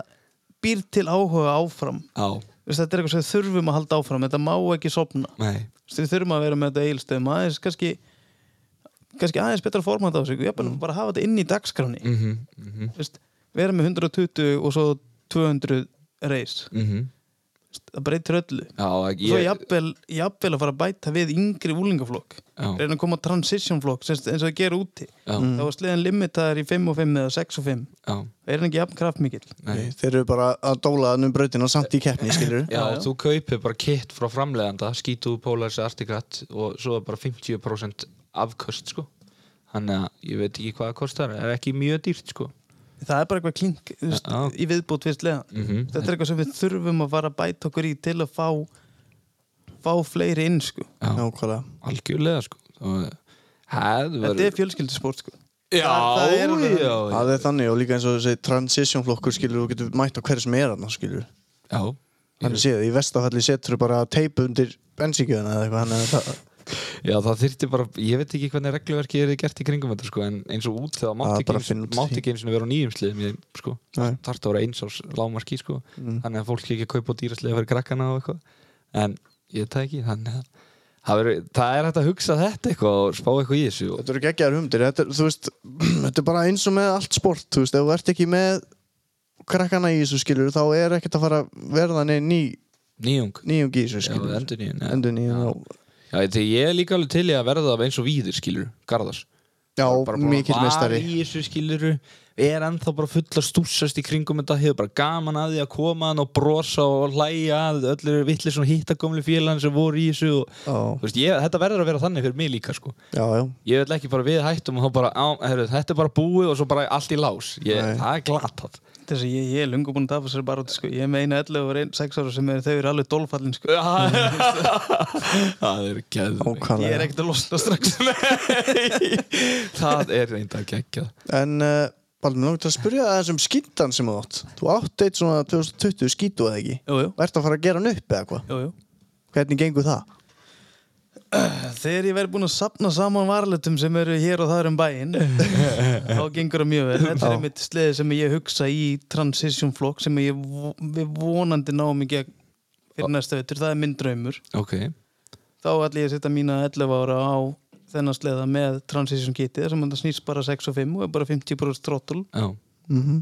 [SPEAKER 3] býr til áhuga áfram
[SPEAKER 2] Já,
[SPEAKER 3] veist, Þetta er eitthvað sem við þurfum að halda áfram þetta má ekki sopna
[SPEAKER 2] nei,
[SPEAKER 3] Veist, við þurfum að vera með þetta eigilstöðum aðeins kannski, kannski aðeins betra format á sig, ég
[SPEAKER 2] Mm.
[SPEAKER 3] bara, bara hafa þetta inn í dagskráni
[SPEAKER 2] mhm, mhm,
[SPEAKER 3] Veist, vera með 120 og svo 200 reis
[SPEAKER 2] mhm
[SPEAKER 3] Veist, það breytir öllu
[SPEAKER 2] Já,
[SPEAKER 3] Svo jafnvel, jafnvel að fara að bæta við yngri úlingaflokk
[SPEAKER 2] Já.
[SPEAKER 3] reyna að koma á transition flokk sem, eins og það gera úti
[SPEAKER 2] Já.
[SPEAKER 3] þá var sleðan limitaðar í 5 og 5 eða 6 og 5
[SPEAKER 2] já
[SPEAKER 3] það er hann ekki jafn kraftmikill
[SPEAKER 1] Nei, Þeir eru bara að dóla hann um brautina samt í keppni skilur
[SPEAKER 2] Já,
[SPEAKER 3] Já, já.
[SPEAKER 2] þú kaupir bara kit frá framleganda skítu, polaris, artikat og svo er bara 50% afköst sko. þannig að ég veit ekki hvað það kostar það er ekki mjög dýrt sko.
[SPEAKER 3] það er bara eitthvað klink þú veist,
[SPEAKER 2] Já.
[SPEAKER 3] í viðbót við sleðan
[SPEAKER 2] Mhm.
[SPEAKER 3] þetta er eitthvað sem við þurfum að fara að bæta okkur í til að fá fá fleiri inn sko.
[SPEAKER 1] Nákvæmlega
[SPEAKER 2] algjörlega sko. og, hef,
[SPEAKER 3] þetta er fjölskyldusport sko.
[SPEAKER 2] Já,
[SPEAKER 3] Það- það er alveg-
[SPEAKER 2] já, já.
[SPEAKER 1] það er þannig og líka eins og þessi transition flokkur skilur þú getur mætt á hverju sem er hann skilur
[SPEAKER 2] Já,
[SPEAKER 1] þannig séð í vestafalli setur þú bara teipu undir bensíkjöðuna eða eitthvað þannig að það-
[SPEAKER 2] já, það þyrfti bara, ég veit ekki hvernig regluverki er gert í kringum þetta sko, en eins og út þegar
[SPEAKER 1] Það er
[SPEAKER 2] mátti
[SPEAKER 1] bara
[SPEAKER 2] ekki,
[SPEAKER 1] að finna
[SPEAKER 2] einu-
[SPEAKER 1] út í
[SPEAKER 2] mátti
[SPEAKER 1] því.
[SPEAKER 2] ekki eins og vera á nýjum sliðum í þeim, sko,
[SPEAKER 1] Nei.
[SPEAKER 2] þarf það að vera eins ás lámarki sko,
[SPEAKER 1] Mm.
[SPEAKER 2] þannig að fólk ekki kaupa á dýrasliði fyrir krakkana og eitthvað, en ég það ekki, þannig að það, veru, það er hægt að hugsa þetta eitthvað og spá eitthvað í þessu og,
[SPEAKER 1] þetta eru geggjaðar humdir þetta, er, þú veist, þetta er bara eins og með allt sport þú veist, ef þú ert ekki með krakkana í þessu skilur þá er ekkert að fara að verða neinn ný,
[SPEAKER 2] nýjung,
[SPEAKER 1] nýjung í þessu
[SPEAKER 2] já,
[SPEAKER 1] skilur
[SPEAKER 2] endur nýjung
[SPEAKER 1] endur nýjum já,
[SPEAKER 2] Já, ég, ég er líka alveg til í að verða af eins og víðir, skilur, Garðars
[SPEAKER 1] já
[SPEAKER 2] Bara búin að
[SPEAKER 1] mikill
[SPEAKER 2] vara
[SPEAKER 1] mestari
[SPEAKER 2] í þessu skilur, er ennþá bara full að stúsast í kringum þetta, hefur bara gaman að því að koma hann og brosa og hlæja að öllu vittli svona hittakomli félagann sem voru í þessu og,
[SPEAKER 1] já,
[SPEAKER 2] þú veist, ég, þetta verður að vera þannig fyrir mig líka, sko
[SPEAKER 1] já, já,
[SPEAKER 2] ég vil ekki bara við hættum og þá bara, á, heru, þetta er bara búið og svo bara allt í lás ég,
[SPEAKER 1] Nei.
[SPEAKER 2] það er glatað
[SPEAKER 3] Þess að ég, ég er lungu búin að tapa sér bara út, sko. Ég er með eina 11 og 6 ára sem er, þau eru alveg dolfallin, sko.
[SPEAKER 2] það er geðveikt.
[SPEAKER 3] Ég er
[SPEAKER 1] ákvæmlega
[SPEAKER 3] ekkert að losna strax.
[SPEAKER 2] það er reynda geggjað
[SPEAKER 1] en uh, Baldur, mér langt að spyrja það þessum skýndan sem þú átt þú átt eitt svona 2020 skýtu eða ekki
[SPEAKER 3] Jú, jú,
[SPEAKER 1] og ert að fara að gera hann upp eða hvað
[SPEAKER 3] jú, jú.
[SPEAKER 1] hvernig gengur það?
[SPEAKER 3] Þegar ég verði búin að sapna saman varletum sem eru hér og það er um bæinn þá gengur það mjög vel Þetta er
[SPEAKER 1] Já.
[SPEAKER 3] einmitt sleði sem ég hugsa í transition flokk sem ég vo- við vonandi náum í gegn fyrir næsta vettur, það er minn draumur
[SPEAKER 2] ok,
[SPEAKER 3] þá ætla ég að setja mína 11 ára á þennan sleða með transition kitið sem það snýst bara 6 og 5 og er bara 50% throttle
[SPEAKER 2] já,
[SPEAKER 1] Mm -hmm.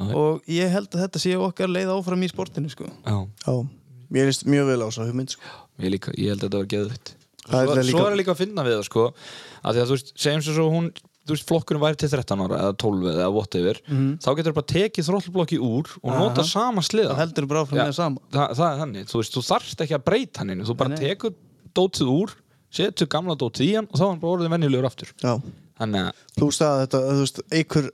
[SPEAKER 2] Já.
[SPEAKER 3] og ég held að þetta sé okkar leið áfram í sportinu sko.
[SPEAKER 2] já
[SPEAKER 1] Já, mér líst mjög vel á þessu hugmynd sko.
[SPEAKER 2] Ég, líka, ég held að þetta var geðvitt
[SPEAKER 1] Það er
[SPEAKER 2] svo,
[SPEAKER 1] það líka-
[SPEAKER 2] svo er líka að finna við það sko að því að þú veist, segjum sem svo hún þú veist, flokkurinn væri til 13 ára eða 12 eða whatever,
[SPEAKER 1] Mhm.
[SPEAKER 2] þá getur bara tekið þróttlublokki úr og nota sama
[SPEAKER 3] þá
[SPEAKER 2] sliða
[SPEAKER 3] heldur bara áfram
[SPEAKER 2] Já.
[SPEAKER 3] með það sama
[SPEAKER 2] Þa, það er þannig, þú veist, þú þarft ekki að breyta hann þú bara
[SPEAKER 3] Nei, nei.
[SPEAKER 2] tekur dótið úr setur gamla dótið í hann og þá er hann bara orðið venjulegur aftur
[SPEAKER 1] Já,
[SPEAKER 2] þannig að,
[SPEAKER 1] þú veist að þetta þú veist, einhver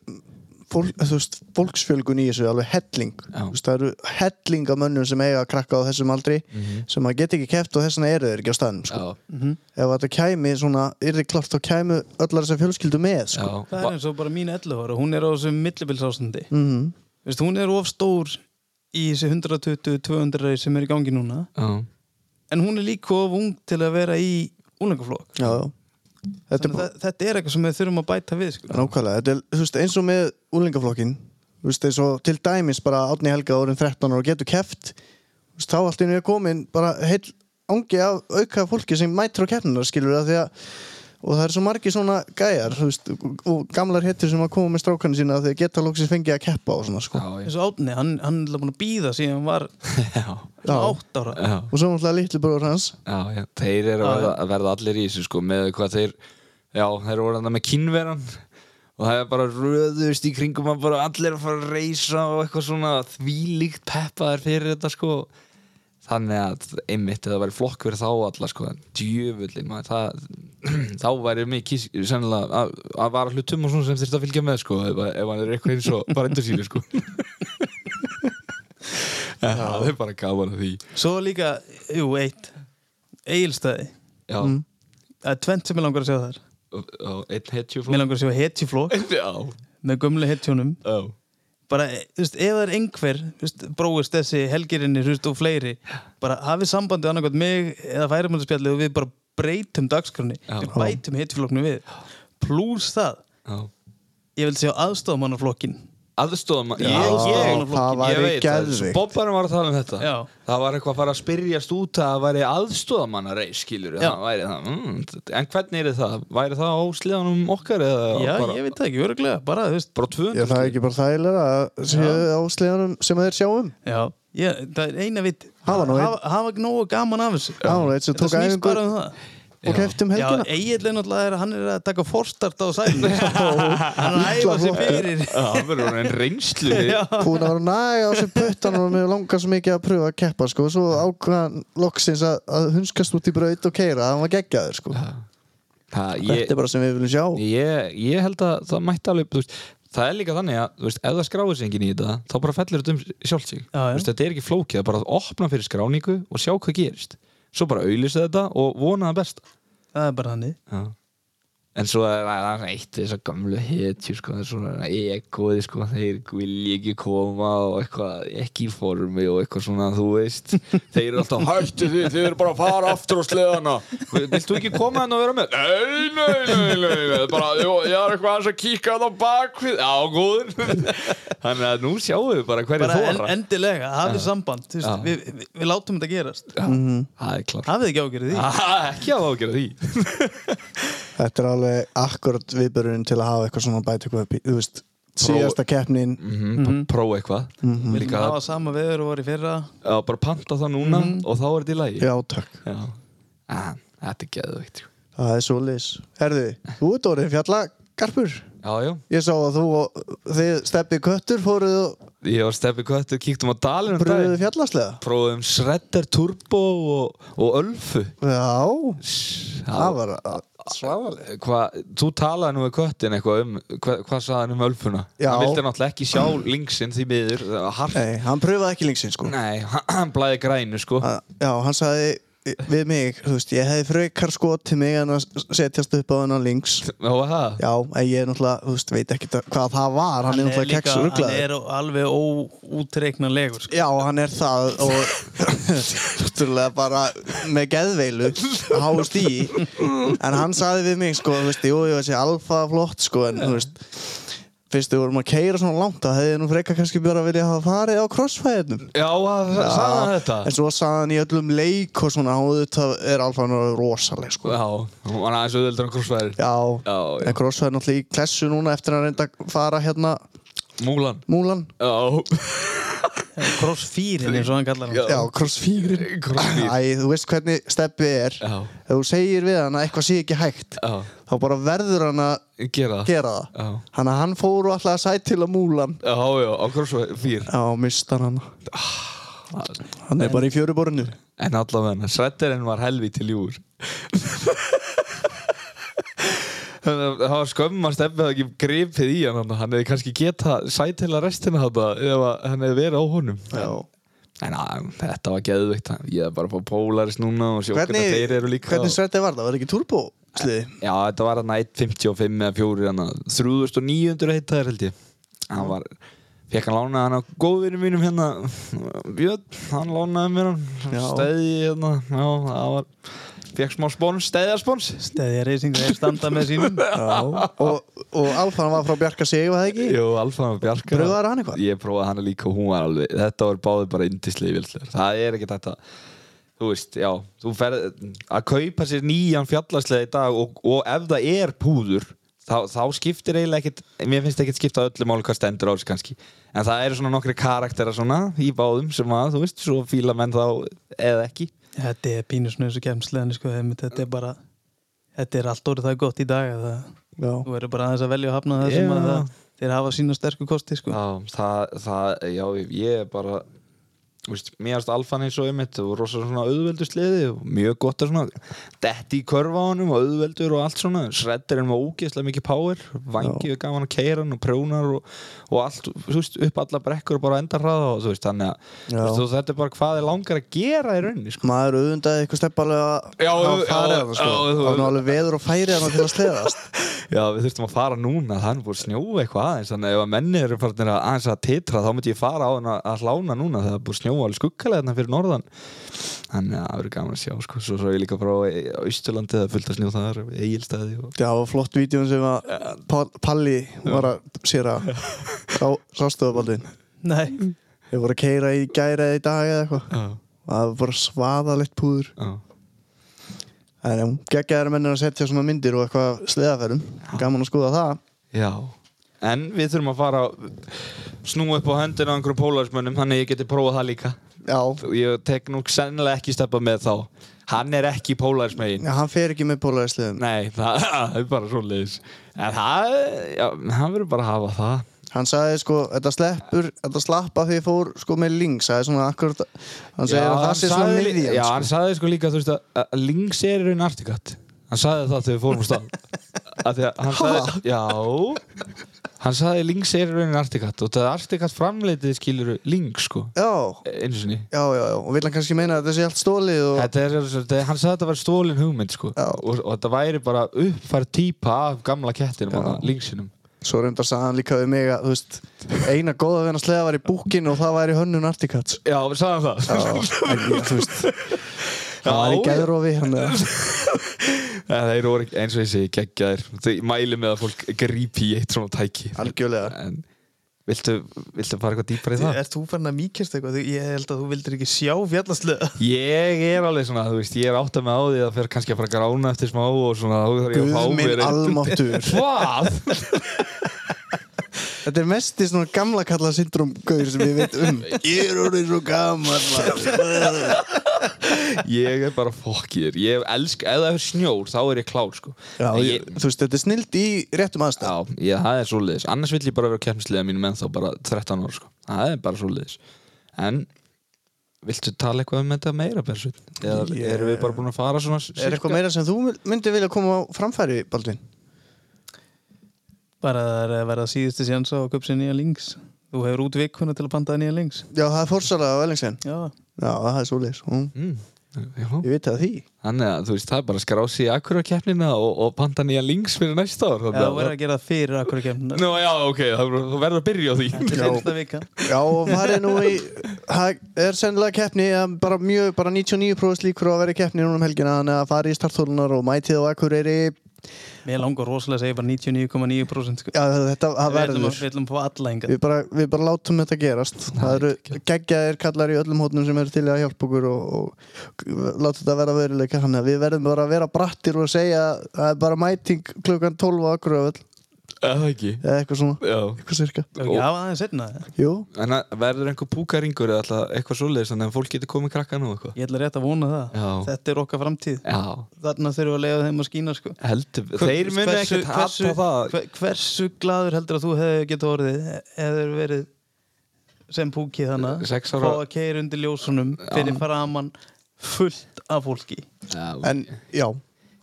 [SPEAKER 1] fólk, þú veist, fólksfjölgun í þessu er alveg helling
[SPEAKER 2] Já.
[SPEAKER 1] Þú veist, það eru helling af mönnum sem eiga að krakka á þessum aldri sem að geta ekki keft og þess vegna eru þeir ekki á staðnum sko.
[SPEAKER 2] já,
[SPEAKER 1] ef þetta kæmi svona, er þið klart þá kæmu öllar þessar fjölskyldu með sko.
[SPEAKER 2] já
[SPEAKER 3] það er eins og bara mín 11 ára, hún er á þessum millibilsástandi
[SPEAKER 1] mm
[SPEAKER 3] Veist, hún er of stór í þessi 120-200 reis sem er í gangi núna
[SPEAKER 2] já,
[SPEAKER 3] en hún er líka of ung til að vera í úlengaflokk
[SPEAKER 1] já, já. Þetta er bara-
[SPEAKER 3] þetta, þetta er eitthvað sem við þurfum að bæta við sko.
[SPEAKER 1] Nákvæmlega, þetta er þú veist, eins og með úlingaflokkin veist, eins og til dæmis bara Átni Helga orðin 13 ára og getur keft þú veist, þá allt innu er komin bara heil angi af auka fólki sem mætir á keppnuna skilur það því að og það er svo margi svona gæjar þú veist, og gamlar hettur sem að koma með strákanu sína þegar geta loksins fengið að keppa og svona sko.
[SPEAKER 2] já, já,
[SPEAKER 3] eins og átni, hann, hann er búin að býða síðan hann var
[SPEAKER 2] já,
[SPEAKER 1] Já.
[SPEAKER 3] átt ára
[SPEAKER 2] já.
[SPEAKER 1] og svo náttúrulega litli bróður hans
[SPEAKER 2] Já, já, þeir eru að,
[SPEAKER 3] Já, já.
[SPEAKER 2] að verða allir í þessu sko með hvað þeir, já, þeir voru hann með kynveran og það er bara röðust í kringum að bara allir að fara að reysa og eitthvað svona þvílíkt peppaðar fyrir þetta sko þannig að einmitt eða væri flokk fyrir þá alla sko, en djöfullin maður, það, þá væri mikið sennilega að, að vara hlutum og svona sem þurfti að fylgja með sko ef, ef hann er eitthvað eins og bara endur sílu sko Já, það er bara gaman að því
[SPEAKER 3] svo líka, jú, eitt eigilstæði,
[SPEAKER 2] Já,
[SPEAKER 1] Mm.
[SPEAKER 3] það er tvent sem ég langar að sjá þar
[SPEAKER 2] og, og einn hetjuflokk
[SPEAKER 3] mér langar að sjá hetjuflokk
[SPEAKER 2] Já,
[SPEAKER 3] með gömlu hetjunum
[SPEAKER 2] já,
[SPEAKER 3] bara, eh, þú veist, ef það er einhver þú veist, bróist þessi helgirinni, þú veist, og fleiri bara hafið sambandið annarkvæmt mig eða færamöndspjallið og við bara breytum dagskrunni,
[SPEAKER 2] Já.
[SPEAKER 3] við bætum hittiflokknu við plús það,
[SPEAKER 2] já.
[SPEAKER 3] ég vil sjá aðstofamannaflokkin
[SPEAKER 2] Aðstofum, ég,
[SPEAKER 1] Já,
[SPEAKER 2] ég,
[SPEAKER 1] það
[SPEAKER 2] ég
[SPEAKER 1] væri
[SPEAKER 2] veit það,
[SPEAKER 1] geðveikt.
[SPEAKER 2] Bobbarum var að tala um þetta
[SPEAKER 3] Já.
[SPEAKER 2] Það var eitthvað að fara að spyrjast út að það væri aðstofamanna reis, skilur
[SPEAKER 3] Já.
[SPEAKER 2] það væri það, mm, En hvernig er það? Væri það á sliðanum okkar? Eða,
[SPEAKER 3] já,
[SPEAKER 2] bara,
[SPEAKER 3] ég veit það ekki, öruglega, bara, þú veist
[SPEAKER 2] Bara 200
[SPEAKER 1] Já, það er ekki bara þægilega að séu á sleðanum sem þeir um sjáum
[SPEAKER 3] já, ég, það er eina vitt
[SPEAKER 1] Hafa nú einn.
[SPEAKER 3] hafa, hafa ekki nógu gaman af þessu
[SPEAKER 1] Já, hún veit, sem
[SPEAKER 3] þetta
[SPEAKER 1] tók
[SPEAKER 3] snýst
[SPEAKER 1] æfingu
[SPEAKER 3] bara um það
[SPEAKER 1] og keftum
[SPEAKER 3] Já,
[SPEAKER 1] helgina
[SPEAKER 3] eiginlega náttúrulega er að hann er að taka forstart á sælinu Hann er að æfa sig fyrir
[SPEAKER 2] Já, það verður hún en reynslu
[SPEAKER 3] Já,
[SPEAKER 1] búin að vera næg á sem puttan og mér langar svo mikið að pröfa að keppa sko, og svo ákvæðan loksins að, að hunskast út í braut og keira hann var geggjaður sko.
[SPEAKER 2] Það, ég,
[SPEAKER 1] þetta er bara sem við viljum sjá
[SPEAKER 2] ég, ég held að það mætti alveg þú veist, það er líka þannig að þú veist, ef það skráður sig enginn í þetta þá bara fellur þetta um sjálf sig
[SPEAKER 3] Já, já.
[SPEAKER 2] Þú veist, þetta er ekki flókið, það er bara að opna fyrir skráningu og sjá hvað gerist svo bara auðlýsa þetta og vona það besta
[SPEAKER 3] það er bara hannig
[SPEAKER 2] já. en svo er það er svona eitt þessar gamlu hetjur sko, það er svona ekoði sko, þeir vilja ekki koma og eitthvað ekki í formi og eitthvað svona þú veist, þeir eru alltaf hættu því, þeir eru bara að fara aftur á sleðana vilt þú ekki koma henn og vera með? Nei, nei, nei, nei, nei bara, jú, ég er eitthvað aðeins að kíka hann á bakvið, á góður þannig að nú sjáum við bara hverju
[SPEAKER 3] bara en,
[SPEAKER 2] þóra
[SPEAKER 3] endilega, hafið samband þú
[SPEAKER 2] Já.
[SPEAKER 3] veist, við, við, við látum þetta gerast
[SPEAKER 2] það er klart
[SPEAKER 3] hafið ekki ágjörði því
[SPEAKER 2] Ah, ekki á ágjöra því
[SPEAKER 1] Þetta er alveg akkurat viðbörun til að hafa eitthvað svona að bæta eitthvað upp í Þú veist, síðasta keppnin
[SPEAKER 2] mm prófa eitthvað
[SPEAKER 3] við
[SPEAKER 2] Líka
[SPEAKER 3] viljum
[SPEAKER 2] það-
[SPEAKER 3] hafa sama veður og var í fyrra
[SPEAKER 2] Já, bara panta það núna og þá er þetta í lagi
[SPEAKER 1] Já, takk
[SPEAKER 2] Mhm. Já. En, þetta er geðveikt sko. jú.
[SPEAKER 1] Það er svo lis Herðu, þú ert orðin fjallagarpur
[SPEAKER 2] Já, já,
[SPEAKER 1] Ég sá að þú og þið steppi köttur fóruð og
[SPEAKER 2] ég var steppi köttu, kíktum á dalinn um
[SPEAKER 1] bröðuð
[SPEAKER 2] daginn
[SPEAKER 1] fjallaslega
[SPEAKER 2] Prófum Shredder Turbo og, og Ölfu
[SPEAKER 1] Já, það
[SPEAKER 2] Hvað,
[SPEAKER 1] var svafalega
[SPEAKER 2] þú talaði nú við köttin eitthvað um, hvað, hvað sagði hann um Ölfuna?
[SPEAKER 1] Já.
[SPEAKER 2] Hann vildi náttúrulega ekki sjá linksinn því miður, það var hart
[SPEAKER 1] Nei, hann pröfaði ekki linksinn sko
[SPEAKER 2] Nei, hann blæði grænu sko
[SPEAKER 1] að, Já, hann sagði við mig, þú veist, ég hefði frekar skotið mig en að setjast upp á hennar links
[SPEAKER 2] Það var það
[SPEAKER 1] Já, en ég er náttúrulega, þú veist, veit ekki hvað það var, hann, er náttúrulega
[SPEAKER 3] líka-
[SPEAKER 1] keks og
[SPEAKER 3] hann
[SPEAKER 1] rugglaður
[SPEAKER 3] er alveg óútreiknanlegur sko.
[SPEAKER 1] Já, hann er það og náttúrulega bara með geðveilu hást í en hann sagði við mig, sko, þú veist, jú, ég veist, alfa flott, sko, en þú veist fyrst við vorum að keira svona langt þá hefði ég nú frekar kannski bara vilja hafa farið á crossfæðinum
[SPEAKER 2] Já, það
[SPEAKER 1] Já,
[SPEAKER 2] sagði hann þetta
[SPEAKER 1] En svo sagði hann í öllum leik og svona hún auðvitað er alfa hann rosaleg sko.
[SPEAKER 2] Já, hann var aðeins auðveldur en krossfæðir
[SPEAKER 1] Já,
[SPEAKER 2] Já, já.
[SPEAKER 1] en Kross er náttúrulega í klessu núna eftir að hann reynda að fara hérna
[SPEAKER 2] Múlan
[SPEAKER 1] Múlan
[SPEAKER 2] Já,
[SPEAKER 3] crossfýrin eins og hann kallar hann
[SPEAKER 1] Já, Kross fígrin
[SPEAKER 2] Krossfýr.
[SPEAKER 1] Æ, þú veist hvernig steppi er
[SPEAKER 2] Já.
[SPEAKER 1] Ef þú segir við hann að eitthvað sé ekki hægt
[SPEAKER 2] Já.
[SPEAKER 1] þá bara verður hann að
[SPEAKER 2] gera það
[SPEAKER 1] gera það
[SPEAKER 2] Já.
[SPEAKER 1] Þannig að hann fór og alltaf að sæt til að Múlan
[SPEAKER 2] Já, já, á crossfire
[SPEAKER 1] Já, mistar hann
[SPEAKER 2] Ah,
[SPEAKER 1] Hann er bara í fjöruborinu
[SPEAKER 2] En allavega, Shredderinn var helvíti ljúur Það það var skömm að stefni að ekki gripið í hann þarna. Hann hefði kannski geta sætila restina þetta ef að hann hefði verið á honum
[SPEAKER 1] Já.
[SPEAKER 2] En að, þetta var geðveikt Ég hefði bara fór Polaris núna og sjókvæmt að
[SPEAKER 1] Hvernig,
[SPEAKER 2] þeir eru líka
[SPEAKER 1] hvernig
[SPEAKER 2] og...
[SPEAKER 1] svetti var það? Var ekki turbo sliði?
[SPEAKER 2] Já, þetta var hann 1.55 eða hérna. 4 hann 3900 heitaðir held ég Hann var Fekk hann lánaði hann á góðvinni mínum hérna Björn, hann lánaði mér hann
[SPEAKER 1] Já.
[SPEAKER 2] Stæði hérna Já, það var Fekk smá spóns, stæðarspóns
[SPEAKER 3] Steðja Racing, þeir standa með sínum
[SPEAKER 1] og, og Alfan var frá Bjarka Sigur, var það ekki?
[SPEAKER 2] Jú, Alfan og Bjarkar
[SPEAKER 1] Pröfaðir hann eitthvað?
[SPEAKER 2] Ég prófaði hann líka og hún var alveg Þetta var báði bara indislega vildur Það er ekki þetta Þú veist, já Þú ferð að kaupa sér nýjan fjallarslega í dag og, og ef það er púður þá, þá skiptir eiginlega ekkit Mér finnst ekkit skipta öllu máli hvað stendur á þessu kannski En það eru svona nokkri karakterar svona í báðum sem að, þú veist, svo fíla menn þá eða ekki
[SPEAKER 3] Þetta er pínusnöðs og kemsleðan sko, einmitt, þetta er bara þetta er allt orðið það gott í dag að það,
[SPEAKER 1] Já.
[SPEAKER 3] þú verður bara aðeins að velja að hafna það sem
[SPEAKER 2] Já.
[SPEAKER 3] að það, þeir hafa sína sterku kosti sko.
[SPEAKER 2] Já, það, það, já, ég er bara þú veist, mér erst alfan eins og einmitt og rosa svona auðveldu sliði og mjög gott að svona detti í körfa á honum og auðveldur og allt svona shredderinn var ógeðslega mikið power vangið er gaman að keira hann og prjónar og, og allt, þú veist, upp alla brekkur og bara enda hraða og þú veist, þannig að
[SPEAKER 1] Já.
[SPEAKER 2] þú veist, þú- þetta er bara hvað er langar að gera í rauninni, sko
[SPEAKER 1] Maður auðvitaði eitthvað steppalega
[SPEAKER 2] Já,
[SPEAKER 1] að
[SPEAKER 2] já,
[SPEAKER 1] fara eða sko.
[SPEAKER 2] já, þú-
[SPEAKER 1] Það var nú alveg veður og færi eða til að sleðast.
[SPEAKER 2] Já, við þurftum að fara núna, það er búið að snjóa eitthvað aðeins þannig að ef að menni eru farinir að aðeins að titra þá myndi ég fara á hann að hlána núna það er búið að snjóa alveg skuggalega hérna fyrir norðan þannig að það verður gaman að sjá sko. svo svo ég líka frá Ístulandi það er fullt að snjó þar, eigilstæði og...
[SPEAKER 1] Já, það var flott vídjón sem að Pall- Palli var að sér að sá, sástu það baldvin.
[SPEAKER 3] Nei,
[SPEAKER 1] Ég voru að keira í gæra eða í dag eða eitthvað.
[SPEAKER 2] Já,
[SPEAKER 1] Það var bara svaðalegt púður. um,
[SPEAKER 2] já,
[SPEAKER 1] En já, geggjaðar mennir að setja svona myndir og eitthvað sleðaferðum. Gaman að skoða það.
[SPEAKER 2] já En við þurfum að fara að snúa upp á höndina á einhverjum pólarismönnum þannig að ég geti prófað það líka
[SPEAKER 1] Já,
[SPEAKER 2] Ég tek nú sennilega ekki steppa með þá Hann er ekki pólarismegin
[SPEAKER 1] já hann fer ekki með pólæri sleðum.
[SPEAKER 2] Nei, það, það er bara svo leiðis En það, já, hann verður bara að hafa það
[SPEAKER 1] Hann sagði sko, þetta sleppur, þetta slapp að því ég fór sko með links, það er svona akkurat, hann segir að það sé svona
[SPEAKER 2] sagði lí-
[SPEAKER 1] miðjan
[SPEAKER 2] Já,
[SPEAKER 1] sko.
[SPEAKER 2] hann sagði sko líka, þú veist að, að Lynx er í raun artikat Hann sagði það þegar við fórum á stað Af því að hann sagði, já hann sagði Lynx er í rauninni Articat og það Articat framleitið skilur Lynx sko,
[SPEAKER 1] já,
[SPEAKER 2] einu sinni
[SPEAKER 1] já, já, já. og vil hann kannski meina að þessi allt stólið og...
[SPEAKER 2] Þetta er, þetta, hann sagði að þetta var stólin hugmynd sko.
[SPEAKER 1] Já.
[SPEAKER 2] og, og þetta væri bara uppfært típa af gamla kettinum, hana, Lynxinum
[SPEAKER 1] svo reyndar sagði hann líka við mig að þú veist, eina góða við hann sleða var í búkinu og það væri hönnun Artikats
[SPEAKER 2] Já, við sagðum
[SPEAKER 1] já,
[SPEAKER 2] það
[SPEAKER 1] en ég, þú veist það var í
[SPEAKER 2] Já,
[SPEAKER 1] geðrofi hann að
[SPEAKER 2] Ja, þeir voru ekki- eins og ég segi geggjaðir Þau mæli með að fólk grípi í eitt svona tæki
[SPEAKER 1] algjörlega
[SPEAKER 2] En viltu, viltu fara eitthvað dýpar í það?
[SPEAKER 3] Ert þú farin að mýkjast eitthvað? Þú- Ég held að þú vildir ekki sjá fjallaslega
[SPEAKER 2] Ég er alveg svona, þú veist, ég er átt að með á því að fyrir kannski að fara að grána eftir smá og svona þá þarf ég að
[SPEAKER 1] Guð
[SPEAKER 2] fá
[SPEAKER 1] minn
[SPEAKER 2] mér einn-
[SPEAKER 1] almáttur
[SPEAKER 2] Hvað?
[SPEAKER 1] Þetta er mest í svona gamla kalla syndromgauður sem ég veit um Ég er orðið svo gammal
[SPEAKER 2] Ég er bara fokkir, ég elsk, ef það er snjór þá er ég klár sko
[SPEAKER 1] Já,
[SPEAKER 2] En
[SPEAKER 1] ég, þú veist, þetta er snild í réttum aðstæð
[SPEAKER 2] Já, ég, það er svoleiðis Annars vill ég bara vera keppnislega mínum en þá bara 13 ára sko. Það er bara svoleiðis En Viltu tala eitthvað um þetta meira, Bersveit? Eða
[SPEAKER 1] Ég-
[SPEAKER 2] erum við bara búin að fara svona
[SPEAKER 1] Er eitthvað meira sem þú myndir vilja koma á framfæri, Baldvin?
[SPEAKER 3] Bara það er að verða síðusti sjansa og köpsi nýja links Þú hefur út vikuna til að pantaða nýja links
[SPEAKER 1] Já, það er fórsala á Ellingsen
[SPEAKER 3] Já,
[SPEAKER 1] Já, það er svoleiðis mm.
[SPEAKER 2] Mm, já.
[SPEAKER 1] Ég veit það því
[SPEAKER 2] Þannig að þú veist, það er bara að skrási í akkur á keppnina og, og panta nýja links fyrir næsta ár
[SPEAKER 3] Já, þú verður að gera það fyrir akkur kemna
[SPEAKER 2] Nú, já, ok, það er- þú verður að byrja á því
[SPEAKER 3] Þetta er
[SPEAKER 1] Já.
[SPEAKER 3] fyrsta vika
[SPEAKER 1] Já, og það er nú í Það er sennilega keppni að bara mjög, bara 99% líkur á að vera í keppni núna um helgina Þannig að fara í starthólunar og mætið á Akureyri Já,
[SPEAKER 3] Mér langar rosalega að segja bara 99,9% sko.
[SPEAKER 1] þetta það
[SPEAKER 3] Við ætlum
[SPEAKER 1] verður
[SPEAKER 3] að- við ætlum að fá alla hingað
[SPEAKER 1] við bara, við bara látum þetta gerast það eru geggjaðir kallar í öllum hótnum sem eru til að hjálpa okkur og, og láta þetta vera veruleika hann við verðum bara að vera brattir og segja að það er bara mæting klukkan 12 á Akureyri
[SPEAKER 2] Það ekki
[SPEAKER 1] eða eitthvað svona,
[SPEAKER 2] Já
[SPEAKER 1] eitthvað cirka
[SPEAKER 3] Ef ekki hafa aðeins setna
[SPEAKER 1] Jú,
[SPEAKER 2] En að- verður einhver púkaringur eða alltaf eitthvað svoleiðis Þannig að fólk getur komið krakkan og eitthvað
[SPEAKER 3] Ég ætla rétt að vona það
[SPEAKER 2] Já.
[SPEAKER 3] Þetta er okkar framtíð
[SPEAKER 2] Já,
[SPEAKER 3] Þarna þurfum við að leiða þeim að skína sko.
[SPEAKER 2] heldur
[SPEAKER 3] Hver-
[SPEAKER 2] Þeir munu
[SPEAKER 3] hversu-
[SPEAKER 2] ekkert hata
[SPEAKER 3] hversu-
[SPEAKER 2] það
[SPEAKER 3] hver- Hversu gladur heldur að þú hefði getað orðið hefur verið sem púki þannig
[SPEAKER 2] Sex
[SPEAKER 3] fá
[SPEAKER 2] ára-
[SPEAKER 3] að keira undir ljósunum fyrir framann fullt af fólki
[SPEAKER 2] Já,
[SPEAKER 1] en já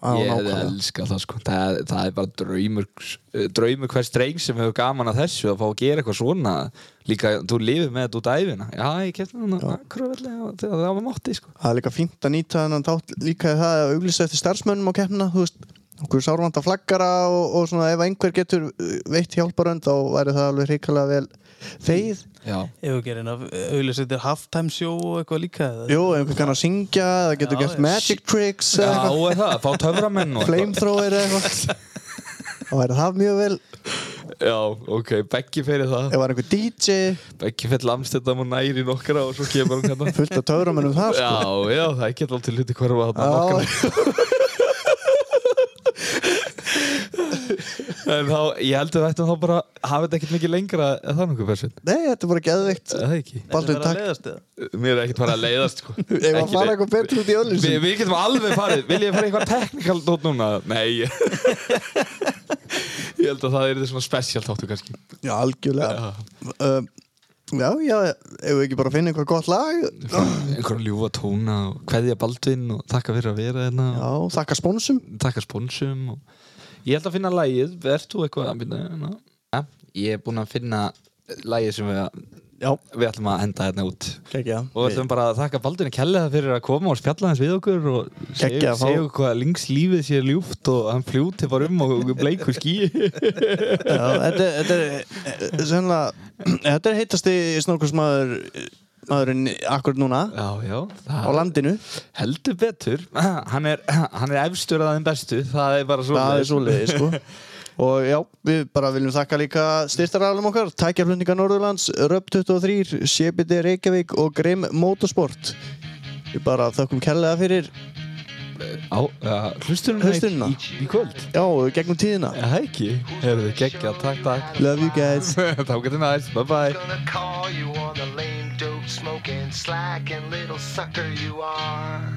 [SPEAKER 1] á,
[SPEAKER 2] Ég hefði
[SPEAKER 1] nákvæmlega.
[SPEAKER 2] elskað það sko það, það er bara draumur eh, draumur hvers dreng sem hefur gaman að þessu að fá að gera eitthvað svona líka þú lifir með þetta út æfina Já, ég kefti hann að kröfellega þegar það var mátti sko
[SPEAKER 1] það er líka fínt að nýta þennan þátt líka í það að auglýsa eftir starfsmönnum á keppna þú veist, okkur sárvanda flaggara og, og svona ef einhver getur uh, veitt hjálparönd þá væri það alveg hrikalega vel þeir
[SPEAKER 2] Já,
[SPEAKER 3] Ef ekki reyna að auðvitað þetta er halftime show og eitthvað líka eða?
[SPEAKER 1] Jú, einhver kann að syngja eða getur
[SPEAKER 3] Já,
[SPEAKER 1] gert
[SPEAKER 3] já.
[SPEAKER 1] magic tricks
[SPEAKER 2] Já
[SPEAKER 1] eða eitthvað,
[SPEAKER 2] er það, fá töframenn og eitthvað.
[SPEAKER 1] flamethrower eða eitthvað þá væri það mjög vel ef
[SPEAKER 2] Já, ok, Beggi fyrir það
[SPEAKER 1] var einhver DJ
[SPEAKER 2] Beggi fyrir Amstendam og næri nokkra og svo kemur hann hérna
[SPEAKER 1] fullt af töframennum það sko.
[SPEAKER 2] Já, já, það getur alltaf hluti hverfa þarna nokkra
[SPEAKER 1] Já,
[SPEAKER 2] En þá, ég held að þetta þá bara hafa þetta ekkert mikið lengra en það nokkuð persinn
[SPEAKER 1] nei, þetta er bara geðvikt
[SPEAKER 2] Það ekki
[SPEAKER 3] Þetta
[SPEAKER 1] Baldvin,
[SPEAKER 3] verður að
[SPEAKER 1] takk.
[SPEAKER 3] leiðast eða?
[SPEAKER 2] Mér er ekkert fara að leiðast sko.
[SPEAKER 1] ef að fara eitthvað betur út í
[SPEAKER 2] Vi,
[SPEAKER 1] öllu
[SPEAKER 2] Við getum alveg farið Vil ég fara í eitthvað teknikal nót núna? Nei Ég held að það er þetta svona spesial þáttu kannski
[SPEAKER 1] já, algjörlega um, já, já, ef við ekki bara finna eitthvað gott lag
[SPEAKER 2] Einhverjum ljúfa tóna og Kveðja Baldvin og þakka fyrir að vera hérna
[SPEAKER 1] já,
[SPEAKER 2] og
[SPEAKER 1] þakka spónsum
[SPEAKER 2] Þakka sponsum og... Ég held að finna lagið Verð þú eitthvað að finna hérna? Ja, Ég er búinn að finna lagið sem við,
[SPEAKER 1] já,
[SPEAKER 2] við ætlum að enda hérna út
[SPEAKER 1] geggja
[SPEAKER 2] Og við ætlum bara að þakka Baldurinn Kjellega fyrir að koma og spjalla hans við okkur og segja
[SPEAKER 1] Geggjað að fá-
[SPEAKER 2] segja okkur hvað links lífið sé ljúft og hann fljúti bara um og bleikur skí.
[SPEAKER 1] já, þetta, er- þetta er eh, sennilega þetta er heitasti snókursmaður maðurinn akkur núna
[SPEAKER 2] Já, já,
[SPEAKER 1] á
[SPEAKER 2] það
[SPEAKER 1] landinu
[SPEAKER 2] heldur betur. Hann er, hann er efstur að þeim bestu, það er bara svo.
[SPEAKER 1] það er svoleiði sko og já, við bara viljum þakka líka styrtaralum okkar, Tækjaflutninga Norðurlands Röp 23, CBD Reykjavík og Grim Motorsport við bara þökkum kærlega fyrir
[SPEAKER 2] Á, uh, hlustunum
[SPEAKER 1] Hlustunina.
[SPEAKER 2] í, í, í kvöld.
[SPEAKER 1] já, gegnum tíðina
[SPEAKER 2] Já, ekki. Herðu, geggja, takk, takk.
[SPEAKER 1] love you guys
[SPEAKER 2] Þá getur næst, bye bye.
[SPEAKER 4] gonna call you on the lame dope smoking slacking little sucker you are.